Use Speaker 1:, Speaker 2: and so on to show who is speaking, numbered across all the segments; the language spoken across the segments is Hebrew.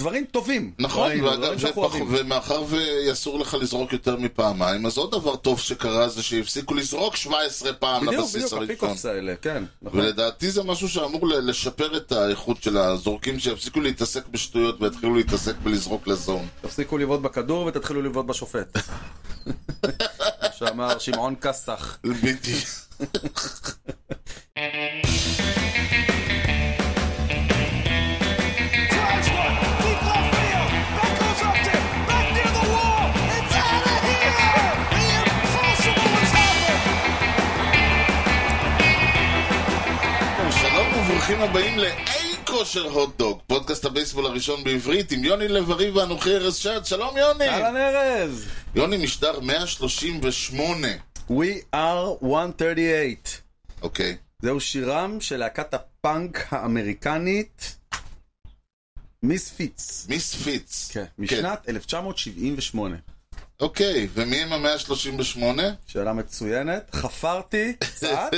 Speaker 1: דברים טובים.
Speaker 2: נכון,
Speaker 1: דברים,
Speaker 2: ואגב,
Speaker 1: דברים
Speaker 2: זה
Speaker 1: לא, שאנחנו
Speaker 2: פח-
Speaker 1: אוהבים.
Speaker 2: ומאחר ואסור לך לזרוק יותר מפעמיים, אז עוד דבר טוב שקרה זה שהפסיקו לזרוק 17 פעם
Speaker 1: בדיוק,
Speaker 2: לבסיס
Speaker 1: בדיוק,
Speaker 2: הראשון.
Speaker 1: הפיקופס האלה, כן. נכון.
Speaker 2: ולדעתי זה משהו שאמור ל- לשפר את האיכות של הזורקים, שיפסיקו להתעסק בשטויות ויתחילו להתעסק בלזרוק לזון.
Speaker 1: תפסיקו לבעוט בכדור ותתחילו לבעוט בשופט. מה שאמר שמעון כסח.
Speaker 2: בדיוק.
Speaker 3: Drives one, deep left field. That goes up there, back near the wall. It's out of here. The impossible has happened.
Speaker 2: שלום וברוכים הבאים לאי כושר הוטדוג, פודקאסט הבייסבול הראשון בעברית עם יוני לב-ארי ואנוכי ארז שעד, שלום יוני!
Speaker 1: אהלן ארז!
Speaker 2: יוני משדר 138,
Speaker 1: We are 138.
Speaker 2: אוקיי.
Speaker 1: זהו שירם של להקת הפאנק האמריקנית מיספיץ.
Speaker 2: מיס פיץ.
Speaker 1: כן. משנת 1978.
Speaker 2: אוקיי, ומי הם המאה ה-38?
Speaker 1: שאלה מצוינת. חפרתי קצת,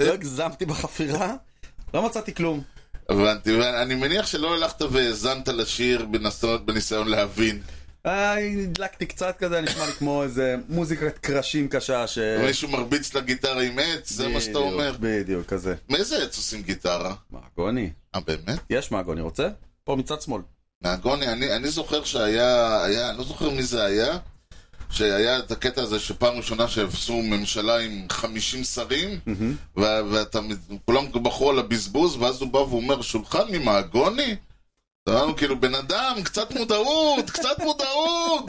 Speaker 1: לא הגזמתי בחפירה, לא מצאתי כלום.
Speaker 2: הבנתי, ואני מניח שלא הלכת והאזנת לשיר בנסות- בניסיון להבין.
Speaker 1: אה, הדלקתי קצת כזה, נשמע לי כמו איזה מוזיקת קרשים קשה ש...
Speaker 2: מישהו מרביץ לגיטרה עם עץ, זה מה שאתה
Speaker 1: אה. בדיוק,
Speaker 2: אומר.
Speaker 1: בדיוק, כזה.
Speaker 2: מאיזה עץ עושים גיטרה?
Speaker 1: מעגוני.
Speaker 2: אה, באמת?
Speaker 1: יש מעגוני, רוצה? פה מצד שמאל.
Speaker 2: מהגוני, אני, אני זוכר שהיה, היה, אני לא זוכר מי זה היה, שהיה את הקטע הזה שפעם ראשונה שהפסו ממשלה עם 50 שרים, mm-hmm. וכולם בחרו על הבזבוז, ואז הוא בא ואומר, שולחן ממעגוני? אמרנו כאילו, בן אדם, קצת מודעות, קצת מודעות!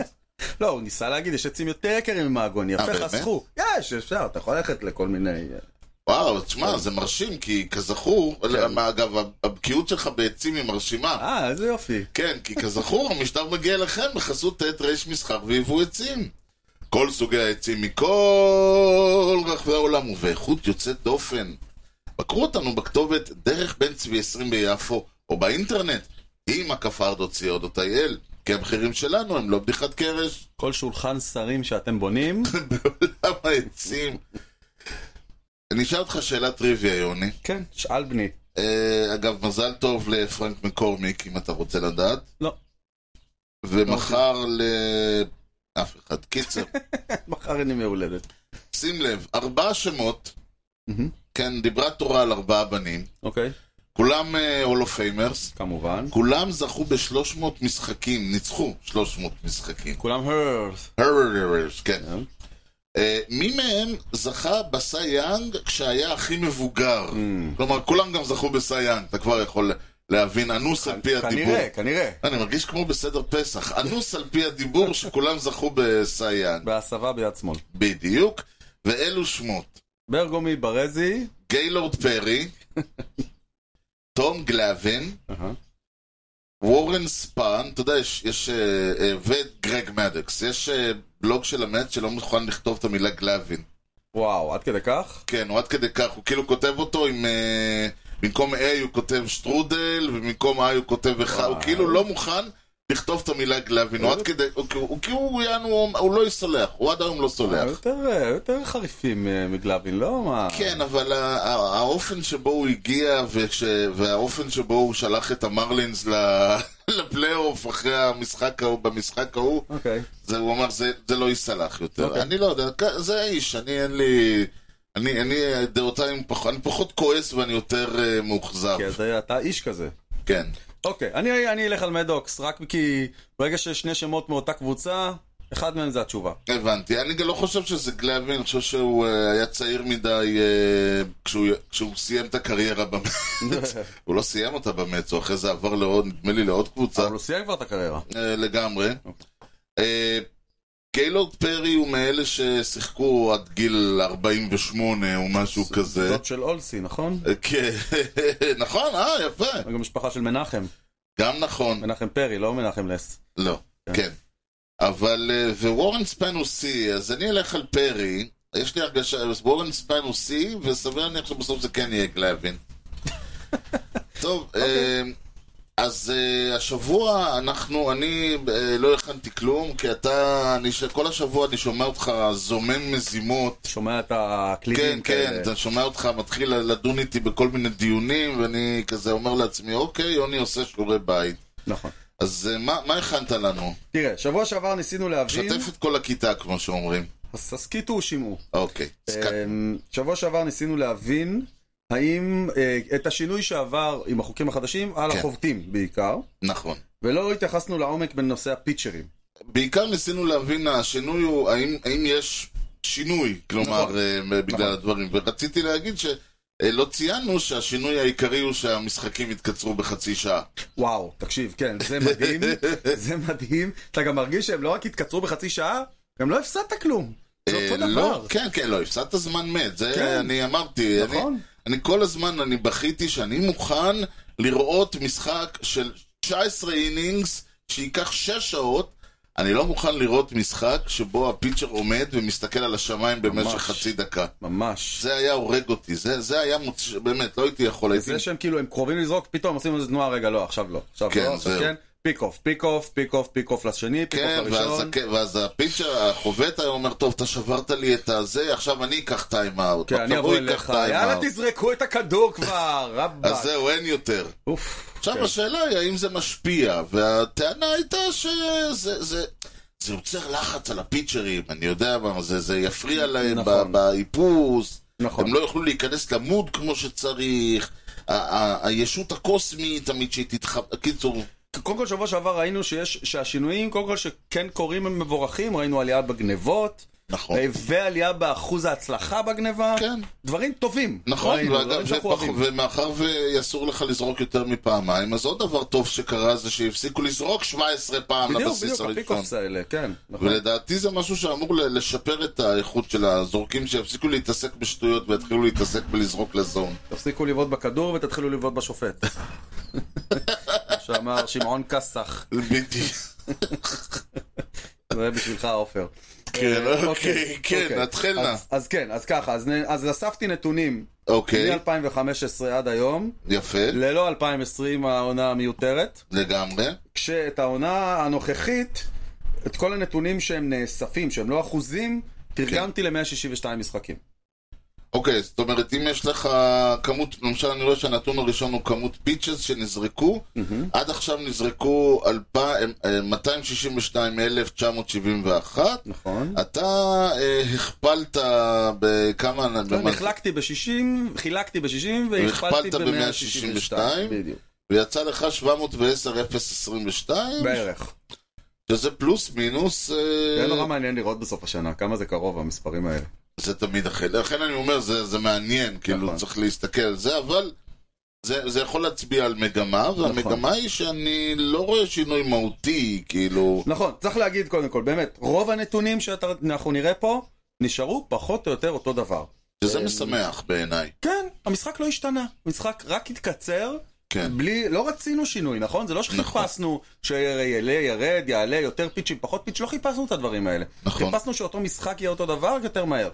Speaker 1: לא, הוא ניסה להגיד, יש עצים יותר יקרים ממעגוני, יפה,
Speaker 2: אה, באמת?
Speaker 1: חסכו. יש, אפשר, אתה יכול ללכת לכל מיני... אה,
Speaker 2: וואו, תשמע, זה מרשים, כי כזכור, אגב, הבקיאות שלך בעצים היא מרשימה.
Speaker 1: אה, איזה יופי.
Speaker 2: כן, כי כזכור, המשטר מגיע אליכם בחסות עת ר' מסחר ויבוא עצים. כל סוגי העצים מכל רחבי העולם ובאיכות יוצאת דופן. בקרו אותנו בכתובת דרך בן צבי 20 ביפו, או באינטרנט, עם הכפרדו.co.il, כי המחירים שלנו הם לא בדיחת קרש.
Speaker 1: כל שולחן שרים שאתם בונים,
Speaker 2: בעולם העצים. אני אשאל אותך שאלת טריוויה, יוני.
Speaker 1: כן, שאל בני.
Speaker 2: אה, אגב, מזל טוב לפרנק מקורמיק, אם אתה רוצה לדעת.
Speaker 1: לא.
Speaker 2: ומחר ל... אף אחד. קיצר,
Speaker 1: מחר אין לי יום הולדת.
Speaker 2: שים לב, ארבעה שמות,
Speaker 1: מהמם.
Speaker 2: כן, דיברה תורה על ארבעה בנים,
Speaker 1: אוקיי,
Speaker 2: כולם אה, הולופיימרס,
Speaker 1: כמובן.
Speaker 2: כולם זכו ב-300 משחקים, ניצחו 300 משחקים.
Speaker 1: כולם הרס.
Speaker 2: הרררררס, כן. אה, מי מהם זכה בסי יאנג כשהיה הכי מבוגר?
Speaker 1: Mm.
Speaker 2: כלומר, כולם גם זכו בסי יאנג, אתה כבר יכול להבין, אנוס על פי הדיבור.
Speaker 1: כנראה, כנראה.
Speaker 2: אני מרגיש כמו בסדר פסח, אנוס על פי הדיבור שכולם זכו בסי יאנג.
Speaker 1: בהסבה ביד שמאל.
Speaker 2: בדיוק, ואלו שמות.
Speaker 1: ברגומי ברזי.
Speaker 2: גיילורד פרי, תום גלאבין, וורן ספאן, אתה יודע, יש, יש אה, אה, וגרג מדקס, יש אה, בלוג של המט שלא מוכן לכתוב את המילה גלאבין.
Speaker 1: וואו, עד כדי כך?
Speaker 2: כן, הוא עד כדי כך, הוא כאילו כותב אותו עם... אה, במקום A הוא כותב שטרודל, ובמקום I הוא כותב אחד, הוא
Speaker 1: וואו.
Speaker 2: כאילו לא מוכן לכתוב את המילה גלאבין, הוא עד כדי... הוא כאילו- הוא כאילו, יענו, הוא- הוא לא יסולח, הוא עד היום לא סולח.
Speaker 1: יותר, אה, יותר חריפים אה, מגלבין, לא? מה...
Speaker 2: כן, אבל ה- ה- האופן שבו הוא הגיע וכש... והאופן שבו הוא שלח את המרלינס ל- לפלייאוף אחרי המשחק ההוא, במשחק ההוא,
Speaker 1: אוקיי.
Speaker 2: זה, הוא אמר, זה, זה לא ייסלח יותר.
Speaker 1: אוקיי.
Speaker 2: אני לא יודע, כ- זה האיש, אני אין לי... אני, אני דעותיי, הם פח... אני פחות כועס ואני יותר uh, מאוכזב.
Speaker 1: כי אז אתה איש כזה.
Speaker 2: כן.
Speaker 1: אוקיי, אני, אני אלך על מדוקס, רק כי ברגע שיש שני שמות מאותה קבוצה, אחד מהם זה התשובה.
Speaker 2: הבנתי. אני גם לא חושב שזה גלאבין, אני חושב שהוא אה, היה צעיר מדי אה, כשהוא, כשהוא סיים את הקריירה במץ. הוא לא סיים אותה במץ, הוא אחרי זה עבר לעוד, נדמה לי לעוד קבוצה.
Speaker 1: אבל אוקיי. הוא סיים כבר את הקריירה.
Speaker 2: אה, לגמרי. אה, גיילורד פרי הוא מאלה ששיחקו עד גיל 48 או משהו כזה.
Speaker 1: זאת של אולסי, נכון?
Speaker 2: אה, כן, נכון, אה, יפה.
Speaker 1: גם משפחה של מנחם.
Speaker 2: גם נכון.
Speaker 1: מנחם פרי, לא מנחם נס.
Speaker 2: לא, כן. אבל, אה, ווורן ספן הוא C, אז אני אלך על פרי. יש לי הרגשה, אז וורן ספן הוא C, וסביר להניח שבסוף זה כן יהיה גלאבין. טוב, אה, אז אה, השבוע אנחנו, אני אה, לא הכנתי כלום, כי אתה, אני ש- כל השבוע אני שומע אותך זומם מזימות.
Speaker 1: שומע את הקלינים
Speaker 2: כן, כן,
Speaker 1: כאלה.
Speaker 2: אתה שומע אותך מתחיל לדון איתי בכל מיני דיונים, ואני כזה אומר לעצמי, אוקיי, יוני עושה שיעורי בית.
Speaker 1: נכון.
Speaker 2: אז אה, מה, מה הכנת לנו?
Speaker 1: תראה, שבוע שעבר ניסינו להבין...
Speaker 2: שתף את כל הכיתה, כמו שאומרים.
Speaker 1: אז הסכיתו ושמעו.
Speaker 2: אוקיי. הסכמתי.
Speaker 1: אמ, שבוע שעבר ניסינו להבין האם אה, את השינוי שעבר עם החוקים החדשים על
Speaker 2: כן.
Speaker 1: החובטים בעיקר,
Speaker 2: נכון.
Speaker 1: ולא התייחסנו לעומק בנושא הפיצ'רים.
Speaker 2: בעיקר ניסינו להבין, השינוי הוא, האם, האם יש שינוי, כלומר,
Speaker 1: נכון.
Speaker 2: נכון. בגלל
Speaker 1: נכון.
Speaker 2: הדברים. ורציתי להגיד שלא ציינו שהשינוי העיקרי הוא שהמשחקים התקצרו בחצי שעה.
Speaker 1: וואו, תקשיב, כן, זה מדהים, זה מדהים. אתה גם מרגיש שהם לא רק התקצרו בחצי שעה, גם לא הפסדת כלום. זה
Speaker 2: אה,
Speaker 1: אותו
Speaker 2: לא,
Speaker 1: דבר.
Speaker 2: כן, כן, לא, הפסדת זמן מת, זה
Speaker 1: כן.
Speaker 2: אני אמרתי. אני-
Speaker 1: נכון.
Speaker 2: אני כל הזמן, אני בכיתי שאני מוכן לראות משחק של 19 אינינגס שייקח 6 שעות. אני לא מוכן לראות משחק שבו הפיצ'ר עומד ומסתכל על השמיים במשך
Speaker 1: ממש.
Speaker 2: חצי דקה.
Speaker 1: ממש.
Speaker 2: זה היה הורג אותי, זה, זה היה מוצ... באמת, לא הייתי יכול, הייתי...
Speaker 1: זה שהם כאילו, הם קרובים לזרוק, פתאום עושים איזה תנועה, רגע, לא, עכשיו לא. עכשיו
Speaker 2: כן,
Speaker 1: לא, עכשיו
Speaker 2: זהו.
Speaker 1: כן. פיק אוף, פיק אוף, פיק אוף, פיק אוף לשני, פיק
Speaker 2: כן,
Speaker 1: אוף
Speaker 2: ואז,
Speaker 1: לראשון.
Speaker 2: הכ- ואז הפיצ'ר, החובט היה אומר, טוב, אתה שברת לי את הזה, עכשיו אני אקח טיים אאוט.
Speaker 1: כן, אני אבוא אליך, יאללה תזרקו את הכדור כבר, רבאק.
Speaker 2: אז זהו, אין יותר.
Speaker 1: אוף.
Speaker 2: עכשיו
Speaker 1: כן.
Speaker 2: השאלה היא האם זה משפיע, והטענה הייתה שזה זה, זה יוצר לחץ על הפיצ'רים, אני יודע מה, זה, זה יפריע להם
Speaker 1: נכון.
Speaker 2: נכון. באיפוס,
Speaker 1: נכון.
Speaker 2: הם לא יוכלו להיכנס למוד כמו שצריך, ה- ה- הישות הקוסמית תמיד שהיא תתחבא, קיצור,
Speaker 1: קודם כל שבוע שעבר ראינו שיש, שהשינויים, קודם כל שכן קורים הם מבורכים, ראינו עלייה בגנבות,
Speaker 2: נכון.
Speaker 1: ועלייה באחוז ההצלחה בגניבה,
Speaker 2: כן.
Speaker 1: דברים טובים.
Speaker 2: נכון,
Speaker 1: ראינו,
Speaker 2: ואגב,
Speaker 1: דברים
Speaker 2: זה
Speaker 1: לא, שאנחנו
Speaker 2: פח-
Speaker 1: אוהבים.
Speaker 2: ומאחר ואסור לך לזרוק יותר מפעמיים, אז עוד דבר טוב שקרה זה שהפסיקו לזרוק 17 פעם
Speaker 1: בדיוק,
Speaker 2: לבסיס
Speaker 1: בדיוק,
Speaker 2: הראשון.
Speaker 1: הפיק-אופס האלה, כן. נכון.
Speaker 2: ולדעתי זה משהו שאמור ל- לשפר את האיכות של הזורקים, שיפסיקו להתעסק בשטויות ויתחילו להתעסק בלזרוק לזון.
Speaker 1: תפסיקו לבעוט בכדור ותתחילו לבעוט בשופט. כמו שאמר שמעון כסח,
Speaker 2: בדיוק.
Speaker 1: זה בשבילך עופר.
Speaker 2: כן,
Speaker 1: אה,
Speaker 2: אוקיי, כן,
Speaker 1: אוקיי.
Speaker 2: נתחיל נא.
Speaker 1: אז- אז כן, אז ככה, אז נ- אז אספתי נתונים
Speaker 2: אוקיי,
Speaker 1: מ-2015 עד היום,
Speaker 2: יפה,
Speaker 1: ללא 2020 העונה המיותרת,
Speaker 2: לגמרי.
Speaker 1: כשאת העונה הנוכחית, את כל הנתונים שהם נאספים, שהם לא אחוזים, תרגמתי ל-162 משחקים.
Speaker 2: אוקיי, זאת אומרת, אם יש לך כמות, למשל אני רואה שהנתון הראשון הוא כמות פיצ'ס שנזרקו, עד עכשיו נזרקו 262,971,
Speaker 1: נכון.
Speaker 2: אתה אה, הכפלת בכמה... במה-
Speaker 1: נחלקתי ב-60, חילקתי ב-60 והכפלתי
Speaker 2: והכפלת
Speaker 1: ב-162.
Speaker 2: ב-
Speaker 1: בדיוק.
Speaker 2: ויצא לך 710,022,
Speaker 1: בערך.
Speaker 2: שזה פלוס מינוס, אה,
Speaker 1: זה לא נורא מעניין לראות בסוף השנה, כמה זה קרוב המספרים האלה.
Speaker 2: זה תמיד אחר. לכן אני אומר, זה, זה מעניין,
Speaker 1: נכון.
Speaker 2: כאילו צריך להסתכל על זה, אבל זה, זה יכול להצביע על מגמה,
Speaker 1: נכון.
Speaker 2: והמגמה היא שאני לא רואה שינוי מהותי, כאילו...
Speaker 1: נכון, צריך להגיד קודם כל, באמת, רוב הנתונים שאנחנו נראה פה, נשארו פחות או יותר אותו דבר. אה,
Speaker 2: שזה משמח בעיניי.
Speaker 1: כן, המשחק לא השתנה. המשחק רק התקצר,
Speaker 2: כן.
Speaker 1: בלי, לא רצינו שינוי, נכון? זה לא שחיפשנו שיעלה, ירד, יעלה, יותר פיצ'ים, פחות פיצ', לא חיפשנו את הדברים האלה.
Speaker 2: נכון.
Speaker 1: חיפשנו שאותו משחק יהיה אותו דבר יותר מהר.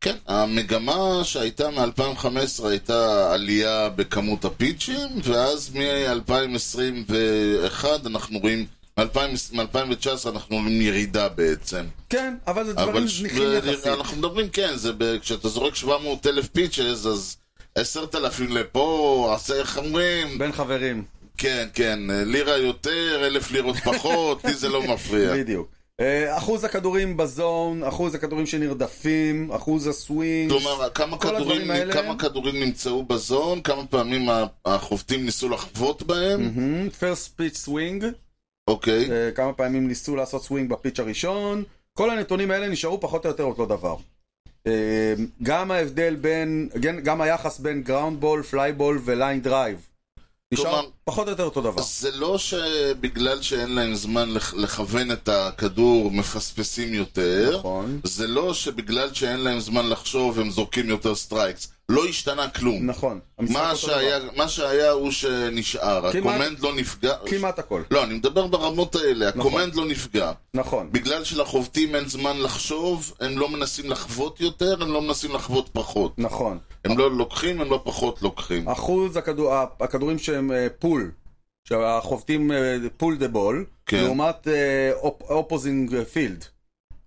Speaker 2: כן, המגמה שהייתה מ-2015 הייתה עלייה בכמות הפיצ'ים, ואז מ-2021 אנחנו רואים, מ-2019 אנחנו רואים ירידה בעצם.
Speaker 1: כן, אבל זה דברים
Speaker 2: אבל ש- אה,
Speaker 1: זניחים
Speaker 2: ו-
Speaker 1: יחסית.
Speaker 2: אנחנו מדברים, כן, זה ב- כשאתה זורק 700 אלף פיצ'ס, אז 10,000 לפה, עשה, איך אומרים?
Speaker 1: בין חברים,
Speaker 2: כן, כן, לירה יותר, אלף לירות פחות, לי זה לא מפריע.
Speaker 1: בדיוק. אה, אחוז הכדורים בזון, אחוז הכדורים שנרדפים, אחוז הסווינג.
Speaker 2: כלומר, כמה
Speaker 1: כל
Speaker 2: כדורים,
Speaker 1: הדברים האלה-
Speaker 2: כמה כדורים נמצאו בזון, כמה פעמים ה- החובטים ניסו לחבוט בהם,
Speaker 1: פרסט פיץ' סווינג,
Speaker 2: אוקיי,
Speaker 1: אה, כמה פעמים ניסו לעשות סווינג בפיץ' הראשון, כל הנתונים האלה נשארו פחות או יותר אותו דבר. אה, גם ההבדל בין, גם- גם היחס בין גראונד בול, פליי בול וליין דרייב. נשאר
Speaker 2: כלומר-
Speaker 1: פחות או יותר אותו דבר.
Speaker 2: זה לא שבגלל שאין להם זמן לכ- לכוון את הכדור מפספסים יותר,
Speaker 1: נכון.
Speaker 2: זה לא שבגלל שאין להם זמן לחשוב הם זורקים יותר סטרייקס, לא השתנה כלום.
Speaker 1: נכון. המשחק
Speaker 2: מה
Speaker 1: אותו
Speaker 2: שהיה,
Speaker 1: דבר.
Speaker 2: מה שהיה הוא שנשאר,
Speaker 1: כמעט-
Speaker 2: הקומנד לא נפגע.
Speaker 1: כמעט הכל.
Speaker 2: לא, אני מדבר ברמות האלה, הקומנד לא נפגע.
Speaker 1: נכון.
Speaker 2: בגלל שלחובטים אין זמן לחשוב, הם לא מנסים לחוות יותר, הם לא מנסים לחוות פחות.
Speaker 1: נכון.
Speaker 2: הם לא לוקחים, הם לא פחות לוקחים.
Speaker 1: אחוז הכדור- הכדורים שהם פול, שהחובטים אה, פול דה בול,
Speaker 2: כן.
Speaker 1: לעומת אה, אופוזינג פילד,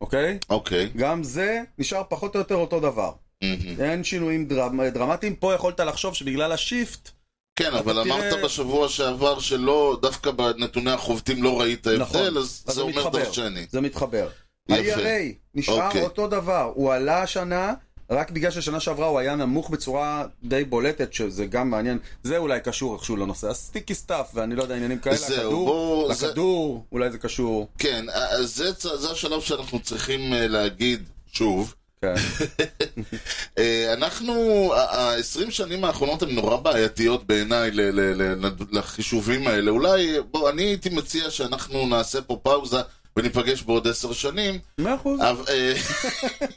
Speaker 1: אוקיי?
Speaker 2: אוקיי.
Speaker 1: גם זה נשאר פחות או יותר אותו דבר.
Speaker 2: מהמם.
Speaker 1: אין שינויים דרמ- דרמטיים. פה יכולת לחשוב שבגלל השיפט,
Speaker 2: כן, אבל
Speaker 1: תראה-
Speaker 2: אמרת בשבוע שעבר שלא, דווקא בנתוני החובטים לא ראית
Speaker 1: נכון,
Speaker 2: הבדל, אז זה אומר דרשני.
Speaker 1: זה מתחבר.
Speaker 2: יפה.
Speaker 1: ה-ERA נשאר
Speaker 2: אוקיי.
Speaker 1: אותו דבר, הוא עלה השנה, רק בגלל ששנה שעברה הוא היה נמוך בצורה די בולטת, שזה גם מעניין, זה אולי קשור איכשהו לנושא הסטיקי סטאף, ואני לא יודע עניינים כאלה,
Speaker 2: זהו,
Speaker 1: הכדור,
Speaker 2: בואו- זה-
Speaker 1: לכדור, אולי זה קשור,
Speaker 2: כן, אז זה, צ- זה השלב שאנחנו צריכים אה, להגיד שוב.
Speaker 1: כן,
Speaker 2: אה, אנחנו, ה-20 שנים האחרונות הן נורא בעייתיות בעיניי ל- ל- ל- לחישובים האלה. אולי, בוא, אני הייתי מציע שאנחנו נעשה פה פאוזה וניפגש בעוד עשר שנים,
Speaker 1: מאה אחוז,
Speaker 2: אבל, אה,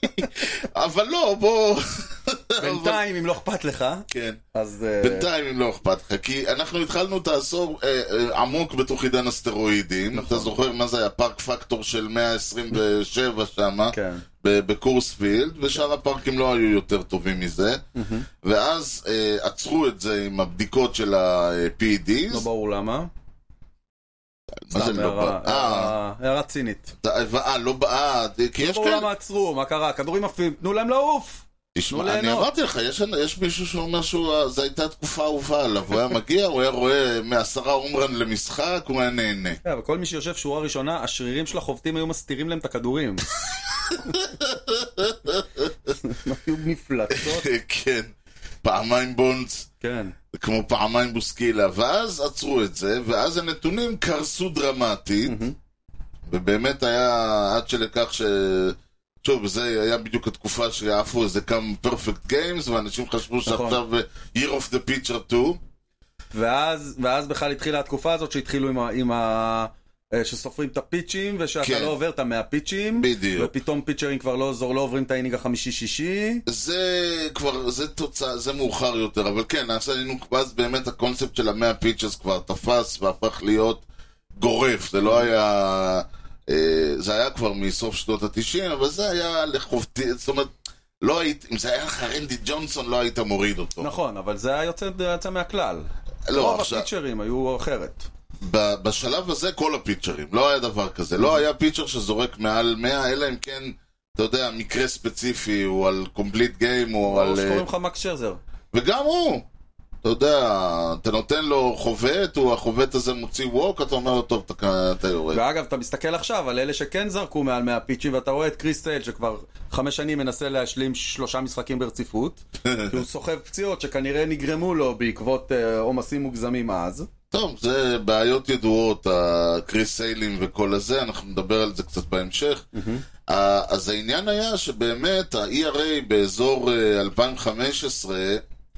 Speaker 2: אבל לא, בוא... אבל-
Speaker 1: בינתיים אם לא אכפת לך,
Speaker 2: כן.
Speaker 1: אז... אה,
Speaker 2: בינתיים אם לא אכפת לך, כי אנחנו התחלנו את העשור אה, אה, עמוק בתוך עידן הסטרואידים.
Speaker 1: נכון.
Speaker 2: אתה זוכר מה זה היה פארק פקטור של 127 שמה,
Speaker 1: כן.
Speaker 2: אה? ב- בקורספילד, ושאר הפארקים לא היו יותר טובים מזה. ואז אה, עצרו את זה עם הבדיקות של ה-PEDs.
Speaker 1: לא ברור למה.
Speaker 2: מה זה
Speaker 1: סתם,
Speaker 2: לא
Speaker 1: הערה-
Speaker 2: ברור? אה,
Speaker 1: הערה הערה צינית.
Speaker 2: אתה- אה, לא ברור, כי
Speaker 1: לא
Speaker 2: יש
Speaker 1: ברור למה
Speaker 2: כאלה.
Speaker 1: עצרו, מה קרה, כדורים עפים, תנו להם לעוף!
Speaker 2: תשמע,
Speaker 1: תנו
Speaker 2: אני
Speaker 1: לא ליהנות.
Speaker 2: אמרתי לך, יש- יש מישהו שאומר שזו הייתה תקופה אהובה עליו. הוא היה מגיע, הוא היה רואה מעשרה אומרן למשחק, הוא היה נהנה.
Speaker 1: כן, אבל כל מי שיושב שורה ראשונה, השרירים של החובטים היו מסתירים להם את הכדורים. היו מפלצות.
Speaker 2: כן, פעמיים בונדס,
Speaker 1: כן,
Speaker 2: כמו פעמיים בוסקילה, ואז עצרו את זה, ואז הנתונים קרסו דרמטית, ובאמת היה עד שלכך ש... שוב, זה היה בדיוק התקופה שעפו איזה כמה פרפקט גיימס, ואנשים חשבו שעכשיו אה, year of the pitcher 2,
Speaker 1: ואז, ואז בכלל התחילה התקופה הזאת שהתחילו עם ה... עם ה... אה, שסופרים את הפיצ'ים, ושאתה
Speaker 2: כן.
Speaker 1: לא עובר את המאה פיצ'ים.
Speaker 2: בדיוק.
Speaker 1: ופתאום פיצ'רים כבר לא עוזר, לא עוברים את האינינג החמישי-שישי.
Speaker 2: זה כבר, זה תוצאה, זה מאוחר יותר, אבל כן, אז היינו, אז באמת הקונספט של המאה פיצ'ס כבר תפס והפך להיות גורף, זה לא היה, אה, זה היה כבר מסוף שנות התשעים, אבל זה היה לחובתי, זאת אומרת, לא היית, אם זה היה לך רנדי ג'ונסון, לא היית מוריד אותו.
Speaker 1: נכון, אבל זה היה יוצא, יצא מהכלל.
Speaker 2: לא,
Speaker 1: רוב
Speaker 2: עכשיו-
Speaker 1: הפיצ'רים היו אחרת.
Speaker 2: ב- בשלב הזה כל הפיצ'רים, לא היה דבר כזה. לא היה פיצ'ר שזורק מעל 100, אלא אם כן, אתה יודע, מקרה ספציפי, הוא על קומפליט גיים, או
Speaker 1: ברור
Speaker 2: על... אה,
Speaker 1: שקוראים לך מקס שרזר.
Speaker 2: וגם הוא, אתה יודע, אתה נותן לו חובט, הוא החובט הזה מוציא ווק, אתה אומר לו, טוב, אתה, אתה יורד.
Speaker 1: ואגב, אתה מסתכל עכשיו על אלה שכן זרקו מעל 100 פיצ'ים, ואתה רואה את קריס סייל שכבר חמש שנים מנסה להשלים שלושה משחקים ברציפות, כי הוא סוחב פציעות שכנראה נגרמו לו בעקבות אה, עומסים מוגזמים אז.
Speaker 2: טוב, זה בעיות ידועות, הקריס סיילים וכל הזה, אנחנו נדבר על זה קצת בהמשך. ה- אז העניין היה שבאמת ה-ERA באזור אה, 2015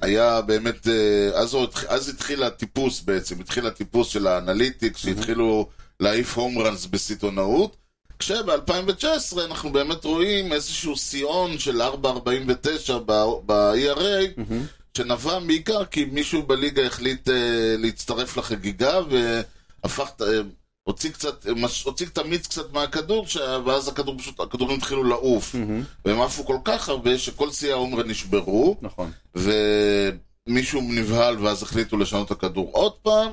Speaker 2: היה באמת, אה, אז, הוא התח- אז התחיל הטיפוס בעצם, התחיל הטיפוס של האנליטיקס, שהתחילו להעיף הום ראנס בסיטונאות, כשב-2019 אנחנו באמת רואים איזשהו שיאון של 4.49 ב-ERA, שנבע בעיקר כי מישהו בליגה החליט אה, להצטרף לחגיגה והפך, את- אה, הוציא קצת, אה, מש- הוציא את המיץ קצת מהכדור, ש- ואז הכדור פשוט, הכדורים התחילו לעוף. והם עפו כל כך הרבה שכל שיאי העומר נשברו,
Speaker 1: נכון.
Speaker 2: ומישהו נבהל ואז החליטו לשנות את הכדור עוד פעם,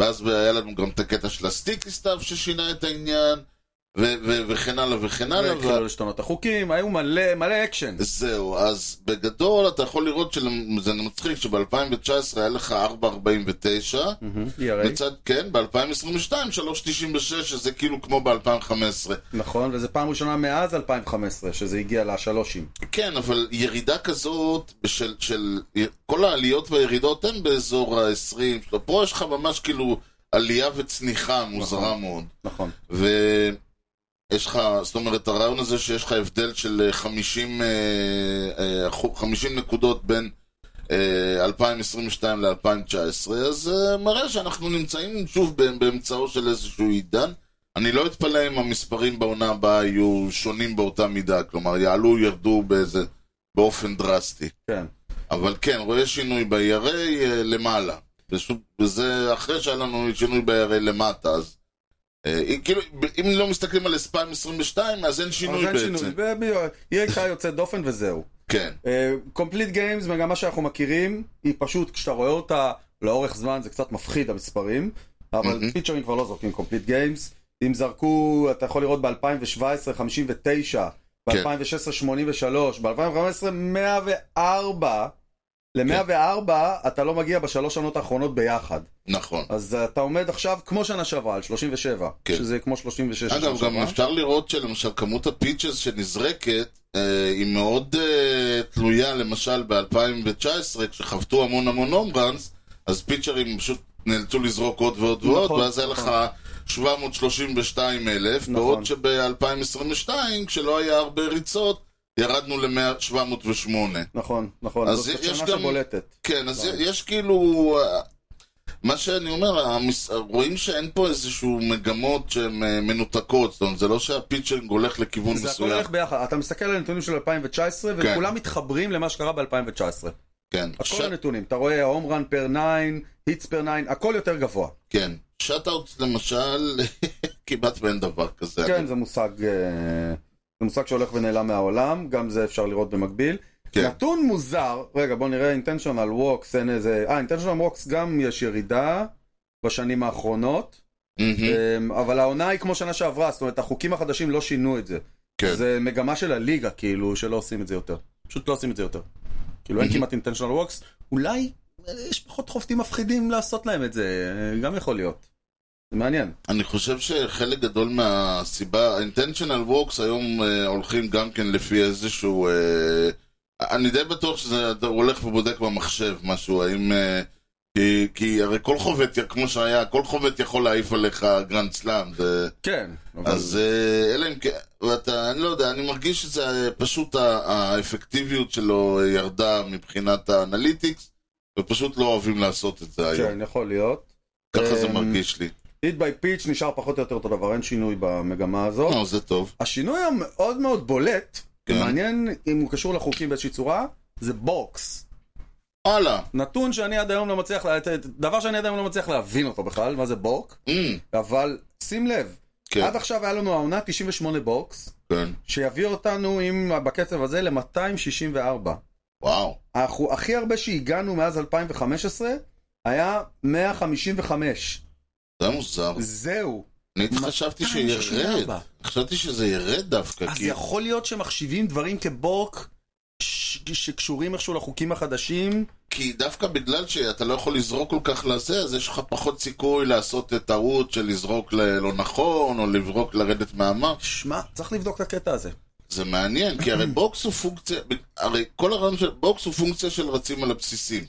Speaker 2: ואז היה לנו גם את הקטע של הסטיקי סטאפ ששינה את העניין, ו- ו- וכן הלאה וכן הלאה.
Speaker 1: והתחילו להשתנות החוקים, היו מלא מלא אקשן.
Speaker 2: זהו, אז בגדול אתה יכול לראות שזה מצחיק שב-2019 היה לך 4.49,
Speaker 1: מהמם, ERA.
Speaker 2: מצד, כן, ב-2022 3.96, שזה כאילו כמו ב-2015.
Speaker 1: נכון, וזו פעם ראשונה מאז 2015 שזה הגיע לשלושים.
Speaker 2: כן, אבל ירידה כזאת של, של כל העליות והירידות הן באזור ה-20, פה יש לך ממש כאילו עלייה וצניחה מוזרה מאוד.
Speaker 1: נכון.
Speaker 2: ויש לך, זאת אומרת, הרעיון הזה שיש לך הבדל של 50, אה, אה, אחו- 50 נקודות בין אה, 2022 ל-2019, אז אה, מראה שאנחנו נמצאים שוב באמ- באמצעו של איזשהו עידן. אני לא אתפלא אם המספרים בעונה הבאה יהיו שונים באותה מידה, כלומר, יעלו, ירדו באיזה, באופן דרסטי.
Speaker 1: כן.
Speaker 2: אבל כן, רואה שינוי ב-ERA אה, למעלה. פשוט- וזה אחרי שהיה לנו שינוי ב-ERA למטה, אז... אה, אם- כאילו, ב- אם לא מסתכלים על 2022, אז אין שינוי
Speaker 1: אבל אין
Speaker 2: בעצם.
Speaker 1: שינוי. ב- ב- ERA היה יוצא דופן וזהו.
Speaker 2: כן,
Speaker 1: אה, קומפליט גיימס, מגמה שאנחנו מכירים, היא פשוט, כשאתה רואה אותה לאורך זמן, זה קצת מפחיד המספרים, אבל
Speaker 2: מהמם.
Speaker 1: פיצ'רים כבר לא זורקים קומפליט גיימס. אם זרקו, אתה יכול לראות ב-2017,
Speaker 2: כן.
Speaker 1: 59, ב-2016, 83, ב-2015, 104, ל-104 אתה לא מגיע בשלוש שנות האחרונות ביחד.
Speaker 2: נכון.
Speaker 1: אז אתה עומד עכשיו כמו שנה שעברה, על 37.
Speaker 2: כן.
Speaker 1: שזה כמו 36 שנה
Speaker 2: אגב, גם
Speaker 1: שעברה.
Speaker 2: אפשר לראות שלמשל כמות הפיצ'ס שנזרקת אה, היא מאוד אה, תלויה, למשל ב-2019, כשחבטו המון המון הומראנס, אז פיצ'רים פשוט נאלצו לזרוק עוד ועוד ועוד,
Speaker 1: נכון,
Speaker 2: ואז היה
Speaker 1: נכון.
Speaker 2: לך 732 אלף,
Speaker 1: נכון.
Speaker 2: בעוד שב-2022, כשלא היה הרבה ריצות, ירדנו ל-708.
Speaker 1: נכון, נכון.
Speaker 2: אז
Speaker 1: זאת
Speaker 2: יש
Speaker 1: שנה
Speaker 2: גם-
Speaker 1: שבולטת.
Speaker 2: כן, אז
Speaker 1: לא.
Speaker 2: יש כאילו... אה, מה שאני אומר, המס... רואים שאין פה איזשהו מגמות שהן אה, מנותקות, זאת אומרת, זה לא שהפיצ'ינג הולך לכיוון
Speaker 1: זה הכל
Speaker 2: מסוים.
Speaker 1: הולך ביחד. אתה מסתכל על הנתונים של 2019,
Speaker 2: כן.
Speaker 1: וכולם מתחברים למה שקרה ב-2019.
Speaker 2: כן,
Speaker 1: הכל
Speaker 2: ש...
Speaker 1: הנתונים. אתה רואה ההום רן פר 9, היטס פר 9, הכל יותר גבוה.
Speaker 2: כן. שאט-אוט למשל, כמעט ואין דבר כזה.
Speaker 1: כן,
Speaker 2: אני-
Speaker 1: זה מושג... אה, זה מושג שהולך ונעלם מהעולם, גם זה אפשר לראות במקביל.
Speaker 2: כן.
Speaker 1: נתון מוזר, רגע בוא נראה אינטנשיונל ווקס, אין איזה, אה אינטנשיונל ווקס גם יש ירידה בשנים האחרונות,
Speaker 2: מהמם,
Speaker 1: אמ, אבל העונה היא כמו שנה שעברה, זאת אומרת החוקים החדשים לא שינו את זה.
Speaker 2: כן.
Speaker 1: זה מגמה של הליגה כאילו שלא עושים את זה יותר, פשוט לא עושים את זה יותר. כאילו אין
Speaker 2: Mhm.
Speaker 1: כמעט אינטנשיונל ווקס, אולי אה, יש פחות חובטים מפחידים לעשות להם את זה, אה, גם יכול להיות. זה מעניין.
Speaker 2: אני חושב שחלק גדול מהסיבה, ה-intentional walks היום אה, הולכים גם כן לפי איזשהו... אה, אני די בטוח שזה אתה הולך ובודק במחשב משהו, האם... אה, כי, כי הרי כל חובט, כמו שהיה, כל חובט יכול להעיף עליך גרנד סלאם, זה...
Speaker 1: כן, אבל...
Speaker 2: אז אה, אלא אם כן, ואתה, אני לא יודע, אני מרגיש שזה אה, פשוט ה- האפקטיביות שלו ירדה מבחינת האנליטיקס, ופשוט לא אוהבים לעשות את זה היום.
Speaker 1: כן, יכול להיות.
Speaker 2: ככה זה
Speaker 1: אמ,
Speaker 2: מרגיש לי.
Speaker 1: היט ביי פיץ' נשאר פחות או יותר אותו דבר, אין שינוי במגמה הזאת.
Speaker 2: לא, זה טוב.
Speaker 1: השינוי המאוד מאוד בולט,
Speaker 2: כן.
Speaker 1: מעניין אם הוא קשור לחוקים באיזושהי צורה, זה בוקס.
Speaker 2: הלאה.
Speaker 1: נתון שאני עד היום לא מצליח, לה- דבר שאני עד היום לא מצליח להבין אותו בכלל, מה זה בוק,
Speaker 2: אמ,
Speaker 1: אבל שים לב,
Speaker 2: כן.
Speaker 1: עד עכשיו היה לנו העונה 98 בוקס,
Speaker 2: כן.
Speaker 1: שיביא אותנו עם, בקצב הזה ל-264.
Speaker 2: וואו.
Speaker 1: אנחנו, הכי הרבה שהגענו מאז 2015 היה 155.
Speaker 2: זה מוזר.
Speaker 1: זהו.
Speaker 2: אני חשבתי
Speaker 1: אה, 264.
Speaker 2: שירד. חשבתי שזה ירד דווקא.
Speaker 1: אז
Speaker 2: כי-
Speaker 1: יכול להיות שמחשיבים דברים כבוק ש- שקשורים איכשהו לחוקים החדשים?
Speaker 2: כי דווקא בגלל שאתה לא יכול לזרוק כל כך לזה, אז יש לך פחות סיכוי לעשות טעות של לזרוק ל- לא נכון, או לזרוק לרדת מהמר.
Speaker 1: שמע, צריך לבדוק את הקטע הזה.
Speaker 2: זה מעניין, כי הרי בוקס הוא פונקציה, הרי כל הרעיון של בוקס הוא פונקציה של רצים על הבסיסים.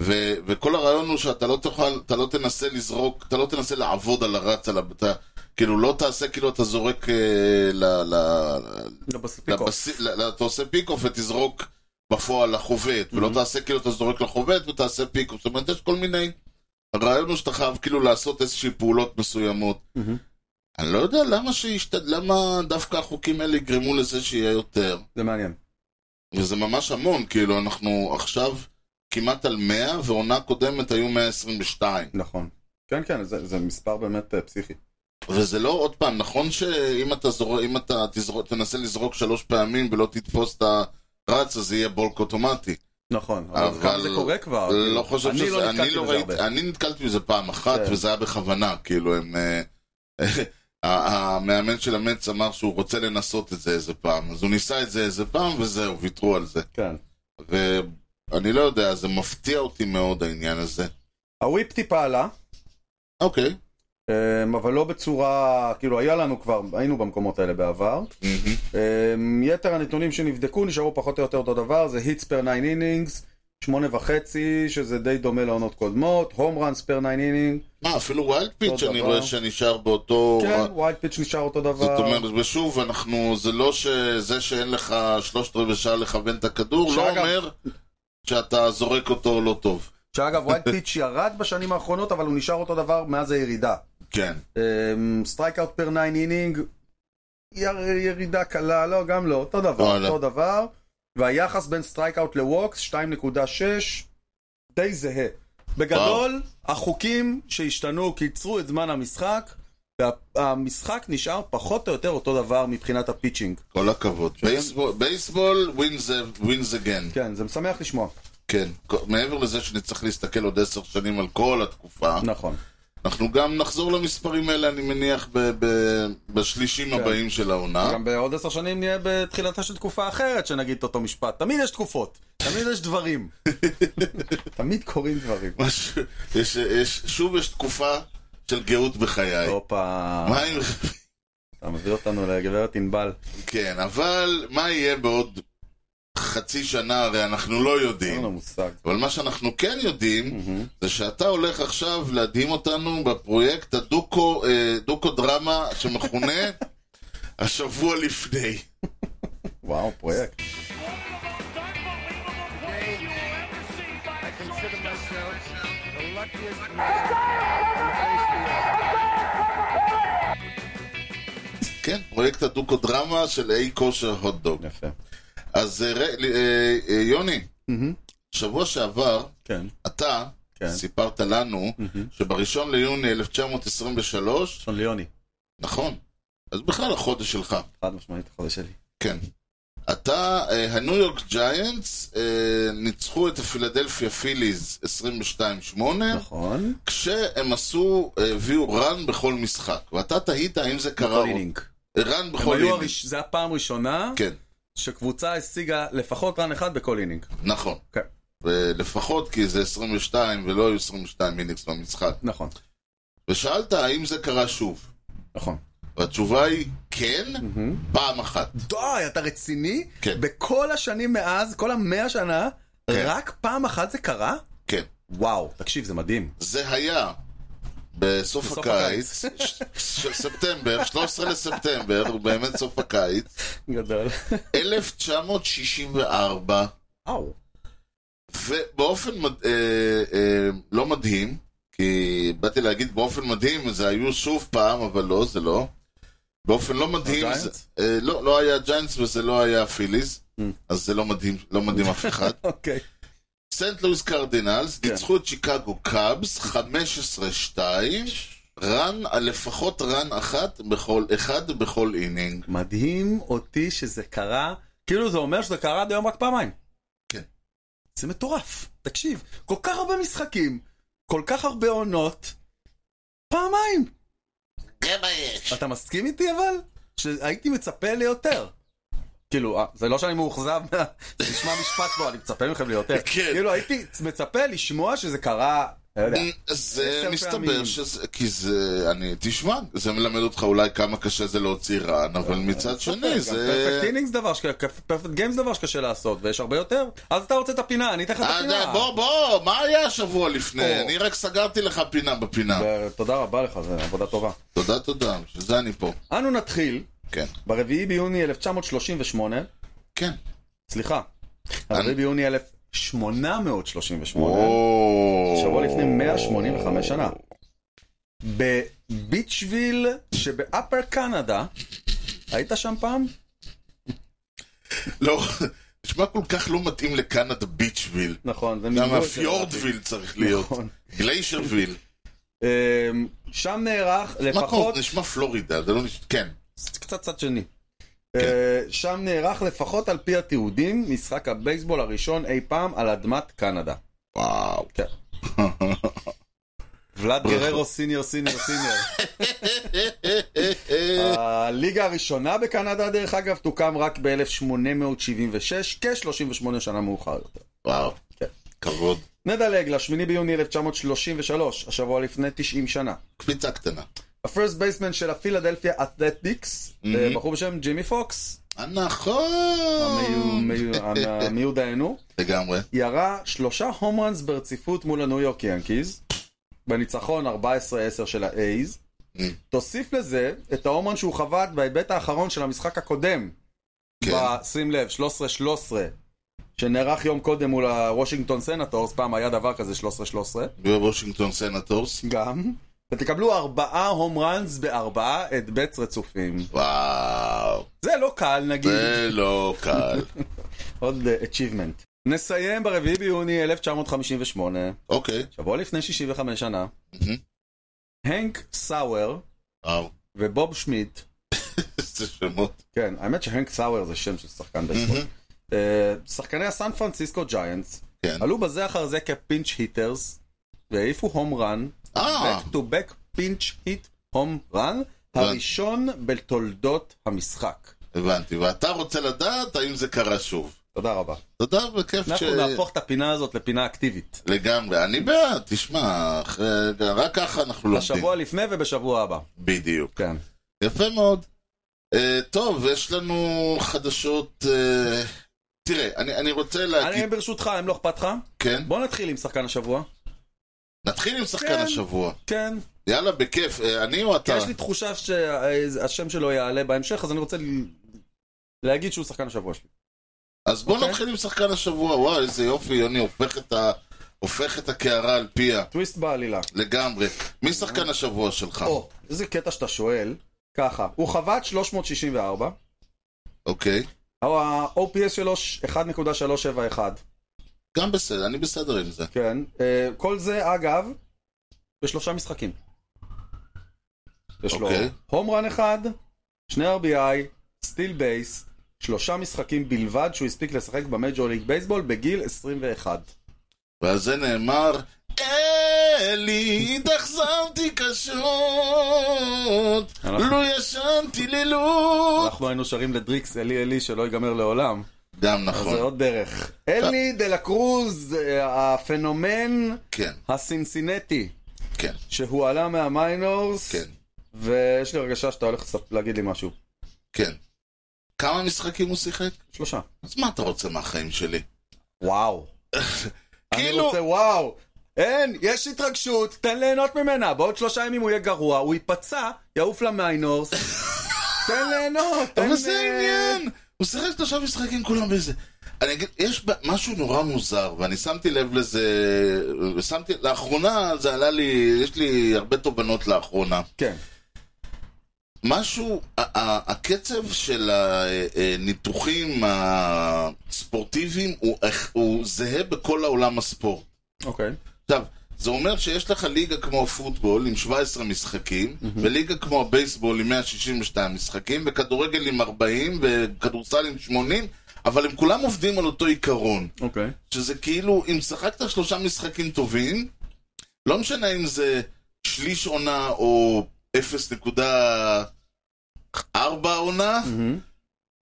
Speaker 2: ו, וכל הרעיון הוא שאתה לא תוכל, אתה לא תנסה לזרוק, אתה לא תנסה לעבוד על הרץ, על ה- אתה, כאילו לא תעשה כאילו אתה זורק, אה, ל, ל,
Speaker 1: לא, בספיק אוף.
Speaker 2: לבסיס, ל, ל, אתה עושה פיק אוף ותזרוק בפועל לחובט, ולא תעשה כאילו אתה זורק לחובט ותעשה פיק אוף, זאת אומרת יש כל מיני, הרעיון הוא שאתה חייב כאילו לעשות איזושהי פעולות מסוימות.
Speaker 1: מהמם.
Speaker 2: אני לא יודע למה, שישת... למה דווקא החוקים האלה יגרמו לזה שיהיה יותר.
Speaker 1: זה מעניין.
Speaker 2: וזה ממש המון, כאילו, אנחנו עכשיו כמעט על 100, ועונה קודמת היו 122.
Speaker 1: נכון. כן, כן, זה זה מספר באמת אה, פסיכי.
Speaker 2: וזה לא, עוד פעם, נכון שאם אתה, זור... אם אתה תזר... תנסה לזרוק שלוש פעמים ולא תתפוס את הרץ, אז זה יהיה בולק אוטומטי.
Speaker 1: נכון,
Speaker 2: אבל-
Speaker 1: אבל גם זה קורה כבר.
Speaker 2: לא חושב
Speaker 1: אני
Speaker 2: שזה...
Speaker 1: לא נתקלתי בזה
Speaker 2: ראיתי-
Speaker 1: הרבה.
Speaker 2: אני נתקלתי בזה פעם אחת,
Speaker 1: כן.
Speaker 2: וזה היה בכוונה, כאילו, הם... אה, ה- המאמן של המץ אמר שהוא רוצה לנסות את זה איזה פעם, אז הוא ניסה את זה איזה פעם, וזהו, ויתרו על זה.
Speaker 1: כן.
Speaker 2: ואני לא יודע, זה מפתיע אותי מאוד העניין הזה.
Speaker 1: הוויפ טיפה עלה,
Speaker 2: אוקיי.
Speaker 1: אמ, אבל לא בצורה, כאילו היה לנו כבר, היינו במקומות האלה בעבר.
Speaker 2: מהמם.
Speaker 1: אמ, יתר הנתונים שנבדקו נשארו פחות או יותר אותו דבר, זה היטס פר 9 אינינגס, שמונה וחצי, שזה די דומה לעונות קודמות, הום ראנס פר 9 אינינג,
Speaker 2: מה, אפילו ווילד פיץ'
Speaker 1: אותו
Speaker 2: אני
Speaker 1: דבר.
Speaker 2: רואה שנשאר באותו...
Speaker 1: כן, ווילד פיץ' נשאר אותו דבר.
Speaker 2: זאת אומרת, ושוב, אנחנו, זה לא שזה שאין לך שלושת רבעי שעה לכוון את הכדור, לא
Speaker 1: שאגב-
Speaker 2: אומר שאתה זורק אותו לא טוב.
Speaker 1: שאגב, ווילד פיץ' ירד בשנים האחרונות, אבל הוא נשאר אותו דבר מאז הירידה.
Speaker 2: כן.
Speaker 1: אמ, סטרייקאוט פר 9 אינינג, יר- ירידה קלה, לא, גם לא, אותו דבר,
Speaker 2: וואלה.
Speaker 1: אותו דבר. והיחס בין סטרייקאוט לווקס, 2.6, די זהה. בגדול, החוקים שהשתנו קיצרו את זמן המשחק, והמשחק נשאר פחות או יותר אותו דבר מבחינת הפיצ'ינג.
Speaker 2: כל הכבוד. בייסבול- בייסבול ווינס אגן.
Speaker 1: כן, זה משמח לשמוע.
Speaker 2: כן. כ- מעבר לזה שנצטרך להסתכל עוד עשר שנים על כל התקופה,
Speaker 1: נכון.
Speaker 2: אנחנו גם נחזור למספרים האלה, אני מניח, ב- ב- בשלישים
Speaker 1: כן.
Speaker 2: הבאים של העונה.
Speaker 1: גם בעוד עשר שנים נהיה בתחילתה של תקופה אחרת שנגיד את אותו משפט. תמיד יש תקופות. תמיד יש דברים. תמיד קורים דברים.
Speaker 2: משהו- יש- יש- שוב יש תקופה של גאות בחיי.
Speaker 1: הופה,
Speaker 2: מה אם...
Speaker 1: אתה מביא אותנו לגברת ענבל.
Speaker 2: כן, אבל מה יהיה בעוד חצי שנה, הרי אנחנו לא
Speaker 1: אין לנו
Speaker 2: יודעים.
Speaker 1: מושג.
Speaker 2: אבל מה שאנחנו כן יודעים,
Speaker 1: מהמם.
Speaker 2: זה שאתה הולך עכשיו להדהים אותנו בפרויקט הדוקו, אה, דוקו דרמה שמכונה השבוע לפני.
Speaker 1: וואו, פרויקט.
Speaker 4: consider myself the luckiest man.
Speaker 2: כן, פרויקט הדוקו דרמה של אי כושר הוטדוג.
Speaker 1: יפה.
Speaker 2: אז אה, ר- אה, אה, יוני,
Speaker 1: מהמם.
Speaker 2: שבוע שעבר
Speaker 1: כן.
Speaker 2: אתה
Speaker 1: כן.
Speaker 2: סיפרת לנו שבראשון ליוני 1923,
Speaker 1: ראשון ליוני.
Speaker 2: נכון, אז בכלל החודש שלך,
Speaker 1: חד משמעית החודש שלי.
Speaker 2: כן. אתה, אה, הניו יורק ג'יינטס אה, ניצחו את הפילדלפיה פיליז 22-8,
Speaker 1: נכון.
Speaker 2: כשהם עשו, אה, הביאו רן בכל משחק, ואתה תהית האם זה קרה,
Speaker 1: כל
Speaker 2: או-
Speaker 1: אינינג.
Speaker 2: רן
Speaker 1: הם
Speaker 2: בכל
Speaker 1: היו
Speaker 2: אינינג,
Speaker 1: הראש... זה הפעם הראשונה
Speaker 2: כן,
Speaker 1: שקבוצה השיגה לפחות רן אחד בכל אינינג.
Speaker 2: נכון.
Speaker 1: כן.
Speaker 2: לפחות כי זה 22 ולא היו 22 אינינגס במשחק.
Speaker 1: נכון.
Speaker 2: ושאלת האם זה קרה שוב.
Speaker 1: נכון.
Speaker 2: והתשובה היא כן, פעם אחת.
Speaker 1: די, אתה רציני?
Speaker 2: כן.
Speaker 1: בכל השנים מאז, כל המאה שנה,
Speaker 2: כן.
Speaker 1: רק פעם אחת זה קרה?
Speaker 2: כן.
Speaker 1: וואו, תקשיב, זה מדהים.
Speaker 2: זה היה בסוף,
Speaker 1: בסוף
Speaker 2: הקיץ, ש- ש- ספטמבר, 13 לספטמבר, הוא באמת סוף הקיץ,
Speaker 1: גדול.
Speaker 2: 1964,
Speaker 1: וואו.
Speaker 2: ובאופן מד... אה, אה, לא מדהים, כי באתי להגיד באופן מדהים, זה היו שוב פעם, אבל לא, זה לא. באופן לא מדהים, זה,
Speaker 1: הג'יינטס?
Speaker 2: אה, לא, לא היה ג'יינטס וזה לא היה פיליז, אז זה לא מדהים, לא מדהים אף אחד.
Speaker 1: אוקיי.
Speaker 2: סנט לואיס קרדינלס
Speaker 1: כן.
Speaker 2: ניצחו את שיקגו קאבס 15-2, רן, לפחות רן אחת בכל, אחד בכל אינינג.
Speaker 1: מדהים אותי שזה קרה, כאילו זה אומר שזה קרה עד היום רק פעמיים.
Speaker 2: כן.
Speaker 1: זה מטורף. תקשיב, כל כך הרבה משחקים, כל כך הרבה עונות, פעמיים.
Speaker 2: זה מה יש.
Speaker 1: אתה מסכים איתי אבל? שהייתי מצפה ליותר. כאילו, אה, זה לא שאני מאוכזב, מה- נשמע משפט פה, אני מצפה מכם ליותר.
Speaker 2: כן.
Speaker 1: כאילו, הייתי מצפה לשמוע שזה קרה, לא יודע.
Speaker 2: זה
Speaker 1: עשר
Speaker 2: מסתבר
Speaker 1: פעמים.
Speaker 2: שזה, כי זה, אני, תשמע, זה מלמד אותך אולי כמה קשה זה להוציא רן,
Speaker 1: אה,
Speaker 2: אבל מצד שני
Speaker 1: פרפקט
Speaker 2: זה...
Speaker 1: אינינגס דבר, פרפקט גיימס דבר שקשה לעשות, ויש הרבה יותר. אז אתה רוצה את הפינה, אני אתן לך את
Speaker 2: אה,
Speaker 1: הפינה.
Speaker 2: די, בוא, בוא, מה היה השבוע לפני?
Speaker 1: או.
Speaker 2: אני רק סגרתי לך פינה בפינה.
Speaker 1: תודה רבה לך, זו עבודה טובה.
Speaker 2: תודה, תודה, בשביל זה אני פה.
Speaker 1: אנו נתחיל
Speaker 2: כן,
Speaker 1: ברביעי ביוני 1938,
Speaker 2: כן.
Speaker 1: סליחה, הרביעי ביוני 1838,
Speaker 2: וואו.
Speaker 1: שבוע לפני 185 שנה, בביצ'וויל שבאפר קנדה, היית שם פעם?
Speaker 2: לא, נשמע כל כך לא מתאים לקנדה ביצ'וויל.
Speaker 1: נכון, זה
Speaker 2: גם
Speaker 1: מיזוג של-
Speaker 2: הפיורדוויל צריך להיות.
Speaker 1: נכון.
Speaker 2: גליישרוויל.
Speaker 1: אמ, שם נערך
Speaker 2: מה
Speaker 1: לפחות,
Speaker 2: קורה? נשמע פלורידה, זה לא נשמע... כן.
Speaker 1: קצת צד שני, אה, שם נערך לפחות על פי התיעודים משחק הבייסבול הראשון אי פעם על אדמת קנדה.
Speaker 2: וואו.
Speaker 1: כן. ולאד גררו סיניור סיניור סיניור. הליגה הראשונה בקנדה, דרך אגב, תוקם רק ב-1876, כ-38 שנה מאוחר יותר.
Speaker 2: וואו.
Speaker 1: כן.
Speaker 2: כבוד.
Speaker 1: נדלג ל-8 ביוני 1933, השבוע לפני 90 שנה.
Speaker 2: קפיצה קטנה.
Speaker 1: הפרסט בייסמן של הפילדלפיה אתלטיקס, אה, בחור בשם ג'ימי פוקס,
Speaker 2: אה, נכון.
Speaker 1: המיו- המיו- המיודענו,
Speaker 2: לגמרי.
Speaker 1: ירה שלושה הום ראנס ברציפות מול הניו יורק ינקיז, בניצחון 14-10 של האייז.
Speaker 2: Mm.
Speaker 1: תוסיף לזה את ההומרן שהוא חבט בהיבט האחרון של המשחק הקודם,
Speaker 2: כן.
Speaker 1: ב- שים לב, 13-13, שנערך יום קודם מול הוושינגטון סנטורס, פעם היה דבר כזה 13-13,
Speaker 2: בוושינגטון סנטורס.
Speaker 1: גם. ותקבלו ארבעה הום ראנס בארבעה את בץ רצופים.
Speaker 2: וואו.
Speaker 1: זה לא קל נגיד,
Speaker 2: זה לא קל.
Speaker 1: עוד אה, achievement. נסיים ברביעי ביוני 1958.
Speaker 2: אוקיי.
Speaker 1: שבוע לפני 65 שנה,
Speaker 2: מהמם.
Speaker 1: הנק סאואר
Speaker 2: וואו.
Speaker 1: ובוב שמיט,
Speaker 2: איזה שמות.
Speaker 1: כן, האמת שהנק סאואר זה שם של שחקן בייסבול, אה, שחקני הסן פרנסיסקו ג'יינטס,
Speaker 2: כן.
Speaker 1: עלו בזה אחר זה כפינץ' היטרס, והעיפו הום רן,
Speaker 2: אה.
Speaker 1: back to back פינץ' היט הום רן, הראשון בתולדות המשחק.
Speaker 2: הבנתי. ואתה רוצה לדעת האם זה קרה שוב.
Speaker 1: תודה רבה.
Speaker 2: תודה, וכיף ש...
Speaker 1: אנחנו נהפוך את הפינה הזאת לפינה אקטיבית.
Speaker 2: לגמרי. אני בעד, תשמע, אחרי- רק ככה אנחנו לומדים.
Speaker 1: בשבוע לפני ובשבוע הבא.
Speaker 2: בדיוק.
Speaker 1: כן.
Speaker 2: יפה מאוד. אה, טוב, יש לנו חדשות... אה, תראה, אני אני רוצה
Speaker 1: אני
Speaker 2: להגיד...
Speaker 1: ברשותך, אם לא אכפת לך,
Speaker 2: כן?
Speaker 1: בוא נתחיל עם שחקן השבוע.
Speaker 2: נתחיל עם שחקן
Speaker 1: כן.
Speaker 2: השבוע.
Speaker 1: כן.
Speaker 2: יאללה, בכיף. אה, אני או
Speaker 1: כי
Speaker 2: אתה?
Speaker 1: יש לי תחושה שהשם שלו יעלה בהמשך, אז אני רוצה ל- להגיד שהוא שחקן השבוע שלי.
Speaker 2: אז בוא
Speaker 1: אוקיי.
Speaker 2: נתחיל עם שחקן השבוע. וואי, איזה יופי, יוני הופך את ה- הופך את הקערה על פיה.
Speaker 1: טוויסט בעלילה.
Speaker 2: לגמרי. מי שחקן השבוע שלך?
Speaker 1: אה. או, איזה קטע שאתה שואל. ככה, הוא חבט 364,
Speaker 2: אוקיי.
Speaker 1: ה-OPS שלו 1.371.
Speaker 2: גם בסדר, אני בסדר עם זה.
Speaker 1: כן. אה, כל זה, אגב, בשלושה משחקים. יש לו
Speaker 2: אוקיי.
Speaker 1: הום רן אחד, שני RBI, סטיל בייס, שלושה משחקים בלבד שהוא הספיק לשחק במייג'ור ליג בייסבול בגיל 21.
Speaker 2: ועל זה נאמר, אלי, התאכזבתי קשות,
Speaker 1: אנחנו-
Speaker 2: לו ישנתי לילות.
Speaker 1: אנחנו היינו שרים לדריקס אלי אלי שלא ייגמר לעולם,
Speaker 2: גם
Speaker 1: אז זה
Speaker 2: נכון,
Speaker 1: עוד דרך. אלי דה לה קרוז, אה, הפנומן
Speaker 2: כן,
Speaker 1: הסינסינטי,
Speaker 2: כן,
Speaker 1: שהוא עלה מהמיינורס,
Speaker 2: כן, ויש
Speaker 1: ויש לי הרגשה שאתה הולך לספ- להגיד לי משהו.
Speaker 2: כן. כמה משחקים הוא שיחק?
Speaker 1: שלושה.
Speaker 2: אז מה אתה רוצה מהחיים שלי?
Speaker 1: וואו. אני
Speaker 2: כאילו-
Speaker 1: רוצה וואו. אין, יש התרגשות, תן ליהנות ממנה. בעוד שלושה ימים הוא יהיה גרוע, הוא ייפצע, יעוף למיינורס. תן ליהנות, תן...
Speaker 2: אבל זה
Speaker 1: אה,
Speaker 2: העניין! הוא שיחק שלושה משחקים כולם באיזה... אני אגיד, יש ב- משהו נורא מוזר, ואני שמתי לב לזה... שמתי... לאחרונה זה עלה לי... יש לי הרבה תובנות לאחרונה.
Speaker 1: כן,
Speaker 2: משהו, ה- ה- הקצב של אה, הניתוחים הספורטיביים הוא, הוא זהה בכל העולם הספורט.
Speaker 1: אוקיי.
Speaker 2: עכשיו, זה אומר שיש לך ליגה כמו הפוטבול עם 17 משחקים, וליגה כמו הבייסבול עם 162 משחקים, וכדורגל עם 40, וכדורסל עם 80, אבל הם כולם עובדים על אותו עיקרון.
Speaker 1: אוקיי.
Speaker 2: שזה כאילו, אם שחקת שלושה משחקים טובים, לא משנה אם זה שליש עונה או 0.4 עונה,
Speaker 1: מהמם.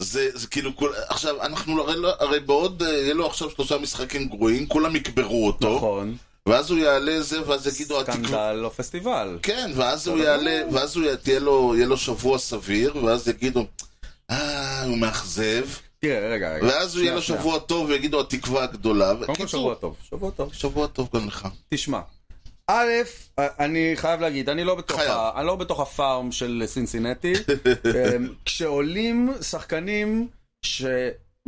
Speaker 2: זה, זה כאילו, כול, עכשיו, אנחנו הרי, לא, הרי בעוד, אה, יהיה לו עכשיו שלושה משחקים גרועים, כולם יקברו אותו,
Speaker 1: נכון.
Speaker 2: ואז הוא יעלה זה, ואז יגידו, התקווה...
Speaker 1: סקנדל או פסטיבל.
Speaker 2: כן, ואז הוא
Speaker 1: בסדר.
Speaker 2: יעלה, ואז הוא י- תהיה לו, יהיה לו שבוע סביר, ואז יגידו, אה, הוא מאכזב,
Speaker 1: תראה, רגע, רגע.
Speaker 2: ואז הוא יהיה
Speaker 1: שנייה,
Speaker 2: לו
Speaker 1: כן, שנייה.
Speaker 2: שבוע טוב, ויגידו, התקווה הגדולה.
Speaker 1: קודם כל
Speaker 2: וקיצור,
Speaker 1: שבוע טוב, שבוע טוב.
Speaker 2: שבוע טוב גם לך.
Speaker 1: תשמע, א', אה, אני חייב להגיד, אני לא בתוך,
Speaker 2: חייב.
Speaker 1: ה, אני לא בתוך הפארם של סינסינטי. אמ, כשעולים שחקנים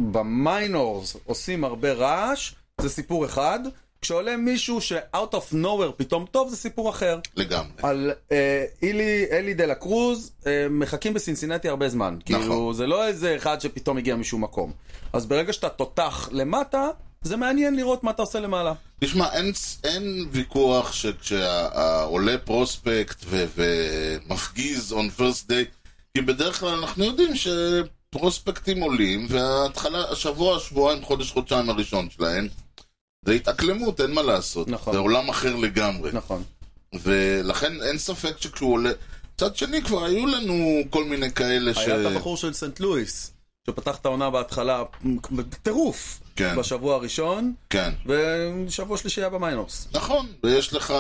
Speaker 1: שבמיינורס עושים הרבה רעש, זה סיפור אחד. כשעולה מישהו ש-out of nowhere פתאום טוב, זה סיפור אחר.
Speaker 2: לגמרי.
Speaker 1: על אה, אילי, אלי דה לה קרוז, אה, מחכים בסינסינטי הרבה זמן.
Speaker 2: נכון.
Speaker 1: כאילו, זה לא איזה אחד שפתאום הגיע משום מקום. אז ברגע שאתה תותח למטה, זה מעניין לראות מה אתה עושה למעלה.
Speaker 2: תשמע, אין, אין ויכוח שכשעולה פרוספקט ו- ומפגיז on first day, כי בדרך כלל אנחנו יודעים שפרוספקטים עולים, וההתחלה, השבוע, שבועיים, חודש, חודשיים הראשון שלהם, זה התאקלמות, אין מה לעשות.
Speaker 1: נכון.
Speaker 2: זה עולם אחר לגמרי.
Speaker 1: נכון.
Speaker 2: ולכן אין ספק שכשהוא עולה... מצד שני, כבר היו לנו כל מיני כאלה ש...
Speaker 1: היה את הבחור של סנט לואיס, שפתח את העונה בהתחלה בטירוף
Speaker 2: כן.
Speaker 1: בשבוע הראשון,
Speaker 2: כן.
Speaker 1: ושבוע שלישי היה במיינורס.
Speaker 2: נכון, ויש לך,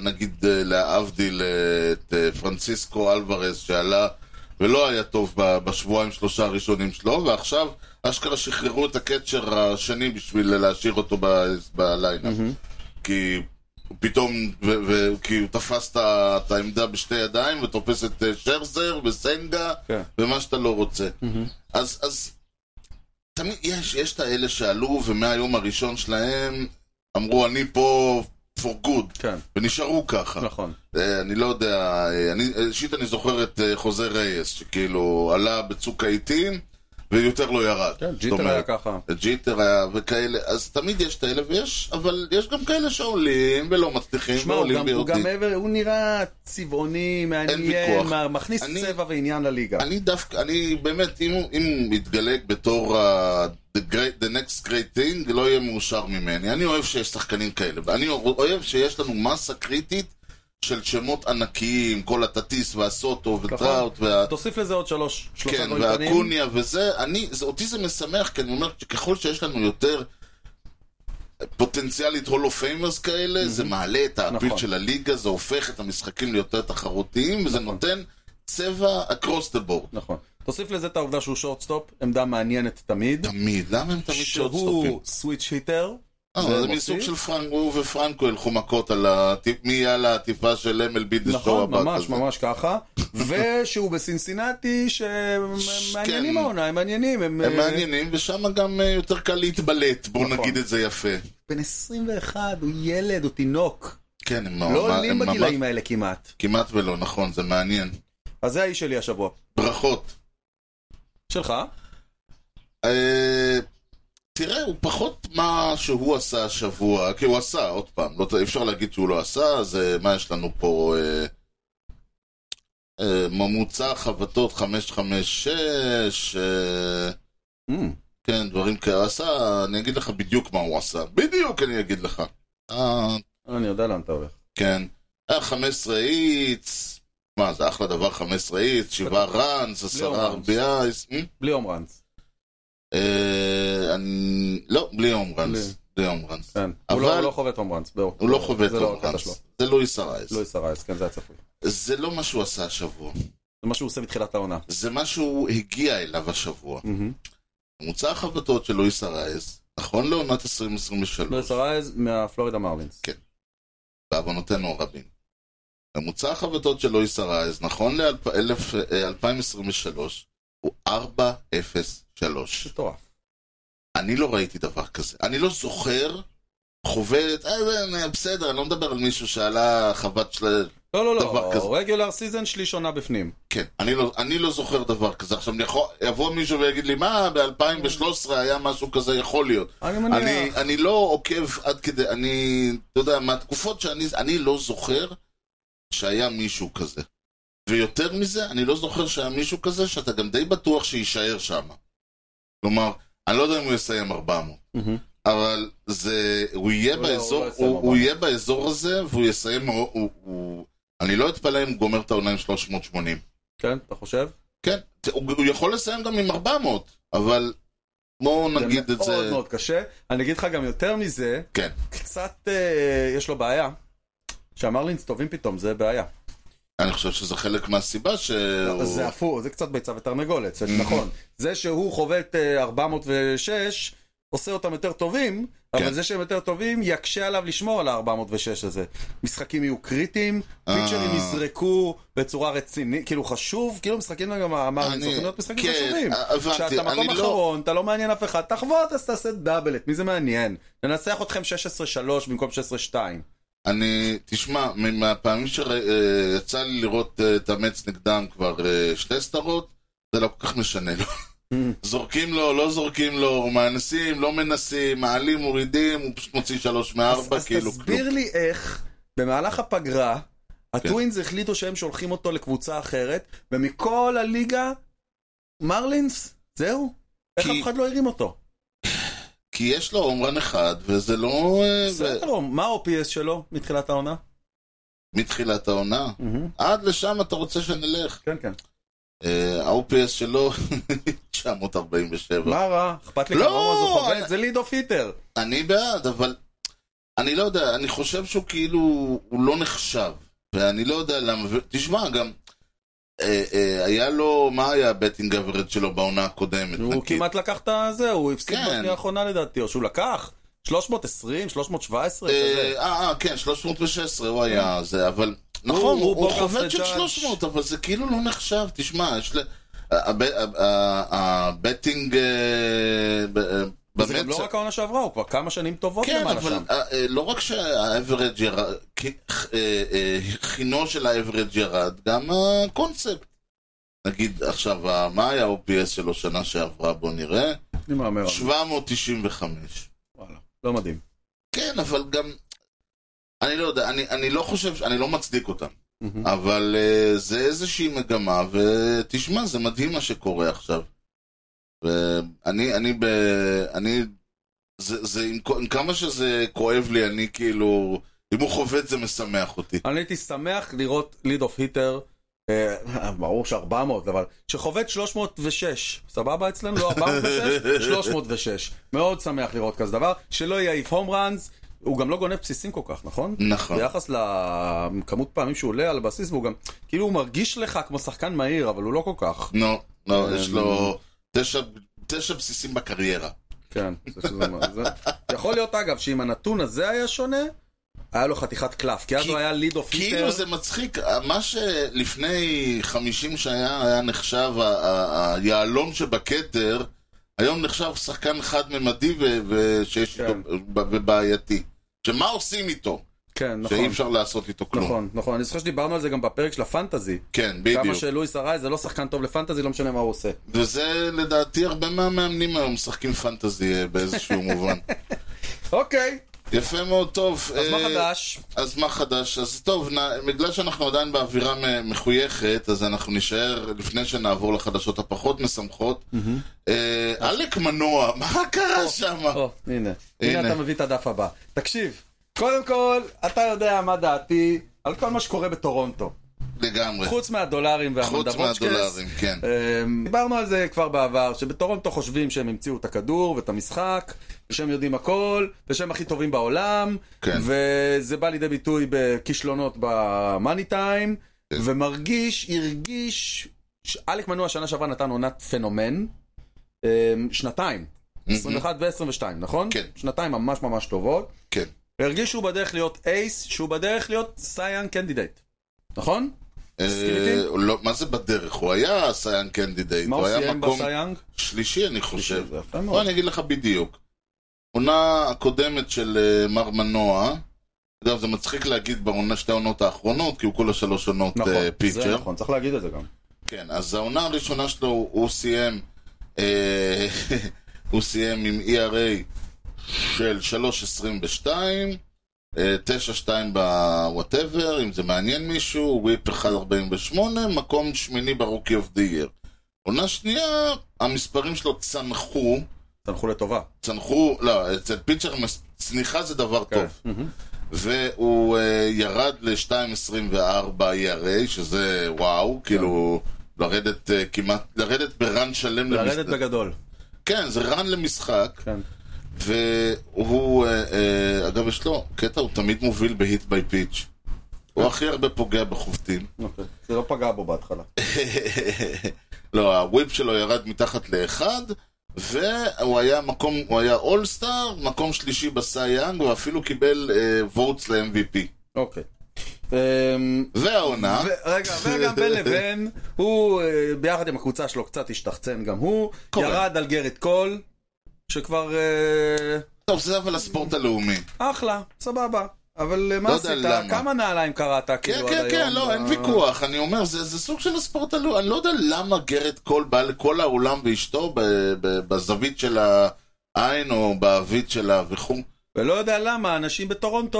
Speaker 2: נגיד, אה, להבדיל, אה, את אה, פרנסיסקו אלוורז שעלה ולא היה טוב ב- בשבועיים שלושה הראשונים שלו, ועכשיו אשכרה שחררו את הקצ'ר השני בשביל להשאיר אותו ב- בליינאפ. כי הוא פתאום, ו- ו- כי הוא תפס את ה- את העמדה בשתי ידיים ותופס את אה, שרזר וסנגה
Speaker 1: כן.
Speaker 2: ומה שאתה לא רוצה. אז, אז תמיד יש, יש את האלה שעלו ומהיום הראשון שלהם אמרו אני פה for good
Speaker 1: כן,
Speaker 2: ונשארו ככה.
Speaker 1: נכון.
Speaker 2: אה, אני לא יודע, אה, אני, אישית אני זוכר את אה, חוזה רייס שכאילו עלה בצוק העיתים ויותר לא ירד.
Speaker 1: כן,
Speaker 2: זאת
Speaker 1: ג'יטר היה
Speaker 2: אומרת, לא
Speaker 1: ככה.
Speaker 2: ג'יטר היה וכאלה, אז תמיד יש את האלה ויש, אבל יש גם כאלה שעולים ולא מצליחים
Speaker 1: שמע, הוא
Speaker 2: ועולים
Speaker 1: גם- הוא
Speaker 2: ויורדים.
Speaker 1: גם מעבר, הוא נראה צבעוני, מעניין,
Speaker 2: ויכוח.
Speaker 1: מה- מכניס
Speaker 2: אני-
Speaker 1: צבע ועניין לליגה.
Speaker 2: אני דווקא, אני באמת, אם הוא, אם הוא יתגלג בתור ה- the, great, the next great thing, לא יהיה מאושר ממני. אני אוהב שיש שחקנים כאלה, ואני אוהב שיש לנו מסה קריטית של שמות ענקיים, כל הטטיס והסוטו
Speaker 1: נכון.
Speaker 2: וטראוט וה...
Speaker 1: תוסיף לזה עוד שלוש, שלושה
Speaker 2: כן,
Speaker 1: דברים קטנים.
Speaker 2: והאקוניה וזה, אני, זה, אותי זה משמח, כי אני אומר, ככל שיש לנו יותר פוטנציאלית הולו פיימרס כאלה, mm-hmm. זה מעלה את האפיל
Speaker 1: Mhm. נכון.
Speaker 2: נכון. של הליגה, זה הופך את המשחקים ליותר תחרותיים, וזה נותן צבע across the board.
Speaker 1: נכון. תוסיף לזה את העובדה שהוא שורטסטופ, עמדה מעניינת תמיד.
Speaker 2: תמיד, למה הם תמיד שורטסטופים?
Speaker 1: שהוא סוויץ' היטר.
Speaker 2: אה,
Speaker 1: זה
Speaker 2: זה
Speaker 1: מוסיף?
Speaker 2: מסוג של פרנקו, הוא ופרנקו ילכו מכות על הטיפ, מי יהיה על העטיפה של MLB דה שואו
Speaker 1: נכון, ממש ממש ככה. ושהוא בסינסינטי, שמעניינים
Speaker 2: כן.
Speaker 1: העונה, הם מעניינים.
Speaker 2: הם
Speaker 1: אה,
Speaker 2: מעניינים, ושם גם אה, יותר קל להתבלט, בואו
Speaker 1: נכון.
Speaker 2: נגיד את זה יפה.
Speaker 1: בן 21, הוא ילד, הוא תינוק.
Speaker 2: כן, הם
Speaker 1: לא
Speaker 2: ממש-
Speaker 1: עולים
Speaker 2: הם ממש-
Speaker 1: בגילאים האלה כמעט.
Speaker 2: כמעט ולא, נכון, זה מעניין.
Speaker 1: אז זה האיש שלי השבוע.
Speaker 2: ברכות.
Speaker 1: שלך?
Speaker 2: אה, תראה, הוא פחות מה שהוא עשה השבוע, כי הוא עשה, עוד פעם, לא, ת- אי אפשר להגיד שהוא לא עשה, אז אה, מה יש לנו פה? אה, אה, ממוצע חבטות 556, אה,
Speaker 1: אמ,
Speaker 2: כן, דברים כאלה. עשה, אני אגיד לך בדיוק מה הוא עשה. בדיוק אני אגיד לך. אה,
Speaker 1: אני יודע לאן אתה הולך.
Speaker 2: כן. היה 15 איץ, מה, זה אחלה דבר 15 איץ, 7 ראנס, 10
Speaker 1: ראנס.
Speaker 2: RBIs. אה?
Speaker 1: בלי הום ראנס.
Speaker 2: אה, אני... לא, בלי הום ראנס. בלי הום ראנס.
Speaker 1: כן. הוא
Speaker 2: אבל-
Speaker 1: לא- הוא לא חובט הום ראנס. זהו.
Speaker 2: הוא לא חווה את
Speaker 1: זה לא
Speaker 2: הום
Speaker 1: הקטע שלו.
Speaker 2: ראנס. זה לואיס הרייס.
Speaker 1: לא יסרס, כן, זה היה צפוי.
Speaker 2: זה לא מה שהוא עשה השבוע.
Speaker 1: זה מה שהוא עושה בתחילת העונה.
Speaker 2: זה מה שהוא הגיע אליו השבוע.
Speaker 1: מהמם.
Speaker 2: ממוצע החבטות של לואיס הרייס, נכון לעונת 2023.
Speaker 1: לא יסרס מהפלורידה מרלינס.
Speaker 2: כן. בעוונותינו הרבים. ממוצע החבטות של לואיס הרייז, נכון אה, ל-2023, הוא 4.03.
Speaker 1: מטורף.
Speaker 2: אני לא ראיתי דבר כזה. אני לא זוכר חוברת, אה, זה- בסדר, אני לא מדבר על מישהו שעלה חוות של...
Speaker 1: לא, לא,
Speaker 2: דבר כזה.
Speaker 1: לא, רגולר סיזן שליש עונה בפנים.
Speaker 2: כן, אני לא, אני לא זוכר דבר כזה. עכשיו, אני יכול, יבוא מישהו ויגיד לי, מה, ב-2013 היה משהו כזה, יכול להיות.
Speaker 1: אני
Speaker 2: אני,
Speaker 1: מניח.
Speaker 2: אני לא עוקב עד כדי, אני, אתה יודע, מהתקופות שאני, אני לא זוכר שהיה מישהו כזה. ויותר מזה, אני לא זוכר שהיה מישהו כזה שאתה גם די בטוח שיישאר שם. כלומר, אני לא יודע אם הוא יסיים 400,
Speaker 1: מהמם.
Speaker 2: אבל זה, הוא יהיה
Speaker 1: לא,
Speaker 2: באזור,
Speaker 1: הוא לא יסיים
Speaker 2: הוא, הוא
Speaker 1: 400.
Speaker 2: יהיה באזור הזה, והוא יסיים, הוא, הוא, הוא, אני לא אתפלא אם הוא גומר את העונה עם 380.
Speaker 1: כן, אתה חושב?
Speaker 2: כן, הוא, הוא יכול לסיים גם עם 400, אבל בואו נגיד את
Speaker 1: מאוד
Speaker 2: זה,
Speaker 1: מאוד קשה. אני אגיד לך גם יותר מזה,
Speaker 2: כן.
Speaker 1: קצת אה, יש לו בעיה. שהמרלינס טובים פתאום, זה בעיה.
Speaker 2: אני חושב שזה חלק מהסיבה שהוא...
Speaker 1: לא, זה הפוך, זה קצת ביצה ותרנגולת,
Speaker 2: Mhm.
Speaker 1: זה נכון. זה שהוא חובט אה, 406, עושה אותם יותר טובים, אבל
Speaker 2: כן.
Speaker 1: זה שהם יותר טובים, יקשה עליו לשמור על ה-406 הזה. משחקים יהיו קריטיים,
Speaker 2: אה.
Speaker 1: פיצ'רים יזרקו בצורה רצינית, כאילו חשוב, כאילו משחקים גם, אמרנו,
Speaker 2: אני-
Speaker 1: צריכים להיות משחקים
Speaker 2: כן,
Speaker 1: חשובים.
Speaker 2: אה, הבנתי,
Speaker 1: כשאתה מקום
Speaker 2: אני לא-
Speaker 1: אחרון, אתה לא מעניין אף אחד, תחבוט, אז תעשה דאבל, את מי זה מעניין? ננצח אתכם 16-3 במקום 16-2.
Speaker 2: אני, תשמע, מ- מהפעמים שיצא לי לראות אה, את המץ נגדם כבר אה, שתי סדרות, זה לא כל כך משנה לו.
Speaker 1: Mm.
Speaker 2: זורקים לו, לא זורקים לו, מנסים, לא מנסים, מעלים, מורידים, הוא פשוט מוציא שלוש מארבע,
Speaker 1: אז
Speaker 2: כאילו
Speaker 1: תסביר לי איך במהלך הפגרה,
Speaker 2: כן.
Speaker 1: הטווינס החליטו שהם שולחים אותו לקבוצה אחרת, ומכל הליגה, מרלינס, זהו. איך
Speaker 2: כי-
Speaker 1: אף אחד לא הרים אותו?
Speaker 2: כי יש לו הומרן אחד, וזה לא... אה, ו-
Speaker 1: בסדר, מה ה-OPS שלו מתחילת העונה?
Speaker 2: מתחילת העונה. עד לשם אתה רוצה שנלך.
Speaker 1: כן, כן.
Speaker 2: אה, ה-OPS שלו, 947.
Speaker 1: מה רע? אכפת לי
Speaker 2: לא,
Speaker 1: כמוהו, זה
Speaker 2: אני-
Speaker 1: חובד, זה ליד אוף היטר.
Speaker 2: אני בעד, אבל אני לא יודע, אני חושב שהוא כאילו, הוא לא נחשב, ואני לא יודע למה, ו... תשמע, גם אה, אה, היה לו, מה היה הבטינג אברד שלו בעונה הקודמת,
Speaker 1: הוא
Speaker 2: נגיד?
Speaker 1: כמעט לקח את הזה, הוא הפסיד
Speaker 2: כן.
Speaker 1: בשנייה האחרונה לדעתי, או שהוא לקח? 320, 317,
Speaker 2: אה,
Speaker 1: כזה.
Speaker 2: אה, אה, כן, 316 הוא היה זה, אבל נכון,
Speaker 1: הוא
Speaker 2: הוא, הוא
Speaker 1: בוגרס
Speaker 2: חובד של
Speaker 1: וג'אדג'.
Speaker 2: 300, אבל זה כאילו לא נחשב, תשמע, יש ל... הב- הב- ה- הבטינג אה, ב- אה,
Speaker 1: זה גם
Speaker 2: במצ...
Speaker 1: לא רק העונה שעברה, הוא כבר כמה שנים טובות
Speaker 2: כן,
Speaker 1: למעלה
Speaker 2: אבל
Speaker 1: שם.
Speaker 2: אה, אה, לא רק שהאברג' ירד, כי- אה, אה, חינו של האברג' ירד, גם הקונספט. נגיד עכשיו, ה- מה היה ה-OPS שלו שנה שעברה? בוא נראה.
Speaker 1: אני מהמר. על זה.
Speaker 2: 795.
Speaker 1: וואלה, לא מדהים.
Speaker 2: כן, אבל גם... אני לא יודע, אני, אני לא חושב, ש- אני לא מצדיק אותם,
Speaker 1: מהמם.
Speaker 2: אבל אה, זה איזושהי מגמה, ותשמע, זה מדהים מה שקורה עכשיו. ואני, אני, ב, אני, זה, זה עם, כ- עם כמה שזה כואב לי, אני כאילו, אם הוא חובט זה משמח אותי.
Speaker 1: אני הייתי שמח לראות ליד אוף היטר, אה, ברור ש-400, אבל שחובט 306, סבבה אצלנו? לא 406? 306. מאוד שמח לראות כזה דבר, שלא יהיה איף הום ראנס, הוא גם לא גונב בסיסים כל כך, נכון?
Speaker 2: נכון.
Speaker 1: ביחס לכמות פעמים שהוא עולה על הבסיס, והוא גם, כאילו הוא מרגיש לך כמו שחקן מהיר, אבל הוא לא כל כך.
Speaker 2: נו, נו, יש לו תשע, תשע בסיסים בקריירה.
Speaker 1: כן, זה שזה מה- זה... יכול להיות אגב, שאם הנתון הזה היה שונה, היה לו חתיכת קלף, כי אז
Speaker 2: כי-
Speaker 1: הוא היה ליד אוף היטר.
Speaker 2: כאילו זה מצחיק, מה שלפני 50 שהיה היה נחשב ה- ה- היהלום שבכתר, היום נחשב שחקן חד-ממדי ו- ושיש
Speaker 1: כן.
Speaker 2: איתו- ב- ובעייתי. שמה עושים איתו?
Speaker 1: כן,
Speaker 2: שאי
Speaker 1: נכון.
Speaker 2: אפשר לעשות איתו כלום.
Speaker 1: נכון, נכון, אני זוכר שדיברנו על זה גם בפרק של הפנטזי.
Speaker 2: כן,
Speaker 1: כמה
Speaker 2: בדיוק.
Speaker 1: שלואיס ארעי זה לא שחקן טוב לפנטזי, לא משנה מה הוא עושה.
Speaker 2: וזה לדעתי הרבה מהמאמנים היום משחקים פנטזי אה, באיזשהו מובן.
Speaker 1: אוקיי,
Speaker 2: יפה מאוד, טוב.
Speaker 1: אז מה
Speaker 2: אה,
Speaker 1: חדש?
Speaker 2: אז מה חדש? אז טוב, נ... בגלל שאנחנו עדיין באווירה מ- מחויכת, אז אנחנו נישאר לפני שנעבור לחדשות הפחות משמחות. אה, עלק מנוע, מה קרה שם?
Speaker 1: או, הנה. הנה
Speaker 2: אה, הנה.
Speaker 1: אתה מביא את הדף הבא. תקשיב, קודם כל, אתה יודע מה דעתי על כל מה שקורה בטורונטו.
Speaker 2: לגמרי.
Speaker 1: חוץ מהדולרים
Speaker 2: חוץ
Speaker 1: והמונדבוצ'קס.
Speaker 2: מהדולרים, כן.
Speaker 1: אמ, דיברנו על זה כבר בעבר, שבטורונטו חושבים שהם המציאו את הכדור ואת המשחק, ושהם יודעים הכל, ושהם הכי טובים בעולם,
Speaker 2: כן.
Speaker 1: וזה בא לידי ביטוי בכישלונות במאני טיים,
Speaker 2: כן.
Speaker 1: ומרגיש, הרגיש, ש- אלק מנוע שנה שעברה נתן עונת פנומן, אמ, שנתיים, 21 ו-22, נכון?
Speaker 2: Mm-hmm. כן.
Speaker 1: שנתיים ממש ממש טובות.
Speaker 2: כן.
Speaker 1: הרגיש שהוא בדרך להיות אייס, שהוא בדרך להיות סייאן קנדידייט, נכון?
Speaker 2: אה,
Speaker 1: מסכים איתי?
Speaker 2: לא, מה זה בדרך? הוא היה סייאן קנדידייט,
Speaker 1: מה
Speaker 2: הוא
Speaker 1: הוא
Speaker 2: היה
Speaker 1: סיים
Speaker 2: מקום
Speaker 1: בסייאנג?
Speaker 2: שלישי אני חושב.
Speaker 1: זה יפה מאוד.
Speaker 2: בוא אני אגיד לך בדיוק. עונה הקודמת של אה, מר מנוע, אגב זה מצחיק להגיד בעונה שתי העונות האחרונות, כי הוא כל השלוש עונות
Speaker 1: נכון,
Speaker 2: אה,
Speaker 1: זה
Speaker 2: פיצ'ר.
Speaker 1: נכון, צריך להגיד את זה גם.
Speaker 2: כן, אז העונה הראשונה שלו הוא הוא סיים, אה, הוא סיים עם ERA של 3.22, אה, 9.2 בוואטאבר, אם זה מעניין מישהו, וויפ 1.48, מקום שמיני ברוקי אוף די גר. עונה שנייה, המספרים שלו צנחו,
Speaker 1: צנחו לטובה.
Speaker 2: צנחו, לא, אצל פיצ'ר מס- צניחה זה דבר
Speaker 1: כן.
Speaker 2: טוב. והוא אה, ירד ל-2.24 ERA, E שזה וואו,
Speaker 1: כן.
Speaker 2: כאילו לרדת אה, כמעט, לרדת בראן שלם
Speaker 1: לרדת בגדול.
Speaker 2: כן, זה ראן למשחק,
Speaker 1: כן.
Speaker 2: והוא, אה, אה, אגב, יש לו קטע, הוא תמיד מוביל בהיט ביי פיץ'.
Speaker 1: כן.
Speaker 2: הוא הכי הרבה פוגע בחובטים.
Speaker 1: אוקיי. זה לא פגע בו בהתחלה.
Speaker 2: לא, הוויפ שלו ירד מתחת לאחד, והוא היה מקום, הוא היה אולסטאר, מקום שלישי בסייאנג, ואפילו קיבל אה, וורטס ל-MVP.
Speaker 1: אוקיי. אמ,
Speaker 2: והעונה...
Speaker 1: ו- רגע, וגם בין לבין, הוא אה, ביחד עם הקבוצה שלו קצת השתחצן גם הוא,
Speaker 2: קורה.
Speaker 1: ירד על גרד קול, שכבר אה,
Speaker 2: טוב, זה אבל הספורט הלאומי.
Speaker 1: אחלה, סבבה. אבל אה, מה
Speaker 2: לא יודע
Speaker 1: עשית?
Speaker 2: למה.
Speaker 1: כמה נעליים קראת
Speaker 2: כן,
Speaker 1: כאילו עד
Speaker 2: כן,
Speaker 1: היום?
Speaker 2: כן, לא,
Speaker 1: ב-
Speaker 2: אין ויכוח. אני אומר, זה זה סוג של הספורט הלאומי. אני לא יודע למה גרד קול בא לכל העולם ואשתו ב- ב- בזווית של העין או בעבית שלה וכו'.
Speaker 1: ולא יודע למה, אנשים בטורונטו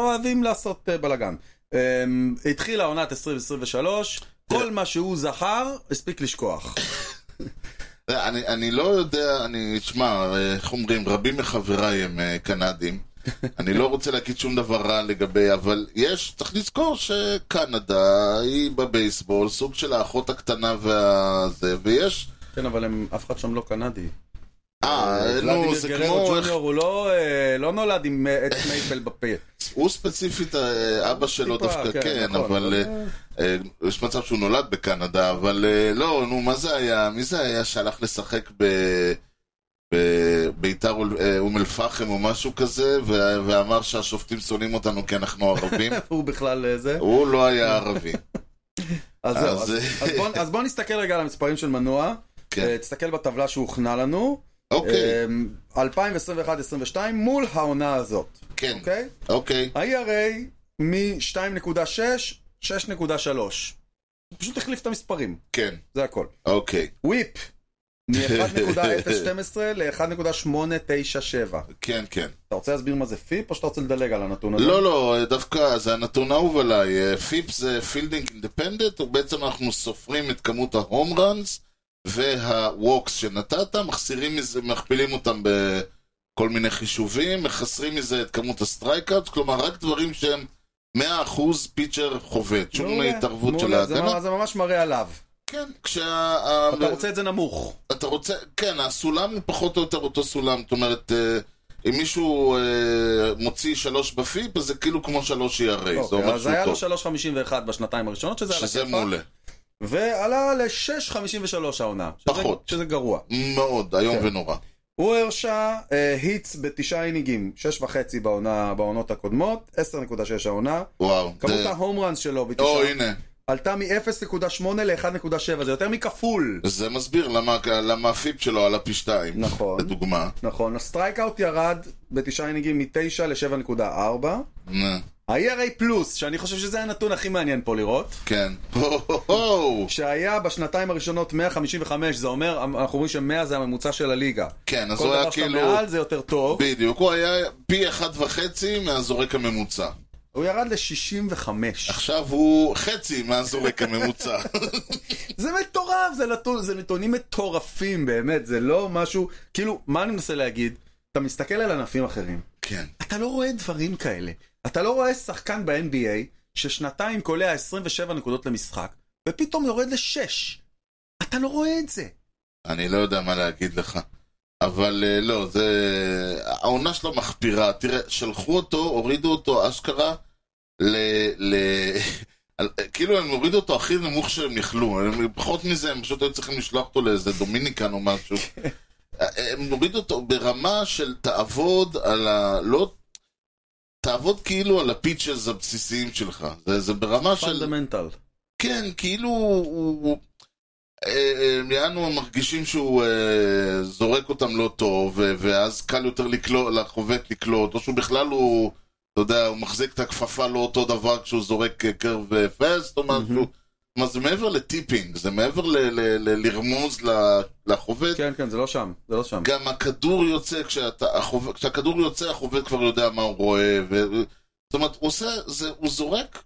Speaker 1: אוהבים לעשות אה, בלאגן. אמ, התחילה עונת 2023, כל מה שהוא זכר, הספיק לשכוח.
Speaker 2: אני, אני לא יודע, אני, שמע, אה, איך אומרים, רבים מחבריי הם אה, קנדים. אני לא רוצה להגיד שום דבר רע לגבי, אבל יש, צריך לזכור שקנדה היא בבייסבול, סוג של האחות הקטנה והזה, ויש...
Speaker 1: כן, אבל הם, אף אחד שם לא קנדי.
Speaker 2: אה, נו, זה כמו... איך-
Speaker 1: ג'וניור הוא לא, אה, לא נולד עם אה, עץ מייפל בפה.
Speaker 2: הוא ספציפית, אה, אבא שלו
Speaker 1: טיפה,
Speaker 2: דווקא
Speaker 1: כן,
Speaker 2: כן,
Speaker 1: נכון,
Speaker 2: אבל
Speaker 1: אבל-
Speaker 2: אה, אה, יש מצב שהוא נולד בקנדה, אבל אה, לא, נו, מה זה היה? מי זה היה שהלך לשחק ב- בביתר אול- אה, אום אל-פחם או משהו כזה, ו- ואמר שהשופטים שונאים אותנו כי אנחנו ערבים?
Speaker 1: הוא בכלל אה, זה.
Speaker 2: הוא לא היה ערבי.
Speaker 1: אז זהו,
Speaker 2: אה, אז-
Speaker 1: אז- אז בוא- אז בואו נסתכל רגע על המספרים של מנוע.
Speaker 2: כן.
Speaker 1: אה, תסתכל בטבלה שהוכנה לנו.
Speaker 2: אוקיי,
Speaker 1: אה, 2021-2022 מול העונה הזאת,
Speaker 2: כן,
Speaker 1: אוקיי?
Speaker 2: אוקיי.
Speaker 1: ה-ERA מ-2.6, 6.3. הוא פשוט החליף את המספרים,
Speaker 2: כן,
Speaker 1: זה הכל.
Speaker 2: אוקיי,
Speaker 1: וויפ, מ-1.012 ל-1.897.
Speaker 2: כן, כן.
Speaker 1: אתה רוצה להסביר מה זה פיפ, או שאתה רוצה לדלג על הנתון הזה?
Speaker 2: לא, לא, דווקא זה הנתון האהוב עליי. אה, פיפ זה פילדינג אינדפנדנט, ובעצם אנחנו סופרים את כמות ההום ראנס והווקס שנתת, מחסירים מזה, מכפילים אותם ב... כל מיני חישובים, מחסרים מזה את כמות הסטרייקאוט, כלומר רק דברים שהם 100% פיצ'ר חובט, שום
Speaker 1: מעולה,
Speaker 2: התערבות של
Speaker 1: מעולה, זה
Speaker 2: ההגנה.
Speaker 1: ממש- זה ממש מראה עליו.
Speaker 2: כן, כשה...
Speaker 1: אתה רוצה את זה נמוך.
Speaker 2: אתה רוצה, כן, הסולם הוא פחות או יותר אותו סולם, זאת אומרת, אה, אם מישהו אה, מוציא שלוש בפיפ, אז זה כאילו כמו שלוש ERA, זה
Speaker 1: אוקיי,
Speaker 2: אומר
Speaker 1: אז היה לו
Speaker 2: שהוא טוב,
Speaker 1: 3.51 בשנתיים הראשונות, שזה על
Speaker 2: שזה
Speaker 1: הכיפאק,
Speaker 2: מעולה,
Speaker 1: ועלה ל-6.53 העונה. שזה-
Speaker 2: פחות.
Speaker 1: שזה גרוע.
Speaker 2: מאוד, איום
Speaker 1: כן.
Speaker 2: ונורא.
Speaker 1: הוא הרשה אה, היטס בתשעה אינינגים, שש וחצי בעונה, בעונות הקודמות, 10.6 העונה.
Speaker 2: וואו.
Speaker 1: כמות
Speaker 2: זה-
Speaker 1: ההום ראנס שלו בתשעה,
Speaker 2: או, הנה,
Speaker 1: עלתה מ-0.8 ל-1.7, זה יותר מכפול.
Speaker 2: זה מסביר למה- למה הפיפ שלו עלה פי שתיים.
Speaker 1: נכון.
Speaker 2: לדוגמה.
Speaker 1: נכון, הסטרייקאוט ירד בתשעה אינינגים מ-9 ל-7.4.
Speaker 2: אה,
Speaker 1: ה-ERA פלוס, שאני חושב שזה הנתון הכי מעניין פה לראות,
Speaker 2: כן. הו, הו, הו.
Speaker 1: שהיה בשנתיים הראשונות 155, זה אומר, אנחנו אומרים ש-100 זה הממוצע של הליגה.
Speaker 2: כן, אז
Speaker 1: כל
Speaker 2: הוא
Speaker 1: דבר
Speaker 2: היה
Speaker 1: שאתה
Speaker 2: כאילו...
Speaker 1: מעל זה יותר טוב.
Speaker 2: בדיוק, הוא היה פי אחד וחצי מהזורק הממוצע.
Speaker 1: הוא ירד ל-65.
Speaker 2: עכשיו הוא חצי מהזורק הממוצע.
Speaker 1: זה מטורף, זה, נתון, זה נתונים מטורפים באמת, זה לא משהו, כאילו, מה אני מנסה להגיד? אתה מסתכל על ענפים אחרים,
Speaker 2: כן.
Speaker 1: אתה לא רואה דברים כאלה. אתה לא רואה שחקן ב-NBA ששנתיים קולע 27 נקודות למשחק, ופתאום יורד לשש. אתה לא רואה את זה.
Speaker 2: אני לא יודע מה להגיד לך. אבל אה, לא, זה... העונה שלו מחפירה. תראה, שלחו אותו, הורידו אותו אשכרה ל... ל... על- כאילו הם הורידו אותו הכי נמוך שהם יכלו, הם- פחות מזה הם פשוט היו צריכים לשלוח אותו לאיזה דומיניקן או משהו. אה, הם הורידו אותו ברמה של תעבוד על ה... לא... תעבוד כאילו על הפיצ'ז הבסיסיים שלך. זה, זה ברמה של...
Speaker 1: פונדמנטל.
Speaker 2: כן, כאילו הוא... הוא- אה, אה, יענו, הם מרגישים שהוא אה, זורק אותם לא טוב, ו- ואז קל יותר לקלוע, לחובט לקלוט, או שהוא בכלל הוא, אתה יודע, הוא מחזיק את הכפפה לא אותו דבר כשהוא זורק אה, קרב אה, פסט, או משהו. מה זה מעבר לטיפינג, זה מעבר ל- ל- ל- לרמוז ל- לחובט.
Speaker 1: כן, כן, זה לא שם, זה לא שם.
Speaker 2: גם הכדור יוצא, כשאתה, החוב, כשהכדור יוצא, החובד כבר יודע מה הוא רואה. ו... זאת אומרת, הוא עושה, זה, הוא זורק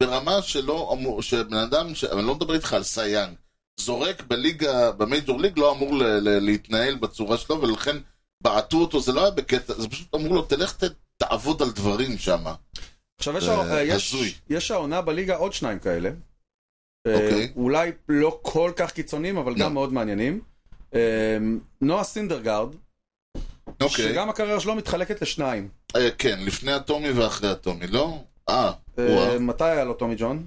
Speaker 2: ברמה שלא אמור, שבן אדם, ש... אני לא מדבר איתך על סייאן, זורק בליגה, במייג'ור ליג, לא אמור ל... ל... להתנהל בצורה שלו, ולכן בעטו אותו, זה לא היה בקטע, זה פשוט אמרו לו, תלך ת... תעבוד על דברים שם.
Speaker 1: עכשיו, יש,
Speaker 2: זה
Speaker 1: אה, יש,
Speaker 2: הזוי.
Speaker 1: יש העונה בליגה עוד שניים כאלה.
Speaker 2: אוקיי.
Speaker 1: אה, אולי לא כל כך קיצוניים, אבל
Speaker 2: לא.
Speaker 1: גם מאוד מעניינים. אה, נועה סינדרגרד,
Speaker 2: אוקיי.
Speaker 1: שגם הקריירה שלו מתחלקת לשניים.
Speaker 2: אה, כן, לפני הטומי ואחרי הטומי, לא? אה,
Speaker 1: אה,
Speaker 2: וואו.
Speaker 1: מתי היה לו טומי ג'ון?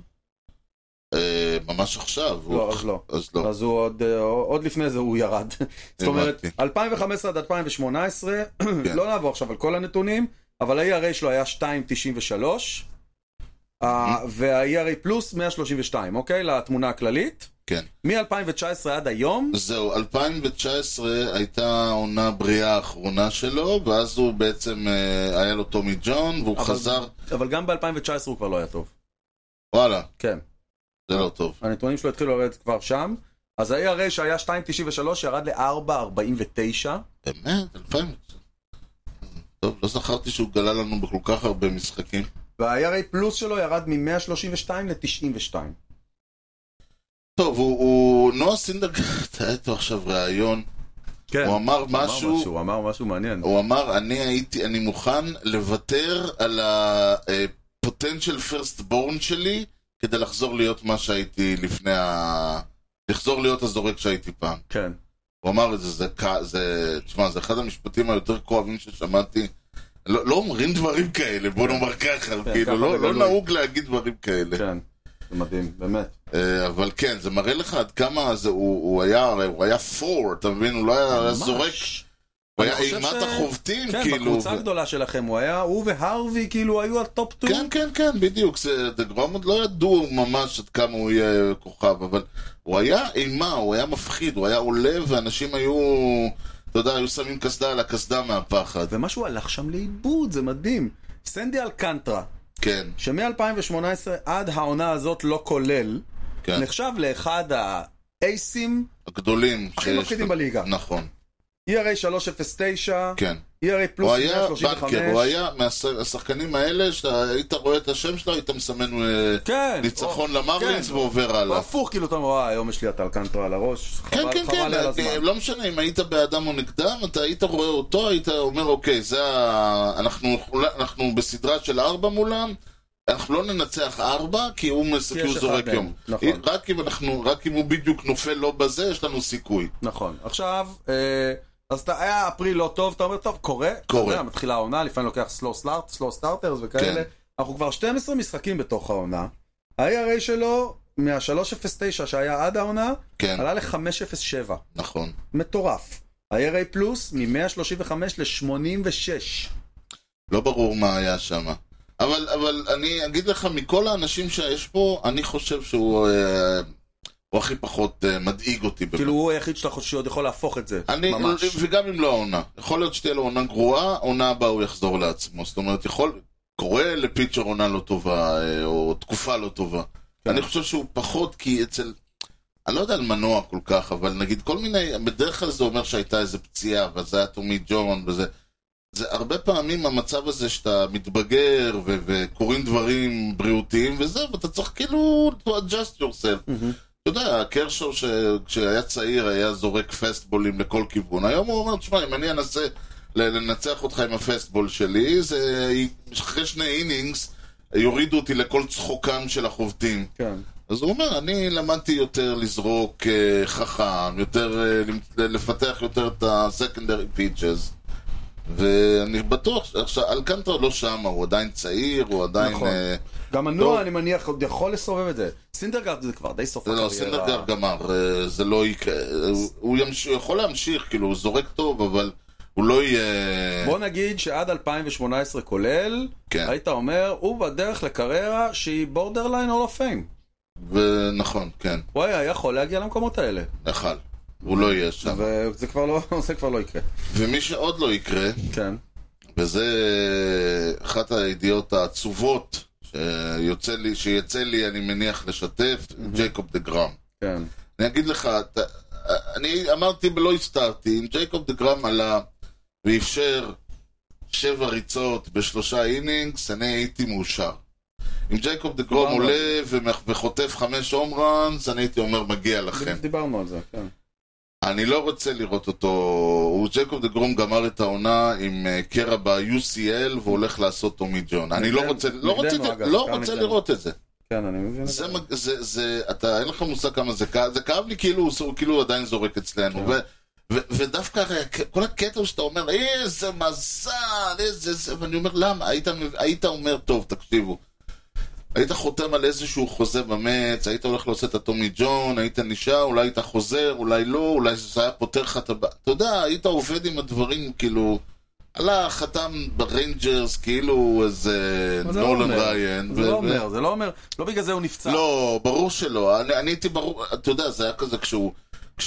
Speaker 2: אה, ממש עכשיו.
Speaker 1: לא,
Speaker 2: הוא-
Speaker 1: אז לא.
Speaker 2: אז לא.
Speaker 1: אז הוא עוד, אה, עוד לפני זה הוא ירד. זאת אומרת, 2015 עד 2018,
Speaker 2: כן.
Speaker 1: לא נעבור עכשיו על כל הנתונים, אבל ה-ERA שלו היה 2.93, ה- וה-ERA פלוס 132, אוקיי? לתמונה הכללית.
Speaker 2: כן.
Speaker 1: מ-2019 עד היום,
Speaker 2: זהו, 2019 הייתה העונה הבריאה האחרונה שלו, ואז הוא בעצם, אה, היה לו טומי ג'ון, והוא
Speaker 1: אבל-
Speaker 2: חזר,
Speaker 1: אבל גם ב-2019 הוא כבר לא היה טוב.
Speaker 2: וואלה,
Speaker 1: כן,
Speaker 2: זה לא טוב.
Speaker 1: הנתונים שלו התחילו לרדת כבר שם. אז ה-ERA שהיה 2.93 ירד ל-4.49.
Speaker 2: באמת? 2000? טוב, לא זכרתי שהוא גלה לנו בכל כך הרבה משחקים.
Speaker 1: וה-IRA פלוס שלו ירד מ-132 ל-92.
Speaker 2: טוב, הוא, הוא נועה סינדרגרד, היה איתו עכשיו ראיון,
Speaker 1: כן.
Speaker 2: הוא אמר משהו,
Speaker 1: הוא אמר משהו מעניין.
Speaker 2: הוא אמר, אני הייתי, אני מוכן לוותר על הפוטנציאל פרסט בורן שלי, כדי לחזור להיות מה שהייתי לפני ה... לחזור להיות הזורק שהייתי פעם.
Speaker 1: כן.
Speaker 2: הוא אמר את זה, זה, כ- זה, תשמע, זה אחד המשפטים היותר כואבים ששמעתי. לא, לא אומרים דברים כאלה, בוא נאמר ככה,
Speaker 1: כן,
Speaker 2: כאילו,
Speaker 1: ככה
Speaker 2: לא, לא
Speaker 1: בגלוי.
Speaker 2: נהוג להגיד דברים כאלה.
Speaker 1: כן. זה מדהים, באמת.
Speaker 2: אה, אבל כן, זה מראה לך עד כמה זה, הוא, הוא היה, הרי הוא היה פור, אתה מבין? הוא לא היה הוא היה
Speaker 1: ממש.
Speaker 2: זורק, הוא
Speaker 1: אני
Speaker 2: היה
Speaker 1: חושב
Speaker 2: אימת
Speaker 1: ש-
Speaker 2: החובטים,
Speaker 1: כן,
Speaker 2: כאילו.
Speaker 1: בקבוצה
Speaker 2: ו-
Speaker 1: הגדולה שלכם הוא היה, הוא והרווי כאילו היו הטופ טו.
Speaker 2: כן, כן, כן, בדיוק. זה, דגרום עוד לא ידעו ממש עד כמה הוא יהיה כוכב, אבל הוא היה אימה, הוא היה מפחיד, הוא היה עולה, ואנשים היו, אתה יודע, היו שמים קסדה על הקסדה מהפחד.
Speaker 1: ומשהו הלך שם לאיבוד, זה מדהים. סנדי אלקנטרה,
Speaker 2: כן,
Speaker 1: שמ-2018 עד העונה הזאת לא כולל,
Speaker 2: כן.
Speaker 1: נחשב לאחד האייסים
Speaker 2: הגדולים
Speaker 1: הכי
Speaker 2: שיש
Speaker 1: מפחידים
Speaker 2: לו.
Speaker 1: בליגה.
Speaker 2: נכון.
Speaker 1: ERA 309,
Speaker 2: כן.
Speaker 1: ERA
Speaker 2: הוא
Speaker 1: E פלוס
Speaker 2: היה בנקר, הוא
Speaker 1: 135.
Speaker 2: היה מהשחקנים האלה שהיית רואה את השם שלו, היית מסמן אה,
Speaker 1: כן.
Speaker 2: ניצחון
Speaker 1: או-
Speaker 2: למרלינס
Speaker 1: כן.
Speaker 2: ועובר
Speaker 1: הוא
Speaker 2: הלאה.
Speaker 1: הפוך, כאילו, אתה אומר, "אה, היום יש לי את אלקנטרה על הראש.
Speaker 2: לא. כן,
Speaker 1: חבל-
Speaker 2: כן,
Speaker 1: חבל
Speaker 2: כן,
Speaker 1: לי על
Speaker 2: אה,
Speaker 1: הזמן.
Speaker 2: לא משנה אם היית באדם או נגדם, אתה היית רואה אותו, היית אומר, אוקיי, זה ה... אנחנו, אנחנו בסדרה של ארבע מולם, אנחנו לא ננצח ארבע, כי הוא, מס...
Speaker 1: כי
Speaker 2: כי הוא
Speaker 1: יש אחד
Speaker 2: זורק
Speaker 1: מהם,
Speaker 2: יום.
Speaker 1: נכון.
Speaker 2: רק אם, אנחנו, רק אם הוא בדיוק נופל לא בזה, יש לנו סיכוי.
Speaker 1: נכון. עכשיו, אה, אז אתה, היה אפריל לא טוב, אתה אומר, טוב, קורה.
Speaker 2: קורה.
Speaker 1: אתה יודע, מתחילה העונה, לפעמים לוקח סלו סטארט, סלו סטארטרס וכאלה.
Speaker 2: כן.
Speaker 1: אנחנו כבר 12 משחקים בתוך העונה. ה-ERA שלו, מה-3.09 שהיה עד העונה,
Speaker 2: כן,
Speaker 1: עלה ל-5.07.
Speaker 2: נכון.
Speaker 1: מטורף. ה-ERA פלוס, מ-135 ל-86.
Speaker 2: לא ברור מה היה שם. אבל, אבל אני אגיד לך, מכל האנשים שיש פה, אני חושב שהוא אה, הוא הכי פחות אה, מדאיג אותי.
Speaker 1: כאילו, הוא היחיד שאתה חושב שעוד יכול להפוך את זה.
Speaker 2: אני,
Speaker 1: ממש.
Speaker 2: וגם אם לא העונה. יכול להיות שתהיה לו עונה גרועה, עונה הבאה הוא יחזור לעצמו. זאת אומרת, יכול... קורה לפיצ'ר עונה לא טובה, אה, או תקופה לא טובה. אני חושב שהוא פחות, כי אצל... אני לא יודע על מנוע כל כך, אבל נגיד כל מיני... בדרך כלל זה אומר שהייתה איזה פציעה, וזה היה טומי ג'ון, וזה... זה הרבה פעמים המצב הזה שאתה מתבגר, ו- וקורים דברים בריאותיים וזה, ואתה צריך כאילו to adjust yourself.
Speaker 1: מהמם.
Speaker 2: אתה יודע, קרשו שכשהיה צעיר היה זורק פסטבולים לכל כיוון. היום הוא אומר, תשמע, אם אני אנסה ל- לנצח אותך עם הפסטבול שלי, זה... אחרי שני אינינגס יורידו אותי לכל צחוקם של החובטים.
Speaker 1: כן.
Speaker 2: אז הוא אומר, אני למדתי יותר לזרוק אה, חכם, יותר אה, למ- לפתח יותר את ה-secondary pitches. ואני בטוח, עכשיו, אלקנטרה לא שם, הוא עדיין צעיר, הוא עדיין...
Speaker 1: נכון.
Speaker 2: אה,
Speaker 1: גם
Speaker 2: טוב.
Speaker 1: מנוע, אני מניח, עוד יכול לסובב את זה. סינדרגרד זה כבר די סוף
Speaker 2: זה
Speaker 1: הקריירה.
Speaker 2: לא, סינדרגר גמר, אה, זה לא יקרה, הוא- הוא ימש- הוא יכול להמשיך, כאילו, הוא זורק טוב, אבל הוא לא יהיה...
Speaker 1: בוא נגיד שעד 2018 כולל,
Speaker 2: כן.
Speaker 1: היית אומר, הוא בדרך לקריירה שהיא בורדרליין אול אוף פיים.
Speaker 2: ו- נכון, כן,
Speaker 1: הוא היה יכול להגיע למקומות האלה.
Speaker 2: יכל, הוא לא יהיה שם.
Speaker 1: וזה כבר לא, זה כבר לא יקרה.
Speaker 2: ומי שעוד לא יקרה,
Speaker 1: כן.
Speaker 2: וזה אחת הידיעות העצובות שיוצא לי, שיצא לי, אני מניח, לשתף, ג'ייקוב דה גראם.
Speaker 1: כן.
Speaker 2: אני אגיד לך, אתה, אני אמרתי ולא הסתרתי, אם ג'ייקוב דה גראם עלה ואפשר שבע ריצות בשלושה אינינגס, אני הייתי מאושר. אם ג'ייקוב דה גראם
Speaker 1: דיברנו על
Speaker 2: עולה ומח- וחוטף חמש הום ראנס, אני הייתי אומר, מגיע לכם.
Speaker 1: דיברנו על זה, כן.
Speaker 2: אני לא רוצה לראות אותו... הוא ג'ייקוב דה גרום גמר את העונה עם אה, קרע ב-UCL והולך לעשות טומי ג'ון. אני לא
Speaker 1: נגדנו,
Speaker 2: רוצה, לא רוצה,
Speaker 1: נגדנו,
Speaker 2: את זה-
Speaker 1: אגב,
Speaker 2: לא
Speaker 1: בעיקר
Speaker 2: רוצה
Speaker 1: נגדנו.
Speaker 2: לראות את זה.
Speaker 1: כן, אני מבין. את
Speaker 2: זה, מג- זה, זה, אתה, אין לך מושג כמה זה כאב, זה כאב לי כאילו הוא הוא כאילו עדיין זורק אצלנו.
Speaker 1: כן.
Speaker 2: ו, ו, ודווקא הרי, כל הקטע שאתה אומר, איזה מזל, איזה זה, ואני אומר, למה? היית, מב- היית אומר, טוב, תקשיבו. היית חותם על איזשהו חוזה במץ, היית הולך לעשות את הטומי ג'ון, היית נשאר, אולי היית חוזר, אולי לא, אולי זה היה פותר לך את הבעיה. אתה יודע, היית עובד עם הדברים, כאילו... הלך, חתם בריינג'רס, כאילו הוא איזה
Speaker 1: אבל זה לא
Speaker 2: נולן
Speaker 1: אומר.
Speaker 2: ריין.
Speaker 1: זה
Speaker 2: ו-
Speaker 1: לא
Speaker 2: ו-
Speaker 1: אומר, זה לא אומר, לא בגלל זה הוא נפצע.
Speaker 2: לא, ברור שלא. אני, אני הייתי ברור, אתה יודע, זה היה כזה כשהוא,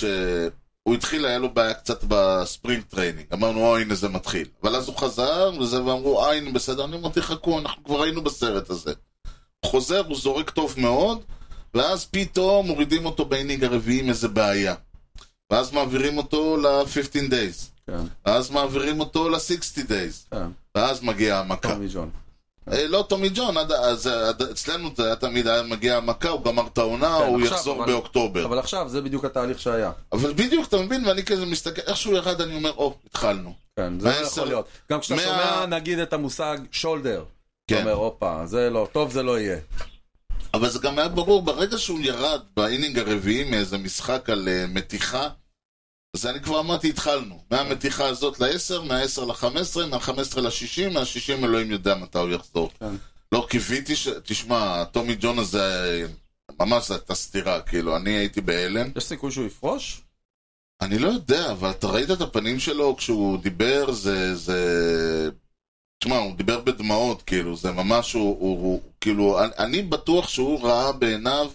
Speaker 2: כשהוא התחיל, היה לו בעיה קצת בספרינג טריינינג. אמרנו, או, הנה זה מתחיל. אבל אז הוא חזר, וזה, ואמרו, אה, הנה בסדר. אני אמרתי, חכו, אנחנו כבר היינו בסרט הזה. הוא חוזר, הוא זורק טוב מאוד, ואז פתאום מורידים אותו באינינג הרביעי עם איזה בעיה. ואז מעבירים אותו ל-15 days.
Speaker 1: כן,
Speaker 2: ואז מעבירים אותו ל-60 days.
Speaker 1: כן,
Speaker 2: ואז מגיעה המכה.
Speaker 1: טומי ג'ון.
Speaker 2: אה, לא טומי ג'ון, עד, אז, אה, עד, אצלנו זה היה תמיד היה מגיע המכה, הוא גמר את העונה,
Speaker 1: כן,
Speaker 2: הוא
Speaker 1: עכשיו,
Speaker 2: יחזור
Speaker 1: אבל-
Speaker 2: באוקטובר. אבל...
Speaker 1: אבל עכשיו, זה בדיוק התהליך שהיה.
Speaker 2: בדיוק, אתה מבין? ואני כזה מסתכל, איך שהוא ירד, אני אומר, או, התחלנו.
Speaker 1: כן, זה לא
Speaker 2: מעשר-
Speaker 1: יכול להיות. גם כשאתה
Speaker 2: מאה-
Speaker 1: שומע, נגיד, את המושג שולדר. אתה
Speaker 2: כן.
Speaker 1: אומר, הופה, זה לא, טוב זה לא יהיה.
Speaker 2: אבל זה גם היה ברור, ברגע שהוא ירד באינינג הרביעי מאיזה משחק על אה, מתיחה, אז אני כבר אמרתי, התחלנו. מהמתיחה הזאת ל-10, מה-10 ל-15, מה-15 ל-60, מה-60 אלוהים יודע מתי הוא יחזור.
Speaker 1: כן.
Speaker 2: לא קיוויתי ש... תשמע, טומי ג'ון הזה, אה, ממש זו הייתה סתירה, כאילו, אני הייתי בהלם.
Speaker 1: יש סיכוי שהוא יפרוש?
Speaker 2: אני לא יודע, אבל אתה ראית את הפנים שלו כשהוא דיבר, זה... זה... תשמע, הוא דיבר בדמעות, כאילו, זה ממש, הוא... הוא, הוא כאילו, אני, אני בטוח שהוא ראה בעיניו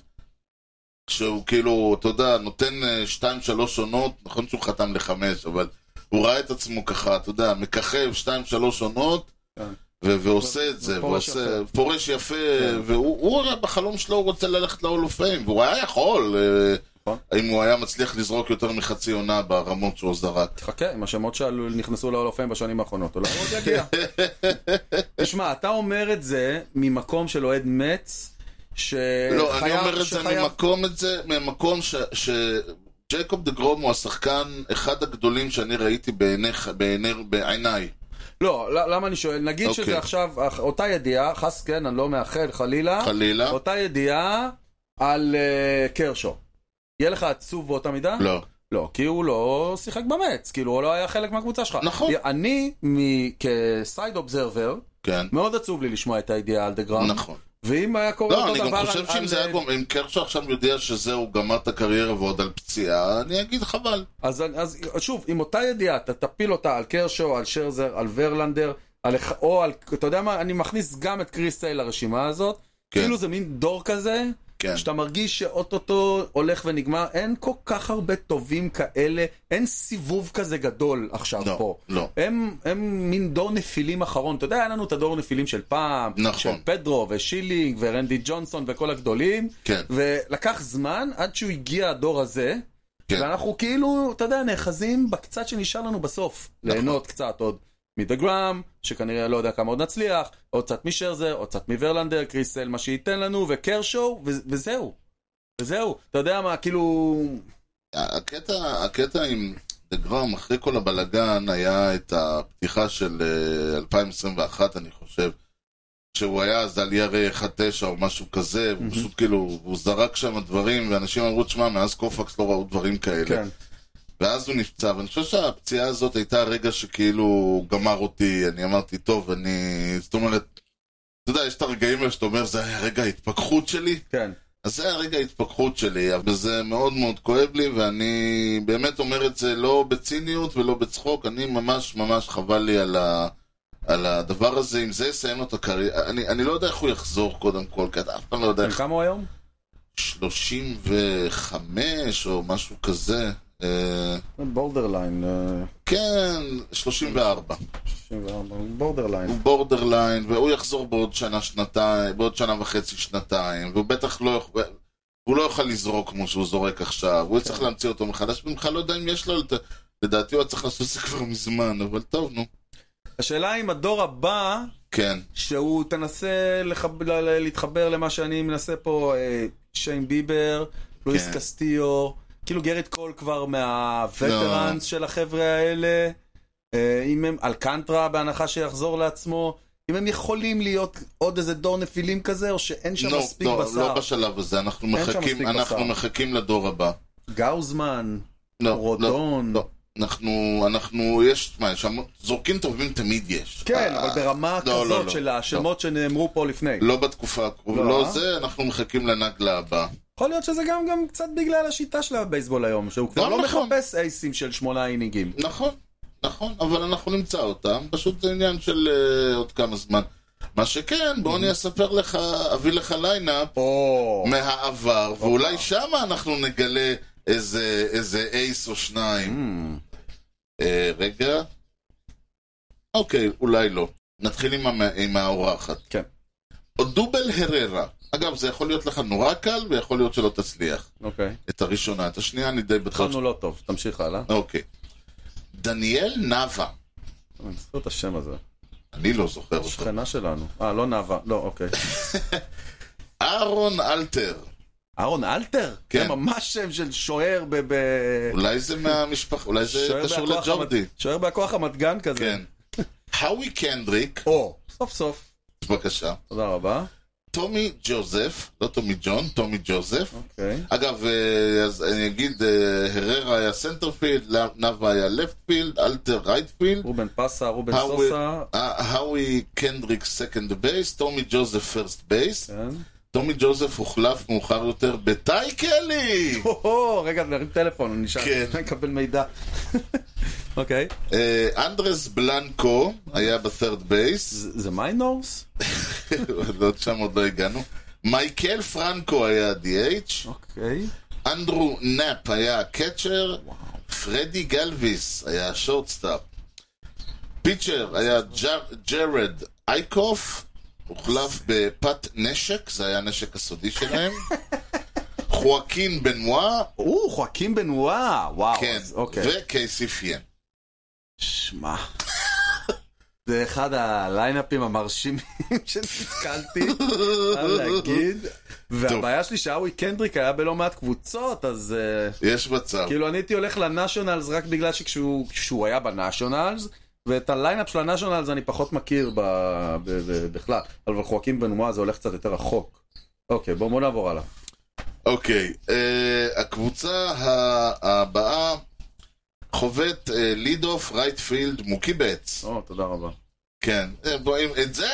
Speaker 2: שהוא כאילו, אתה יודע, נותן אה, שתיים, שלוש עונות, נכון שהוא חתם לחמש, אבל הוא ראה את עצמו ככה, אתה יודע, מככב שתיים, שלוש עונות,
Speaker 1: כן.
Speaker 2: ו- ועושה את זה,
Speaker 1: פורש
Speaker 2: ועושה,
Speaker 1: יפה.
Speaker 2: פורש יפה,
Speaker 1: כן.
Speaker 2: והוא הוא הרי בחלום שלו הוא רוצה ללכת ל-all of fame, והוא היה יכול, אה,
Speaker 1: נכון.
Speaker 2: אם הוא היה מצליח לזרוק יותר מחצי עונה ברמות שהוא זרק.
Speaker 1: חכה, עם השמות שנכנסו להולופים בשנים האחרונות, אולי הוא עוד יגיע. תשמע, אתה אומר את זה ממקום של אוהד מצ, שחייב...
Speaker 2: לא, אני אומר את זה
Speaker 1: אה, שחייב-
Speaker 2: ממקום את זה, ממקום ש... ש... ג'ייקוב דה גרום הוא השחקן אחד הגדולים שאני ראיתי בעיני, בעיני, בעיניי.
Speaker 1: לא, ל- למה אני שואל? נגיד
Speaker 2: אוקיי.
Speaker 1: שזה עכשיו, אח- אותה ידיעה, חס כן, אני לא מאחל, חלילה,
Speaker 2: חלילה?
Speaker 1: אותה ידיעה על אה, קרשו. יהיה לך עצוב באותה מידה?
Speaker 2: לא.
Speaker 1: לא, כי הוא לא שיחק במץ, כאילו הוא לא היה חלק מהקבוצה שלך.
Speaker 2: נכון.
Speaker 1: אני, מ- כסייד אובזרבר,
Speaker 2: כן.
Speaker 1: מאוד עצוב לי לשמוע את הידיעה על דה גראם.
Speaker 2: נכון.
Speaker 1: ואם היה קורה
Speaker 2: לא,
Speaker 1: אה? אותו
Speaker 2: אני
Speaker 1: דבר...
Speaker 2: גם
Speaker 1: על-
Speaker 2: חושב
Speaker 1: על- אה,
Speaker 2: שאם זה היה גומר, אם קרשו עכשיו יודע שזהו, גמר את הקריירה ועוד על פציעה, אני אגיד חבל.
Speaker 1: אז, אז שוב, עם אותה ידיעה, אתה תפיל אותה על קרשו, על שרזר, על ורלנדר, על, אח- או על, אתה יודע מה, אני מכניס גם את קריס סייל לרשימה הזאת.
Speaker 2: כן.
Speaker 1: כאילו זה מין דור כזה,
Speaker 2: כן.
Speaker 1: שאתה מרגיש שאו-טו-טו הולך ונגמר, אין כל כך הרבה טובים כאלה, אין סיבוב כזה גדול עכשיו
Speaker 2: לא,
Speaker 1: פה.
Speaker 2: לא.
Speaker 1: הם, הם מין דור נפילים אחרון, אתה יודע, היה לנו את הדור נפילים של פעם,
Speaker 2: נכון.
Speaker 1: של פדרו ושילינג ורנדי ג'ונסון וכל הגדולים,
Speaker 2: כן.
Speaker 1: ולקח זמן עד שהוא הגיע הדור הזה,
Speaker 2: כן.
Speaker 1: ואנחנו כאילו, אתה יודע, נאחזים בקצת שנשאר לנו בסוף, ליהנות קצת עוד. מדה גראם, שכנראה לא יודע כמה עוד נצליח, עוד קצת משרזר, עוד קצת מוורלנדר, קריסל, מה שייתן לנו, וקרשו, ו- וזהו. וזהו, אתה יודע מה, כאילו...
Speaker 2: הקטע, הקטע עם דה גראם, אחרי כל הבלגן, היה את הפתיחה של אה, 2021, אני חושב, שהוא היה אז על ירי 1-9 או משהו כזה, הוא פשוט כאילו, הוא זרק שם דברים, ואנשים אמרו, תשמע, מאז קופקס לא ראו דברים כאלה.
Speaker 1: כן.
Speaker 2: ואז הוא נפצע, ואני חושב שהפציעה הזאת הייתה הרגע שכאילו הוא גמר אותי, אני אמרתי, טוב, אני... זאת אומרת, אתה יודע, יש את הרגעים האלה שאתה אומר, זה היה רגע ההתפכחות שלי?
Speaker 1: כן.
Speaker 2: אז זה היה רגע ההתפכחות שלי, אבל זה מאוד מאוד כואב לי, ואני באמת אומר את זה לא בציניות ולא בצחוק, אני ממש ממש חבל לי על ה... על הדבר הזה, אם זה יסיים לו את הקריירה, אני, אני לא יודע איך הוא יחזור קודם כל, כי אתה אף פעם לא יודע
Speaker 1: בן
Speaker 2: איך...
Speaker 1: כמה הוא כן. היום?
Speaker 2: 35 או משהו כזה. אה,
Speaker 1: בורדרליין.
Speaker 2: כן, 34.
Speaker 1: 64, בורדרליין.
Speaker 2: הוא בורדרליין, והוא יחזור בעוד שנה, שנתיים, בעוד שנה וחצי, שנתיים, והוא בטח לא יכול... הוא לא יוכל לזרוק כמו שהוא זורק עכשיו, הוא
Speaker 1: כן.
Speaker 2: יצטרך להמציא אותו מחדש, ואני בכלל לא יודע אם יש לו, לת- לדעתי הוא היה צריך לעשות את זה כבר מזמן, אבל טוב, נו.
Speaker 1: השאלה אם הדור הבא,
Speaker 2: כן,
Speaker 1: שהוא תנסה לחב... ל- ל- להתחבר למה שאני מנסה פה, אה, שיין ביבר, לואיס
Speaker 2: כן.
Speaker 1: קסטיו, כאילו גרד קול כבר מהווטרנס
Speaker 2: לא.
Speaker 1: של החבר'ה האלה, אה, אם הם, אלקנטרה בהנחה שיחזור לעצמו, אם הם יכולים להיות עוד איזה דור נפילים כזה, או שאין שם
Speaker 2: לא,
Speaker 1: מספיק
Speaker 2: לא,
Speaker 1: בשר.
Speaker 2: לא בשלב הזה, אנחנו
Speaker 1: אין שם
Speaker 2: מחכים,
Speaker 1: מספיק
Speaker 2: אנחנו
Speaker 1: בשר.
Speaker 2: מחכים לדור הבא.
Speaker 1: גאוזמן,
Speaker 2: לא, לא,
Speaker 1: רודון.
Speaker 2: לא. אנחנו, אנחנו, יש, מה, יש המון- זורקים טובים תמיד יש.
Speaker 1: כן,
Speaker 2: אה,
Speaker 1: אבל ברמה
Speaker 2: לא,
Speaker 1: כזאת
Speaker 2: לא, לא,
Speaker 1: של
Speaker 2: לא.
Speaker 1: השמות שנאמרו פה לפני.
Speaker 2: לא בתקופה הקרובה,
Speaker 1: לא,
Speaker 2: לא
Speaker 1: אה?
Speaker 2: זה, אנחנו מחכים לנגלה הבאה.
Speaker 1: יכול להיות שזה גם, גם קצת בגלל השיטה של הבייסבול היום, שהוא כבר
Speaker 2: גם
Speaker 1: לא
Speaker 2: נכון.
Speaker 1: מחפש אייסים של שמונה אינינגים.
Speaker 2: נכון, נכון, אבל אנחנו נמצא אותם, פשוט זה עניין של אה, עוד כמה זמן. מה שכן, בוא אני אספר לך, אביא לך ליינאפ
Speaker 1: או,
Speaker 2: מהעבר, ואולי שמה אנחנו נגלה איזה איזה אייס או
Speaker 1: Mm.
Speaker 2: שניים. אה, רגע. אוקיי, אולי לא. נתחיל עם המ- עם האורחת.
Speaker 1: כן.
Speaker 2: דובל הררה. אגב, זה יכול להיות לך נורא קל, ויכול להיות שלא תצליח.
Speaker 1: אוקיי.
Speaker 2: את הראשונה, את השנייה אני די בטוח. ש-
Speaker 1: התחלנו לא טוב, תמשיך הלאה.
Speaker 2: אוקיי. דניאל נאווה.
Speaker 1: אני זוכר את השם הזה.
Speaker 2: אני לא זוכר אותו.
Speaker 1: שכנה שלנו. אה, לא נאווה. לא, אוקיי.
Speaker 2: אהרון אלתר.
Speaker 1: אהרון אלתר?
Speaker 2: כן.
Speaker 1: זה ממש שם של שוער ב... ב...
Speaker 2: אולי זה מהמשפחה, אולי זה
Speaker 1: שוער
Speaker 2: קשור
Speaker 1: בהכוח
Speaker 2: לג'ורדי.
Speaker 1: המת- שוער בהכוח המתגן כזה.
Speaker 2: כן. האווי קנדריק,
Speaker 1: או, סוף סוף.
Speaker 2: בבקשה.
Speaker 1: תודה רבה.
Speaker 2: טומי ג'וזף, לא טומי ג'ון, טומי ג'וזף.
Speaker 1: אוקיי.
Speaker 2: אגב, אה, אז אני אגיד, אה, הררה היה סנטרפילד, לה- נאווה היה לפטפילד, אלתר רייטפילד,
Speaker 1: רובן פסה, רובן
Speaker 2: האווי-
Speaker 1: סוסה.
Speaker 2: אה, האווי קנדריק סקנד בייס, טומי ג'וזף פרסט בייס.
Speaker 1: כן.
Speaker 2: טומי ג'וזף הוחלף מאוחר יותר בטאי קלי!
Speaker 1: או, רגע, נרים טלפון, אני אשאל.
Speaker 2: כן.
Speaker 1: נקבל מידע. אוקיי.
Speaker 2: אה, אנדרס בלנקו היה בת'רד בייס.
Speaker 1: זה זה מיינורס?
Speaker 2: עוד שם עוד לא הגענו. מייקל פרנקו היה ה-DH,
Speaker 1: אוקיי.
Speaker 2: אנדרו נאפ היה הקצ'ר, פרדי גלוויס היה השורטסטאפ, פיצ'ר היה ג'ר- ג'רד אייקוף, הוחלף בפת נשק, זה היה הנשק הסודי שלהם, חואקין בנואה,
Speaker 1: או, חואקים בנואה, וואו.
Speaker 2: כן,
Speaker 1: אז אוקיי.
Speaker 2: וקייסי פיין.
Speaker 1: שמע. זה אחד הליינאפים המרשימים שנתקלתי, מה להגיד. והבעיה שלי שהאווי קנדריק היה בלא מעט קבוצות, אז אה,
Speaker 2: יש מצב.
Speaker 1: כאילו אני הייתי הולך לנאשונלס רק בגלל שכשהוא כשהוא היה בנאשונלס, ואת הליינאפ של הנאשונלס אני פחות מכיר ב, ב, ב, בכלל. אבל חואקים בנואה זה הולך קצת יותר רחוק. אוקיי, בואו בוא נעבור הלאה.
Speaker 2: אוקיי, אה, הקבוצה ה- הבאה חובט אה, ליד אוף רייט פילד מוקי בץ.
Speaker 1: או, תודה רבה.
Speaker 2: כן, אה, בוא, אם- את זה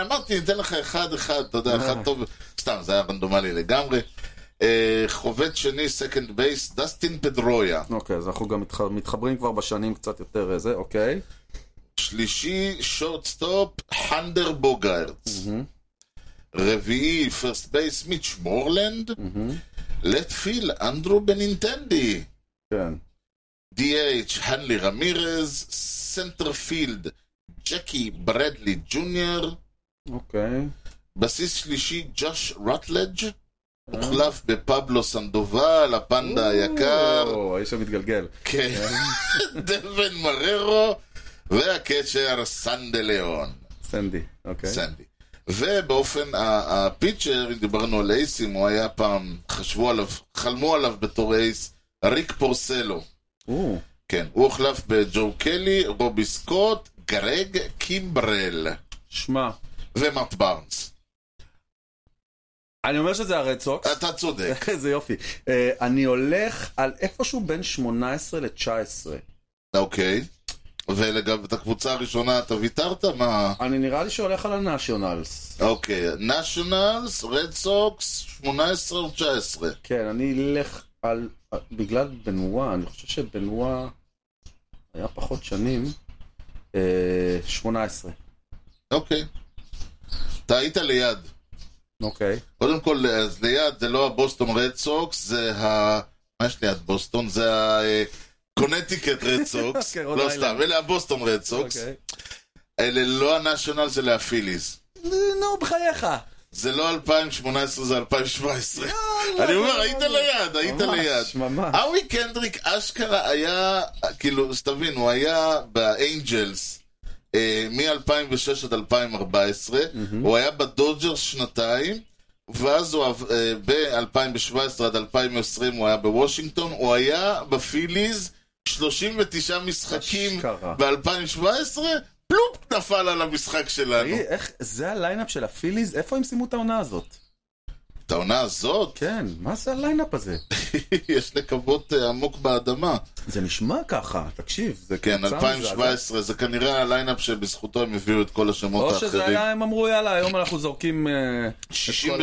Speaker 2: אמרתי, ניתן לך אחד-אחד, אתה יודע, אחד טוב, סתם, זה היה רנדומלי לגמרי. אה, חובט שני, סקנד בייס, דסטין פדרויה.
Speaker 1: אוקיי, אז אנחנו גם מתח... מתחברים כבר בשנים קצת יותר אה, זה, אוקיי.
Speaker 2: שלישי, שורטסטופ, חנדר בוגארדס. רביעי, פרסט בייס, מיץ' מורלנד. לטפיל, אנדרו בנינטנדי.
Speaker 1: כן.
Speaker 2: DH, הנלי רמירז, סנטרפילד, ג'קי ברדלי ג'וניור,
Speaker 1: אוקיי.
Speaker 2: בסיס שלישי, ג'וש רוטלג', הוחלף בפבלו סנדובל, הפנדה היקר,
Speaker 1: או, האיש המתגלגל.
Speaker 2: כן, דבן מררו, והקשר סנדה ליאון,
Speaker 1: סנדי, אוקיי.
Speaker 2: סנדי. ובאופן ה- הפיצ'ר, אם דיברנו על אייסים, הוא היה פעם, חשבו עליו, חלמו עליו בתור אייס, ריק פורסלו.
Speaker 1: או,
Speaker 2: כן, הוא הוחלף בג'ו קלי, רובי סקוט, גרג קימברל
Speaker 1: שמע,
Speaker 2: ומאט בארנס.
Speaker 1: אני אומר שזה הרד סוקס.
Speaker 2: אתה צודק.
Speaker 1: איזה יופי. אה, אני הולך על איפשהו בין 18 ל-19.
Speaker 2: אוקיי. ולגבי את הקבוצה הראשונה אתה ויתרת? מה?
Speaker 1: אני נראה לי שהולך על הנאשיונלס.
Speaker 2: אוקיי, נשיונלס, רד סוקס, 18 או 19.
Speaker 1: כן, אני אלך על... בגלל בנווה, אני חושב שבנווה היה פחות שנים. אה, 18.
Speaker 2: אוקיי. אתה היית ליד.
Speaker 1: אוקיי.
Speaker 2: קודם כל, אז ליד זה לא הבוסטון רד סוקס, זה ה... מה יש ליד בוסטון? זה ה... אה, קונטיקט רד סוקס.
Speaker 1: כן, רוד
Speaker 2: לא
Speaker 1: איילנד.
Speaker 2: סתם, אלה הבוסטון רד סוקס.
Speaker 1: אוקיי.
Speaker 2: אלה לא הנשיונלס, אלה הפיליז.
Speaker 1: נו, בחייך.
Speaker 2: זה לא 2018, זה 2017.
Speaker 1: יאללה,
Speaker 2: אני אומר,
Speaker 1: יאללה.
Speaker 2: היית ליד, היית
Speaker 1: ממש,
Speaker 2: ליד. אה,
Speaker 1: ממש.
Speaker 2: אווי קנדריק אשכרה היה, כאילו, שתבין, הוא היה באנג'לס אה, מ-2006 עד 2014, הוא היה בדודג'ר שנתיים, ואז הוא, עב- אה, ב-2017 עד 2020 הוא היה בוושינגטון, הוא היה בפיליז 39 משחקים
Speaker 1: אשכרה.
Speaker 2: ב-2017, פלופ נפל על המשחק שלנו.
Speaker 1: תגיד, איך, זה הליינאפ של הפיליז? איפה הם סיימו את העונה הזאת?
Speaker 2: את העונה הזאת?
Speaker 1: כן, מה זה הליינאפ הזה?
Speaker 2: יש לקוות אה, עמוק באדמה.
Speaker 1: זה נשמע ככה, תקשיב, זה
Speaker 2: כן,
Speaker 1: קבוצה מזעזעת.
Speaker 2: 2017, זה כנראה הליינאפ שבזכותו הם הביאו את כל השמות
Speaker 1: או שזה
Speaker 2: האחרים.
Speaker 1: היה, הם אמרו, יאללה, היום אנחנו זורקים... אה, את כל
Speaker 2: 66-96,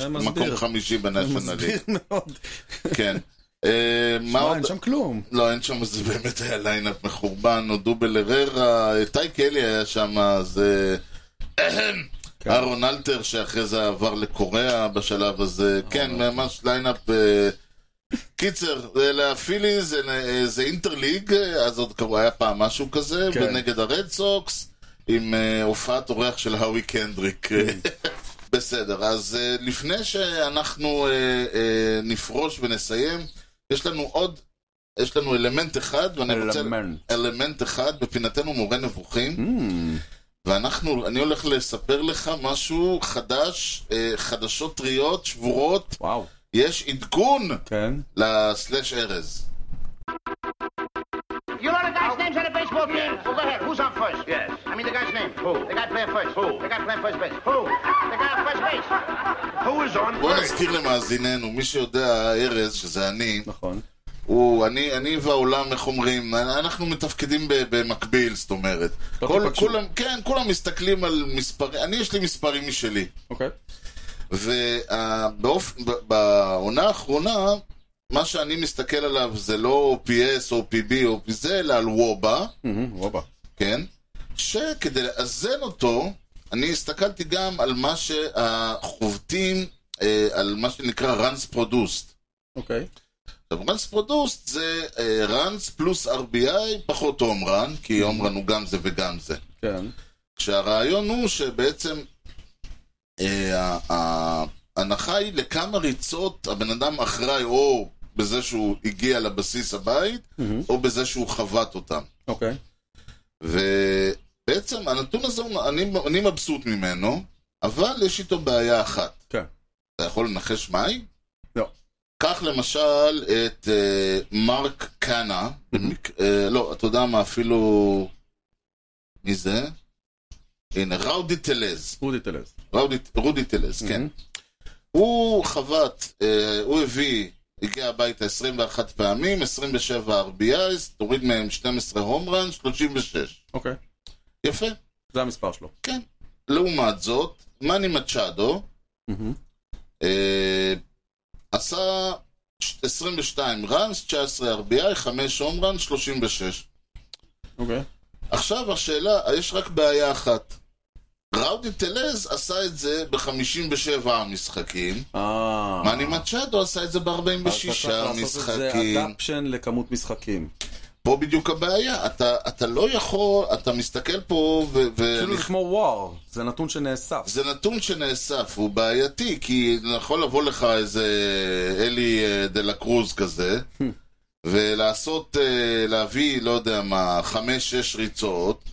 Speaker 1: זה מסביר.
Speaker 2: מקום חמישי
Speaker 1: ה- זה
Speaker 2: בנשיונלי.
Speaker 1: מסביר מאוד.
Speaker 2: כן. אה, מה
Speaker 1: מה,
Speaker 2: עוד?
Speaker 1: אין שם כלום.
Speaker 2: לא, אין שם, זה באמת היה ליינאפ מחורבן, או דובל אררה, אה, טייק אלי היה שם, אז... אה, אהם. אהרון אלתר, שאחרי זה עבר לקוריאה בשלב הזה. כן, ממש ליינאפ... אה, קיצר, אלה הפיליז, אלה, אה, זה אינטרליג, אה, אז עוד כבר היה פעם משהו כזה,
Speaker 1: כן.
Speaker 2: ונגד הרד סוקס, עם אה, הופעת אורח של האווי קנדריק. בסדר, אז אה, לפני שאנחנו אה, אה, נפרוש ונסיים, יש לנו עוד, יש לנו אלמנט אחד, ואני רוצה...
Speaker 1: אלמנט.
Speaker 2: אלמנט אחד, בפינתנו מורה נבוכים.
Speaker 1: אמ,
Speaker 2: ואנחנו, אני הולך לספר לך משהו חדש, אה, חדשות טריות, שבורות,
Speaker 1: וואו,
Speaker 2: יש עדכון
Speaker 1: כן.
Speaker 2: לסלאש ארז.
Speaker 5: You know the guy's names on the baseball team? Well, go ahead. Who's on first? Yes. I mean the guy's name. Who? The guy playing first. Who? The guy playing first base. Who? The guy on first base. Who is on
Speaker 2: בוא נזכיר למאזיננו, מי שיודע, ארז, שזה אני,
Speaker 1: נכון.
Speaker 2: הוא, אני, אני והעולם, איך אומרים, אנחנו מתפקדים ב- במקביל, זאת אומרת.
Speaker 1: לא
Speaker 2: כל,
Speaker 1: תיפגשו.
Speaker 2: כולם, כן, כולם מסתכלים על מספרים, אני יש לי מספרים משלי.
Speaker 1: אוקיי.
Speaker 2: ובעונה האחרונה, מה שאני מסתכל עליו זה לא OPS או PB או זה, אלא על וובה,
Speaker 1: אמ, וובה.
Speaker 2: כן? שכדי לאזן אותו, אני הסתכלתי גם על מה שהחובטים, אה, על מה שנקרא runs produced.
Speaker 1: אוקיי.
Speaker 2: עכשיו, runs produced זה אה, runs פלוס RBI פחות home run, כי home run הוא גם זה וגם זה.
Speaker 1: כן.
Speaker 2: כשהרעיון הוא שבעצם אה, ה- ההנחה היא לכמה ריצות הבן אדם אחראי או בזה שהוא הגיע לבסיס הבית, או בזה שהוא חבט אותם.
Speaker 1: אוקיי.
Speaker 2: ובעצם הנתון הזה, הוא- אני, אני מבסוט ממנו, אבל יש איתו בעיה אחת.
Speaker 1: כן.
Speaker 2: אתה יכול לנחש מהי?
Speaker 1: לא.
Speaker 2: קח למשל את אה, מרק קאנה, במק- אה, לא, אתה יודע מה, אפילו... מי זה? הנה, ראודי טלז.
Speaker 1: רודי טלז.
Speaker 2: ראודי, רודי טלז, כן. הוא חבט, אה, הוא הביא, הגיע הביתה 21 פעמים, 27 RBIs, תוריד מהם 12 הום רן, 36.
Speaker 1: אוקיי.
Speaker 2: יפה,
Speaker 1: זה המספר שלו.
Speaker 2: כן. לעומת זאת, מאני מצ'אדו אה, עשה 22 ראנס, 19 RBI, 5 הום רן, 36.
Speaker 1: אוקיי.
Speaker 2: עכשיו השאלה, יש רק בעיה אחת. ראודי טלז עשה את זה ב-57 המשחקים,
Speaker 1: אה.
Speaker 2: מאני מצ'אדו עשה את זה
Speaker 1: אז אתה צריך
Speaker 2: ב-46
Speaker 1: לעשות את זה
Speaker 2: משחקים. כן.
Speaker 1: אדפשן לכמות משחקים.
Speaker 2: פה בדיוק הבעיה, אתה, אתה לא יכול, אתה מסתכל פה ו...
Speaker 1: כאילו
Speaker 2: ואני...
Speaker 1: זה כמו וואר, זה נתון שנאסף.
Speaker 2: זה נתון שנאסף, הוא בעייתי, כי יכול לבוא לך איזה אלי אה, דה לה קרוז כזה, ולעשות, אה, להביא, לא יודע מה, חמש-שש ריצות,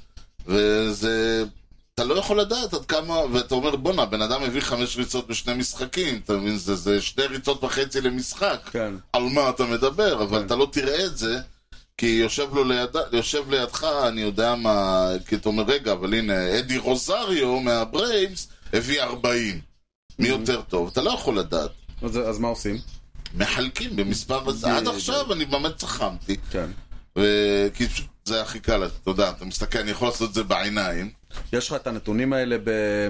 Speaker 2: וזה... אתה לא יכול לדעת עד כמה, ואתה אומר, בואנה, בן אדם הביא חמש ריצות בשני משחקים, אתה מבין? זה, זה שתי ריצות וחצי למשחק.
Speaker 1: כן.
Speaker 2: על מה אתה מדבר, אבל אתה לא תראה את זה, כי יושב, לו ליד, יושב לידך, אני יודע מה, כי אתה אומר, רגע, אבל הנה, אדי רוזריו מהברייבס הביא 40. מי יותר טוב? אתה לא יכול לדעת.
Speaker 1: אז- אז מה עושים?
Speaker 2: מחלקים במספר הזה. עד
Speaker 1: בדיוק.
Speaker 2: עכשיו אני באמת צחמתי.
Speaker 1: כן.
Speaker 2: ו- כי פשוט זה הכי קל, אתה יודע, אתה מסתכל, אני יכול לעשות את זה בעיניים.
Speaker 1: יש לך את הנתונים האלה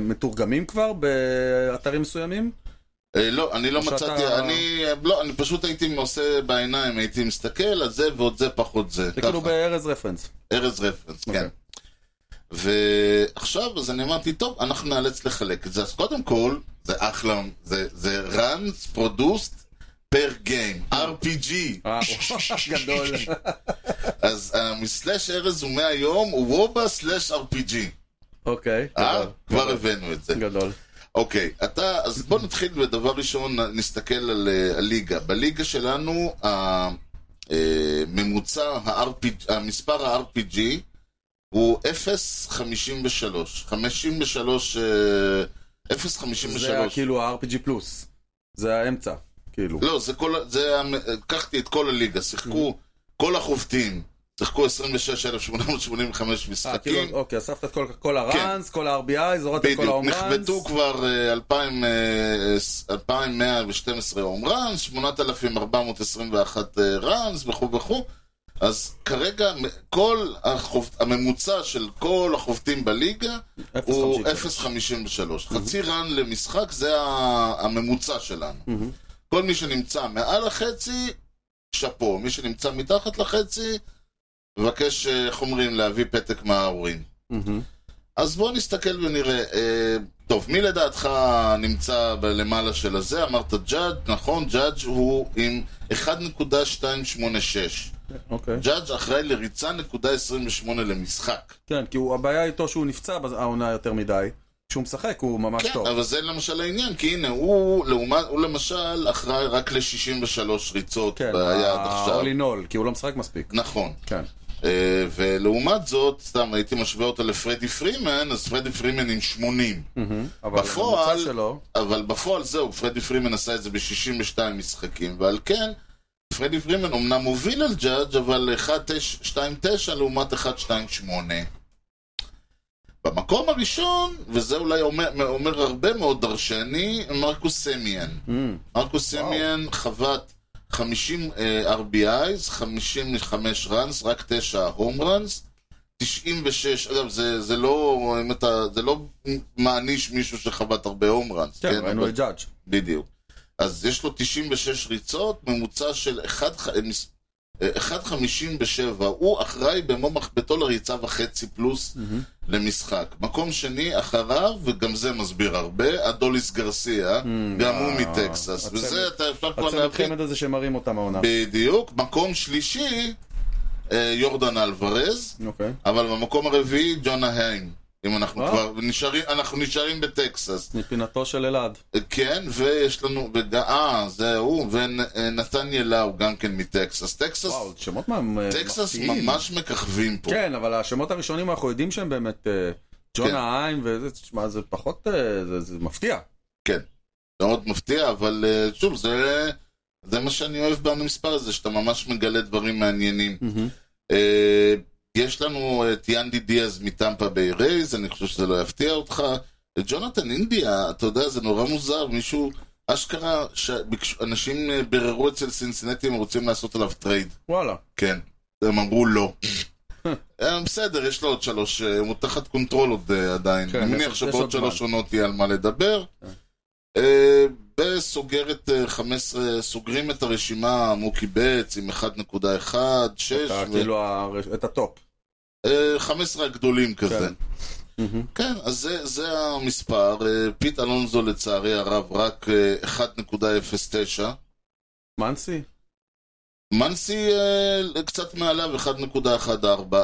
Speaker 1: מתורגמים כבר באתרים מסוימים?
Speaker 2: אה, לא, אני לא
Speaker 1: או שאתה-
Speaker 2: מצאתי, אני, לא, אני פשוט הייתי עושה בעיניים, הייתי מסתכל על זה ועוד זה פחות זה.
Speaker 1: זה כאילו
Speaker 2: ככה.
Speaker 1: בארז רפרנס.
Speaker 2: ארז רפרנס,
Speaker 1: אוקיי.
Speaker 2: כן. ועכשיו, אז אני אמרתי, טוב, אנחנו נאלץ לחלק את זה. אז קודם כל, זה אחלה, זה, זה runs produced per game, RPG.
Speaker 1: אה, גדול.
Speaker 2: אז מסלאש ארז הוא מהיום, הוא וובה סלאש RPG.
Speaker 1: אוקיי.
Speaker 2: אה?
Speaker 1: גדול.
Speaker 2: כבר הבאנו את זה.
Speaker 1: גדול.
Speaker 2: אוקיי, אתה, אז בוא נתחיל בדבר ראשון, נסתכל על אה, הליגה. בליגה שלנו, אה, הממוצע, ה-RPG, המספר ה-RPG הוא 0.53. 53, אה, 0.53.
Speaker 1: זה היה כאילו ה-RPG פלוס. זה האמצע. כאילו.
Speaker 2: לא, זה כל, ה- זה, המ- לקחתי את כל הליגה, שיחקו
Speaker 1: Mm.
Speaker 2: כל החובטים, שיחקו 26,885
Speaker 1: אה,
Speaker 2: משחקים.
Speaker 1: כאילו, אוקיי, אספת את כל- כל הראנס, כל ה-RBI, זורדת את כל
Speaker 2: כן. בדיוק,
Speaker 1: ההומראנס.
Speaker 2: נחבטו כבר אה, 2,000, אה, 2,112 הום ראנס, 8,421 אה, ראנס וכו' וכו'. אז כרגע מ- כל החוב... הממוצע של כל החובטים בליגה הוא 0.53. חצי רן למשחק זה ה- הממוצע שלנו. כל מי שנמצא מעל החצי, שאפו. מי שנמצא מתחת לחצי, מבקש, אה, איך אומרים, להביא פתק מההורים.
Speaker 1: מהמם.
Speaker 2: אז בואו נסתכל ונראה. אה, טוב, מי לדעתך נמצא ב- למעלה של הזה? אמרת ג'אדג', נכון, ג'אדג' הוא עם 1.286.
Speaker 1: אוקיי.
Speaker 2: ג'אדג' אחראי לריצה נקודה 28 למשחק.
Speaker 1: כן, כי הוא- הבעיה איתו שהוא נפצע בעונה יותר מדי. כשהוא משחק הוא ממש
Speaker 2: כן,
Speaker 1: טוב.
Speaker 2: אבל זה למשל העניין, כי הנה, הוא, לעומת, הוא למשל אחראי רק ל-63 ריצות
Speaker 1: כן,
Speaker 2: היה עד עכשיו.
Speaker 1: האולינול, כי הוא לא משחק מספיק.
Speaker 2: נכון.
Speaker 1: כן.
Speaker 2: אה, ולעומת זאת, סתם הייתי משווה אותו לפרדי פרימן, אז פרדי פרימן עם 80.
Speaker 1: Mm. אבל
Speaker 2: בפועל-
Speaker 1: הממוצע שלו,
Speaker 2: אבל בפועל זהו, פרדי פרימן עשה את זה ב-62 משחקים, ועל כן, פרדי פרימן אמנם מוביל על ג'אדג', אבל 1.29 לעומת 1.28. במקום הראשון, וזה אולי אומר, אומר הרבה מאוד דרשני, מרקוס סמיאן.
Speaker 1: Mm.
Speaker 2: מרקוס סמיאן חבט 50 אה, RBIs, 55 ראנס, רק 9 הום ראנס. 96, אגב, זה, זה לא, אם אתה, זה לא מעניש מישהו שחבט הרבה הום ראנס.
Speaker 1: כן, ראינו
Speaker 2: אבל-
Speaker 1: את ג'אדג'.
Speaker 2: בדיוק. אז יש לו 96 ריצות, ממוצע של אה, 1.57. הוא אחראי במו מחבטו לריצה וחצי פלוס למשחק. מקום שני, אחריו, וגם זה מסביר הרבה, אדוליס גרסיה, גם הוא מטקסס.
Speaker 1: הצמד-
Speaker 2: וזה אתה אפשר כבר
Speaker 1: הצמד
Speaker 2: להבין.
Speaker 1: חמד הזה שמרים אותם העונה.
Speaker 2: בדיוק. מקום שלישי, אה, יורדן אלוורז,
Speaker 1: אוקיי.
Speaker 2: אבל במקום הרביעי, ג'ונה היין. אם אנחנו
Speaker 1: וואו.
Speaker 2: כבר נשארים, אנחנו נשארים בטקסס.
Speaker 1: מפינתו של אלעד.
Speaker 2: כן, ויש לנו, וג- אה, זה הוא, ונתן ילאו גם כן מטקסס. טקסס,
Speaker 1: וואו, שמות מה הם... אה,
Speaker 2: טקסס
Speaker 1: מפתיעים.
Speaker 2: ממש מככבים פה.
Speaker 1: כן, אבל השמות הראשונים אנחנו יודעים שהם באמת אה,
Speaker 2: כן.
Speaker 1: ג'ונה היין וזה, תשמע, זה פחות, אה, זה- זה מפתיע.
Speaker 2: מאוד מפתיע, אבל אה, שוב, זה, זה מה שאני אוהב במספר הזה, שאתה ממש מגלה דברים מעניינים.
Speaker 1: Mm.
Speaker 2: אה, יש לנו את יאנדי דיאז מטמפה ביי רייז, אני חושב שזה לא יפתיע אותך. את ג'ונתן אינדיה, אתה יודע, זה נורא מוזר, מישהו, אשכרה, שביקש, אנשים אה, ביררו אצל סינסינטי אם רוצים לעשות עליו טרייד.
Speaker 1: וואלה.
Speaker 2: כן. הם אמרו לא. אה, בסדר, יש לו עוד שלוש, אה, הוא תחת קונטרול עוד אה, עדיין.
Speaker 1: כן,
Speaker 2: אני
Speaker 1: יש-
Speaker 2: מניח
Speaker 1: יש
Speaker 2: שבעוד
Speaker 1: עוד
Speaker 2: שלוש
Speaker 1: זמן.
Speaker 2: עונות יהיה על מה לדבר.
Speaker 1: כן.
Speaker 2: אה, בסוגרת אה, 15, סוגרים את הרשימה מוקי בץ עם 1.1, 6,
Speaker 1: אתה
Speaker 2: ו-
Speaker 1: כאילו הר- את הטופ.
Speaker 2: אה, 15 הגדולים כזה.
Speaker 1: כן. מהמם.
Speaker 2: כן, אז זה, זה המספר. אה, פיט אלונזו לצערי הרב רק אה, 1.09.
Speaker 1: מנסי?
Speaker 2: מנסי אה, קצת מעליו 1.14,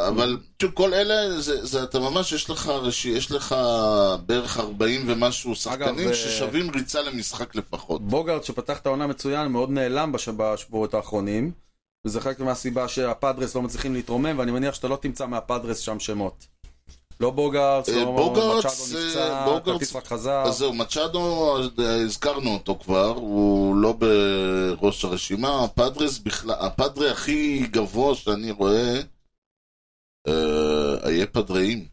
Speaker 2: אבל תשוב, כל אלה, זה, זה, אתה ממש, יש לך, רשי- יש לך בערך 40 ומשהו שחקנים
Speaker 1: אה,
Speaker 2: ששווים ריצה למשחק לפחות.
Speaker 1: בוגארד שפתח את העונה מצוין, מאוד נעלם בש- בשבועות האחרונים. וזה חלק מהסיבה שהפאדרס לא מצליחים להתרומם, ואני מניח שאתה לא תמצא מהפאדרס שם שמות. לא בוגארדס,
Speaker 2: אה,
Speaker 1: לא
Speaker 2: בוגארדס,
Speaker 1: מצ'אדו
Speaker 2: אה,
Speaker 1: נפצע,
Speaker 2: בוגארדס-
Speaker 1: קטיף רק חזר.
Speaker 2: אז זהו, מצ'אדו, אה, הזכרנו אותו כבר, הוא לא בראש הרשימה, הפאדרס בכלל, הפאדרי הכי גבוה שאני רואה, אה, איה פדראים.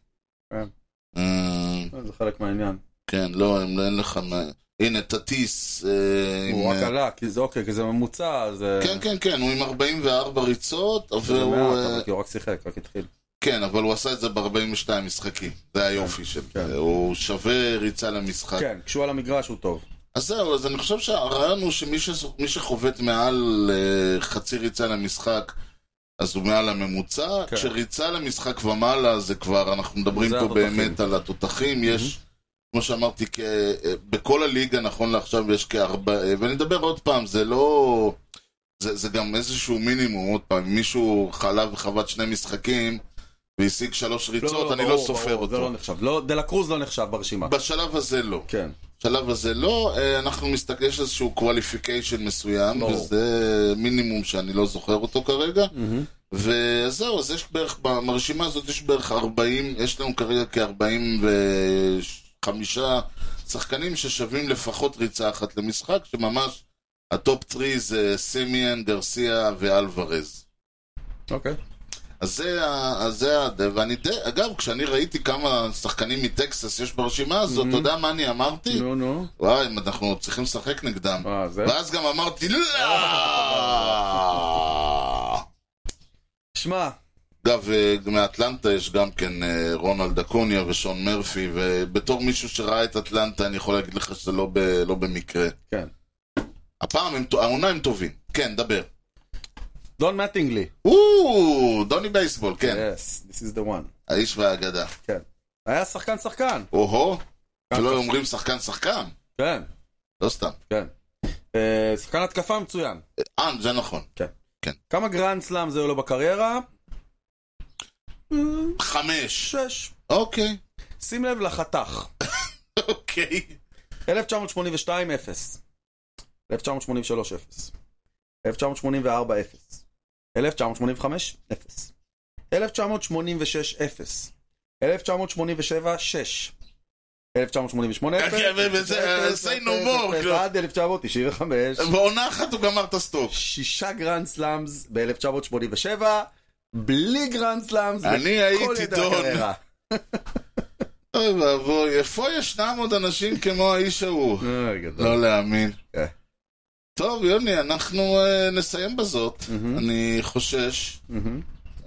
Speaker 1: כן.
Speaker 2: אה,
Speaker 1: זה חלק מהעניין.
Speaker 2: כן, לא, הם לא, אין לך מה... הנה, טטיס. אה, עם,
Speaker 1: הוא רק
Speaker 2: אה,
Speaker 1: עלה, כי זה אוקיי, כי זה ממוצע, אז... אה,
Speaker 2: כן, כן, כן, הוא עם 44 ריצות,
Speaker 1: זה
Speaker 2: והוא...
Speaker 1: מעט,
Speaker 2: אה,
Speaker 1: אבל כי הוא רק שיחק, רק התחיל.
Speaker 2: כן, אבל הוא עשה את זה ב-42 משחקים. זה היופי שלו.
Speaker 1: כן.
Speaker 2: הוא שווה ריצה למשחק.
Speaker 1: כן, כשהוא על המגרש הוא טוב.
Speaker 2: אז זהו, אז אני חושב שהרעיון הוא שמי ש- מי שחובט מעל אה, חצי ריצה למשחק, אז הוא מעל הממוצע.
Speaker 1: כן.
Speaker 2: כשריצה למשחק ומעלה, זה כבר, אנחנו מדברים
Speaker 1: זה
Speaker 2: פה
Speaker 1: התותחים. Mm-hmm.
Speaker 2: באמת על התותחים. יש, כמו שאמרתי, כ- אה, בכל הליגה, נכון לעכשיו, יש כארבע... אה, ואני אדבר עוד פעם, זה לא... זה, זה גם איזשהו מינימום, עוד פעם, אם מישהו חלה וחבט שני משחקים והשיג שלוש ריצות, אני לא
Speaker 1: ברור,
Speaker 2: סופר
Speaker 1: ברור, זה
Speaker 2: אותו.
Speaker 1: לא נחשב. לא, דה לה קרוז לא נחשב ברשימה.
Speaker 2: בשלב הזה לא.
Speaker 1: כן.
Speaker 2: בשלב הזה לא, אה, אנחנו מסתכל, יש איזשהו קואליפיקיישן מסוים,
Speaker 1: ברור.
Speaker 2: וזה מינימום שאני לא זוכר אותו כרגע.
Speaker 1: מהמם.
Speaker 2: וזהו, אז יש בערך, ברשימה הזאת יש בערך 40, יש לנו כרגע כ-45 שחקנים ששווים לפחות ריצה אחת למשחק, שממש הטופ 3 זה סימיאן, גרסיה ואלוורז.
Speaker 1: אוקיי.
Speaker 2: אה, אז זה, ה- אז זה, ה- ואני די, אגב, כשאני ראיתי כמה שחקנים מטקסס יש ברשימה הזאת, אתה יודע מה אני אמרתי?
Speaker 1: נו, נו.
Speaker 2: וואי, אם אנחנו צריכים לשחק נגדם.
Speaker 1: אה, זה?
Speaker 2: ואז גם אמרתי, לא!
Speaker 1: שמע,
Speaker 2: אגב, אה, מאטלנטה יש גם כן אה, רונלד אקוניה ושון מרפי, ובתור מישהו שראה את אטלנטה, אני יכול להגיד לך שזה לא, ב, לא במקרה.
Speaker 1: כן.
Speaker 2: הפעם, הם, טו- העונה הם טובים. כן, דבר.
Speaker 1: דון מטינגלי.
Speaker 2: או, דוני בייסבול, כן.
Speaker 1: Yes, this is the one.
Speaker 2: האיש והאגדה.
Speaker 1: כן. היה שחקן שחקן.
Speaker 2: או-הו,
Speaker 1: כן,
Speaker 2: שלא
Speaker 1: כן.
Speaker 2: אומרים שחקן שחקן,
Speaker 1: כן,
Speaker 2: לא סתם.
Speaker 1: כן. אה, שחקן התקפה מצוין.
Speaker 2: אה, זה נכון.
Speaker 1: כמה גרנד סלאם זה לו בקריירה?
Speaker 2: חמש.
Speaker 1: שש.
Speaker 2: אוקיי,
Speaker 1: שים לב לחתך.
Speaker 2: אוקיי.
Speaker 1: 1982, 0. 1983, 0. 1984, 0. 1985, 0. 1986, 0. 1987, 6. 1988,
Speaker 2: כן, וזה- say no more, כאילו.
Speaker 1: עד 1995.
Speaker 2: בעונה אחת הוא גמר את הסטוק.
Speaker 1: שישה גרנד סלאמס ב-1987, בלי גרנד סלאמס
Speaker 2: אני הייתי דון. אוי ואבוי, איפה ישנם עוד אנשים כמו האיש ההוא? לא להאמין.
Speaker 1: כן.
Speaker 2: טוב, יוני, אנחנו אה, נסיים בזאת. אני חושש.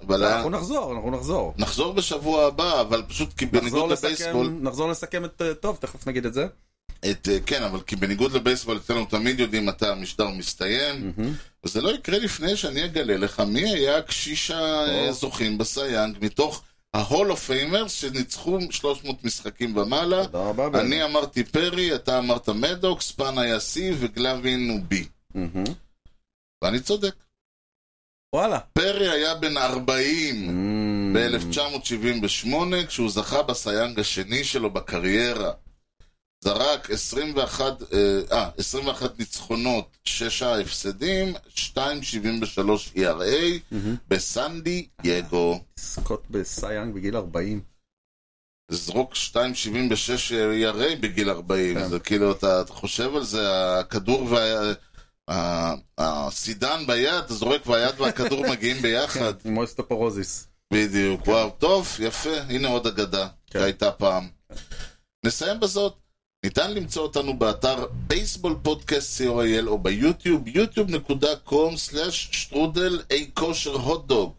Speaker 2: אבל היה-
Speaker 1: לא, אנחנו נחזור, אנחנו נחזור.
Speaker 2: נחזור בשבוע הבא, אבל פשוט כי
Speaker 1: נחזור
Speaker 2: בניגוד לבייסבול...
Speaker 1: לסכם, נחזור לסכם את... אה, טוב, תכף נגיד את זה.
Speaker 2: את, אה, כן, אבל כי בניגוד לבייסבול אצלנו תמיד יודעים מתי המשדר מסתיים. וזה לא יקרה לפני שאני אגלה לך מי היה קשיש הזוכים בסייאנג מתוך ה-Hall of Famers שניצחו 300 משחקים ומעלה.
Speaker 1: תודה רבה. בן.
Speaker 2: אני אמרתי פרי, אתה אמרת מדוקס, פן היה C וגלווין הוא B.
Speaker 1: מהמם.
Speaker 2: ואני צודק.
Speaker 1: וואלה.
Speaker 2: פרי היה בן 40 ב-1978, כשהוא זכה בסייאנג השני שלו בקריירה. זרק 21, אה, אה, 21 ניצחונות, 6 הפסדים, 2.73 ERA E בסן דייגו.
Speaker 1: סקוט בסייאנג בגיל 40.
Speaker 2: זרוק 2.76 ERA E בגיל 40,
Speaker 1: כן.
Speaker 2: זה כאילו, אתה אתה חושב על זה, הכדור וה... ה- הסידן ביד, אתה זורק והיד והכדור מגיעים ביחד.
Speaker 1: עם מויסטופורוזיס.
Speaker 2: בדיוק, וואו, טוב, יפה, הנה עוד אגדה
Speaker 1: כן.
Speaker 2: שהייתה פעם. נסיים בזאת. ניתן למצוא אותנו באתר בייסבול פודקאסט co.il או ביוטיוב, yוטיוב.com/שטרודל אי כושר הוטדוג.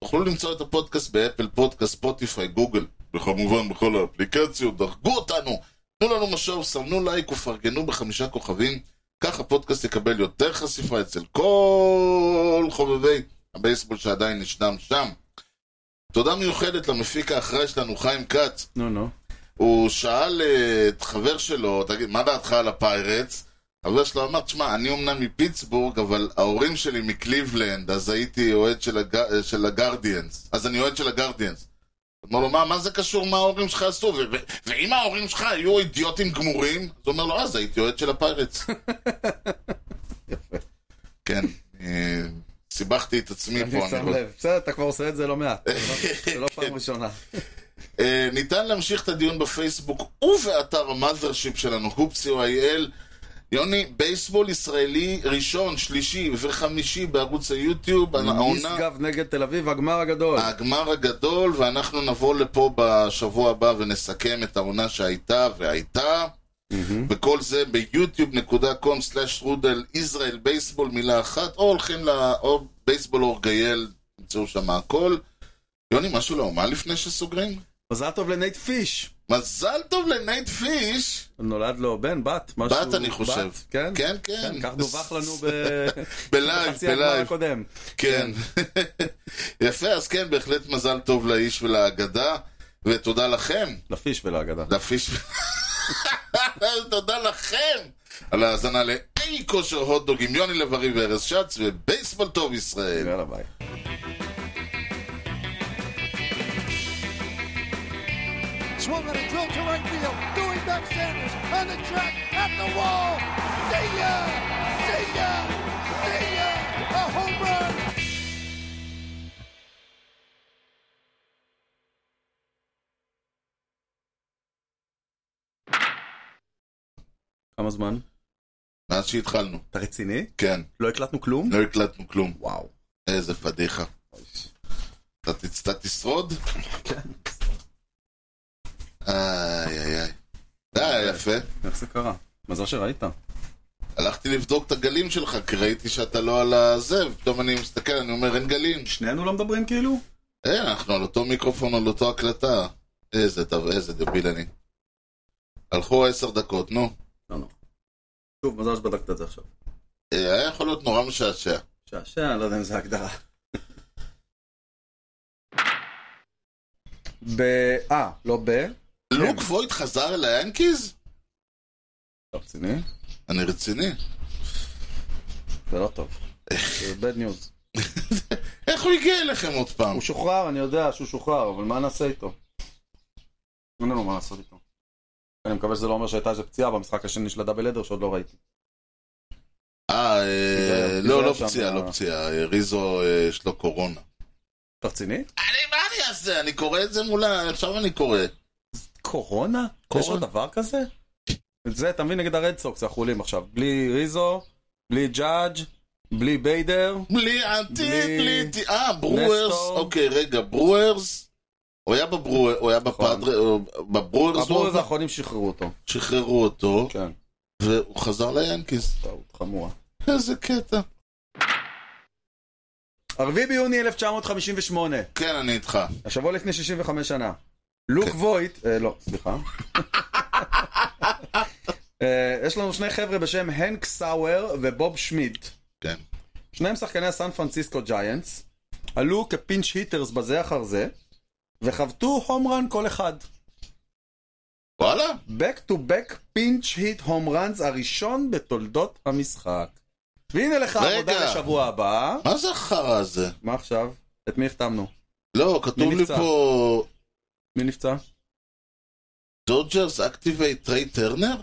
Speaker 2: תוכלו למצוא את הפודקאסט באפל פודקאסט, ספוטיפיי, גוגל, וכמובן בכל האפליקציות, דרגו אותנו, תנו לנו משוב, סמנו לייק ופרגנו בחמישה כוכבים, כך הפודקאסט יקבל יותר חשיפה אצל כל חובבי הבייסבול שעדיין ישנם שם. תודה מיוחדת למפיק האחראי שלנו, חיים כץ.
Speaker 1: נו נו.
Speaker 2: הוא שאל אה, את חבר שלו, תגיד, מה דעתך על הפיירטס? חבר שלו אמר, תשמע, אני אומנם מפיטסבורג, אבל ההורים שלי מקליבלנד, אז הייתי אוהד של, הג... אה, של הגרדיאנס. אז אני אוהד של הגרדיאנס. הוא אמר לו, מה, מה זה קשור מה ההורים שלך עשו? ו- ו- ואם ההורים שלך היו אידיוטים גמורים? אז הוא אומר לו, אז הייתי אוהד של הפיירטס.
Speaker 1: יפה.
Speaker 2: כן, אה, סיבכתי את עצמי
Speaker 1: אני
Speaker 2: פה, אני
Speaker 1: שם
Speaker 2: רוצה...
Speaker 1: לב. בסדר, אתה כבר עושה את זה לא מעט. זה לא פעם ראשונה.
Speaker 2: אה, ניתן להמשיך את הדיון בפייסבוק ובאתר המאזרשיפ שלנו, הופסי.או.איי.אל. יוני, בייסבול ישראלי ראשון, שלישי וחמישי בערוץ היוטיוב, העונה, אה-
Speaker 1: משגב נגד תל אביב, הגמר הגדול.
Speaker 2: הגמר הגדול, ואנחנו נבוא לפה בשבוע הבא ונסכם את העונה שהייתה והייתה. וכל זה ביוטיוב.com/רודל ישראל בייסבול מילה אחת, או הולכים ל... או בייסבול אורגייל, תמצאו שם הכל. יוני, משהו לאומה לפני שסוגרים?
Speaker 1: מזל טוב לנייט פיש.
Speaker 2: מזל טוב לנייט פיש.
Speaker 1: נולד לו בן, בת, משהו.
Speaker 2: בת, אני חושב.
Speaker 1: בת, כן?
Speaker 2: כן, כן.
Speaker 1: כן, כך דווח לנו ב...
Speaker 2: בלייב,
Speaker 1: בחצי הגמר
Speaker 2: בלייב.
Speaker 1: הקודם.
Speaker 2: כן. יפה, אז כן, בהחלט מזל טוב לאיש ולאגדה, ותודה לכם,
Speaker 1: לפיש ולאגדה.
Speaker 2: לפיש... תודה לכם על ההאזנה לאי כושר הוטדוג עם יוני לב-ארי וארז שץ ובייסבול טוב ישראל.
Speaker 1: יאללה ביי.
Speaker 3: Swung on a drill to right field. Doing back Sanders on the track at the wall. See ya! See ya! See ya! A home run!
Speaker 1: כמה זמן?
Speaker 2: מאז שהתחלנו,
Speaker 1: אתה רציני?
Speaker 2: כן,
Speaker 1: לא הקלטנו כלום?
Speaker 2: לא הקלטנו כלום.
Speaker 1: וואו.
Speaker 2: איזה פדיחה. אתה תצ- אתה תשרוד?
Speaker 1: כן.
Speaker 2: איי איי איי. זה היה יפה.
Speaker 1: איך זה קרה? מזל שראית.
Speaker 2: הלכתי לבדוק את הגלים שלך, כי ראיתי שאתה לא על הזה, ופתאום אני מסתכל, אני אומר, אין גלים.
Speaker 1: שנינו לא מדברים כאילו?
Speaker 2: אין, אנחנו על אותו מיקרופון, על אותו הקלטה. איזה דבר, איזה דביל אני. הלכו עשר דקות, נו.
Speaker 1: לא נורא. שוב, מזל שבדקת את זה עכשיו.
Speaker 2: אה, היה יכול להיות נורא משעשע.
Speaker 1: שעשע, לא יודע אם זה הגדרה. ב... אה, לא ב?
Speaker 2: לוק וויד חזר אל היאנקיז?
Speaker 1: אתה לא, רציני?
Speaker 2: אני רציני.
Speaker 1: זה לא טוב. זה bad news.
Speaker 2: איך הוא הגיע אליכם עוד פעם?
Speaker 1: הוא שוחרר, אני יודע שהוא שוחרר, אבל מה נעשה איתו? אין לנו מה לעשות איתו. אני מקווה שזה לא אומר שהייתה איזה פציעה במשחק השני של הדאבל אדר שעוד לא ראיתי.
Speaker 2: אה, אה,
Speaker 1: תיזהר,
Speaker 2: לא, לא
Speaker 1: תיזהר שם,
Speaker 2: פציעה, לא
Speaker 1: אה.
Speaker 2: פציעה. אה, ריזו, אה, יש לו קורונה.
Speaker 1: אתה רציני?
Speaker 2: אני, מה אני אעשה? אני קורא את זה מולה, עכשיו אני קורא.
Speaker 1: קורונה? יש
Speaker 2: קורונה.
Speaker 1: עוד דבר כזה? זה, אתה מבין, נגד הרד סוקס, החולים עכשיו. בלי ריזו, בלי ג'אדג', בלי ביידר.
Speaker 2: בלי עתיד,
Speaker 1: בלי-
Speaker 2: בלי... ת- אה, ברוורס,
Speaker 1: נסטור.
Speaker 2: אוקיי, רגע, ברוורס. הוא היה בברוארס, הוא היה
Speaker 1: נכון.
Speaker 2: בפאדרי, הוא- בברוורס, הוא
Speaker 1: הברוז האחרונים שחררו אותו.
Speaker 2: שחררו אותו,
Speaker 1: כן,
Speaker 2: והוא חזר ליאנקיס.
Speaker 1: טעות חמורה.
Speaker 2: איזה קטע.
Speaker 1: 4 ביוני 1958,
Speaker 2: כן, אני איתך.
Speaker 1: השבוע לפני 65 שנה. לוק
Speaker 2: כן.
Speaker 1: וויט, אה, לא, סליחה. אה, יש לנו שני חבר'ה בשם הנק סאואר ובוב שמידט.
Speaker 2: כן.
Speaker 1: שניהם שחקני הסן פרנסיסקו ג'יינטס, עלו כפינץ' היטרס בזה אחר זה, וחבטו הום רן כל אחד.
Speaker 2: וואלה,
Speaker 1: Back to back פינץ' היט הום ראנס הראשון בתולדות המשחק. והנה לך
Speaker 2: רגע.
Speaker 1: עבודה לשבוע הבא.
Speaker 2: מה זה החרא הזה?
Speaker 1: מה עכשיו? את מי החתמנו?
Speaker 2: לא, כתוב
Speaker 1: מי
Speaker 2: לי
Speaker 1: נפצע?
Speaker 2: פה
Speaker 1: מי נפצע?
Speaker 2: דודג'רס אקטיבי טריי טרנר?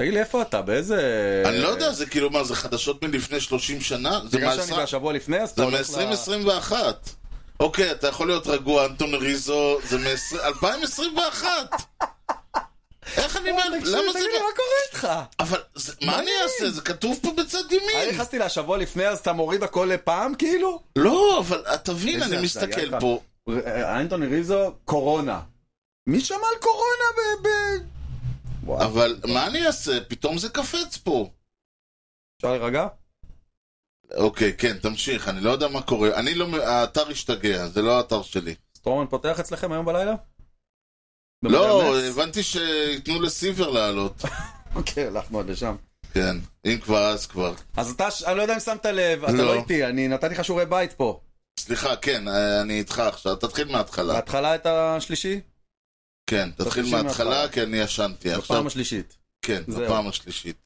Speaker 1: תגיד לי, איפה אתה? באיזה...
Speaker 2: אני לא יודע, זה כאילו מה, זה חדשות מלפני 30 שנה? זה
Speaker 1: בגלל שאני לא
Speaker 2: מה-20-
Speaker 1: בשבוע לפני, אז אתה
Speaker 2: זה
Speaker 1: הולך ל-
Speaker 2: מ-2021. אוקיי, אתה יכול להיות רגוע, אנטון ריזו, זה מ-2021. איך אני אומר,
Speaker 1: אה, תקשיב,
Speaker 2: למה זה... לא-
Speaker 1: תגיד לי, מה קורה איתך?
Speaker 2: אבל זה- מה אני אעשה? זה כתוב פה בצד
Speaker 1: אני
Speaker 2: ימין.
Speaker 1: נכנסתי לשבוע לפני, אז אתה מוריד הכל לפעם, כאילו?
Speaker 2: לא, אבל אה, תבין,
Speaker 1: איזה
Speaker 2: אני
Speaker 1: הזיה
Speaker 2: מסתכל
Speaker 1: כאן.
Speaker 2: פה.
Speaker 1: אה, אנטוני ריזו, קורונה. מי שמע על קורונה ב... ב- וואו,
Speaker 2: אבל מה אני אעשה? פתאום זה קפץ פה.
Speaker 1: אפשר להירגע?
Speaker 2: אוקיי, כן, תמשיך, אני לא יודע מה קורה. אני לא... מ- האתר השתגע, זה לא האתר שלי.
Speaker 1: סטרומן פותח אצלכם היום בלילה?
Speaker 2: לא, אה,
Speaker 1: באמת?
Speaker 2: הבנתי שייתנו לסיבר לעלות.
Speaker 1: אוקיי, הלכנו עד לשם.
Speaker 2: כן, אם כבר, אז כבר.
Speaker 1: אז אתה, ש- אני לא יודע אם שמת לב, אתה
Speaker 2: לא.
Speaker 1: לא איתי, אני נתתי לך שיעורי בית פה.
Speaker 2: סליחה, כן, אה, אני איתך עכשיו. תתחיל מההתחלה.
Speaker 1: בהתחלה את השלישי,
Speaker 2: כן, תתחיל
Speaker 1: תתחיל
Speaker 2: מההתחלה,
Speaker 1: מההתחלה.
Speaker 2: כי אני ישנתי עכשיו.
Speaker 1: בפעם השלישית.
Speaker 2: כן,
Speaker 1: זהו.
Speaker 2: בפעם השלישית.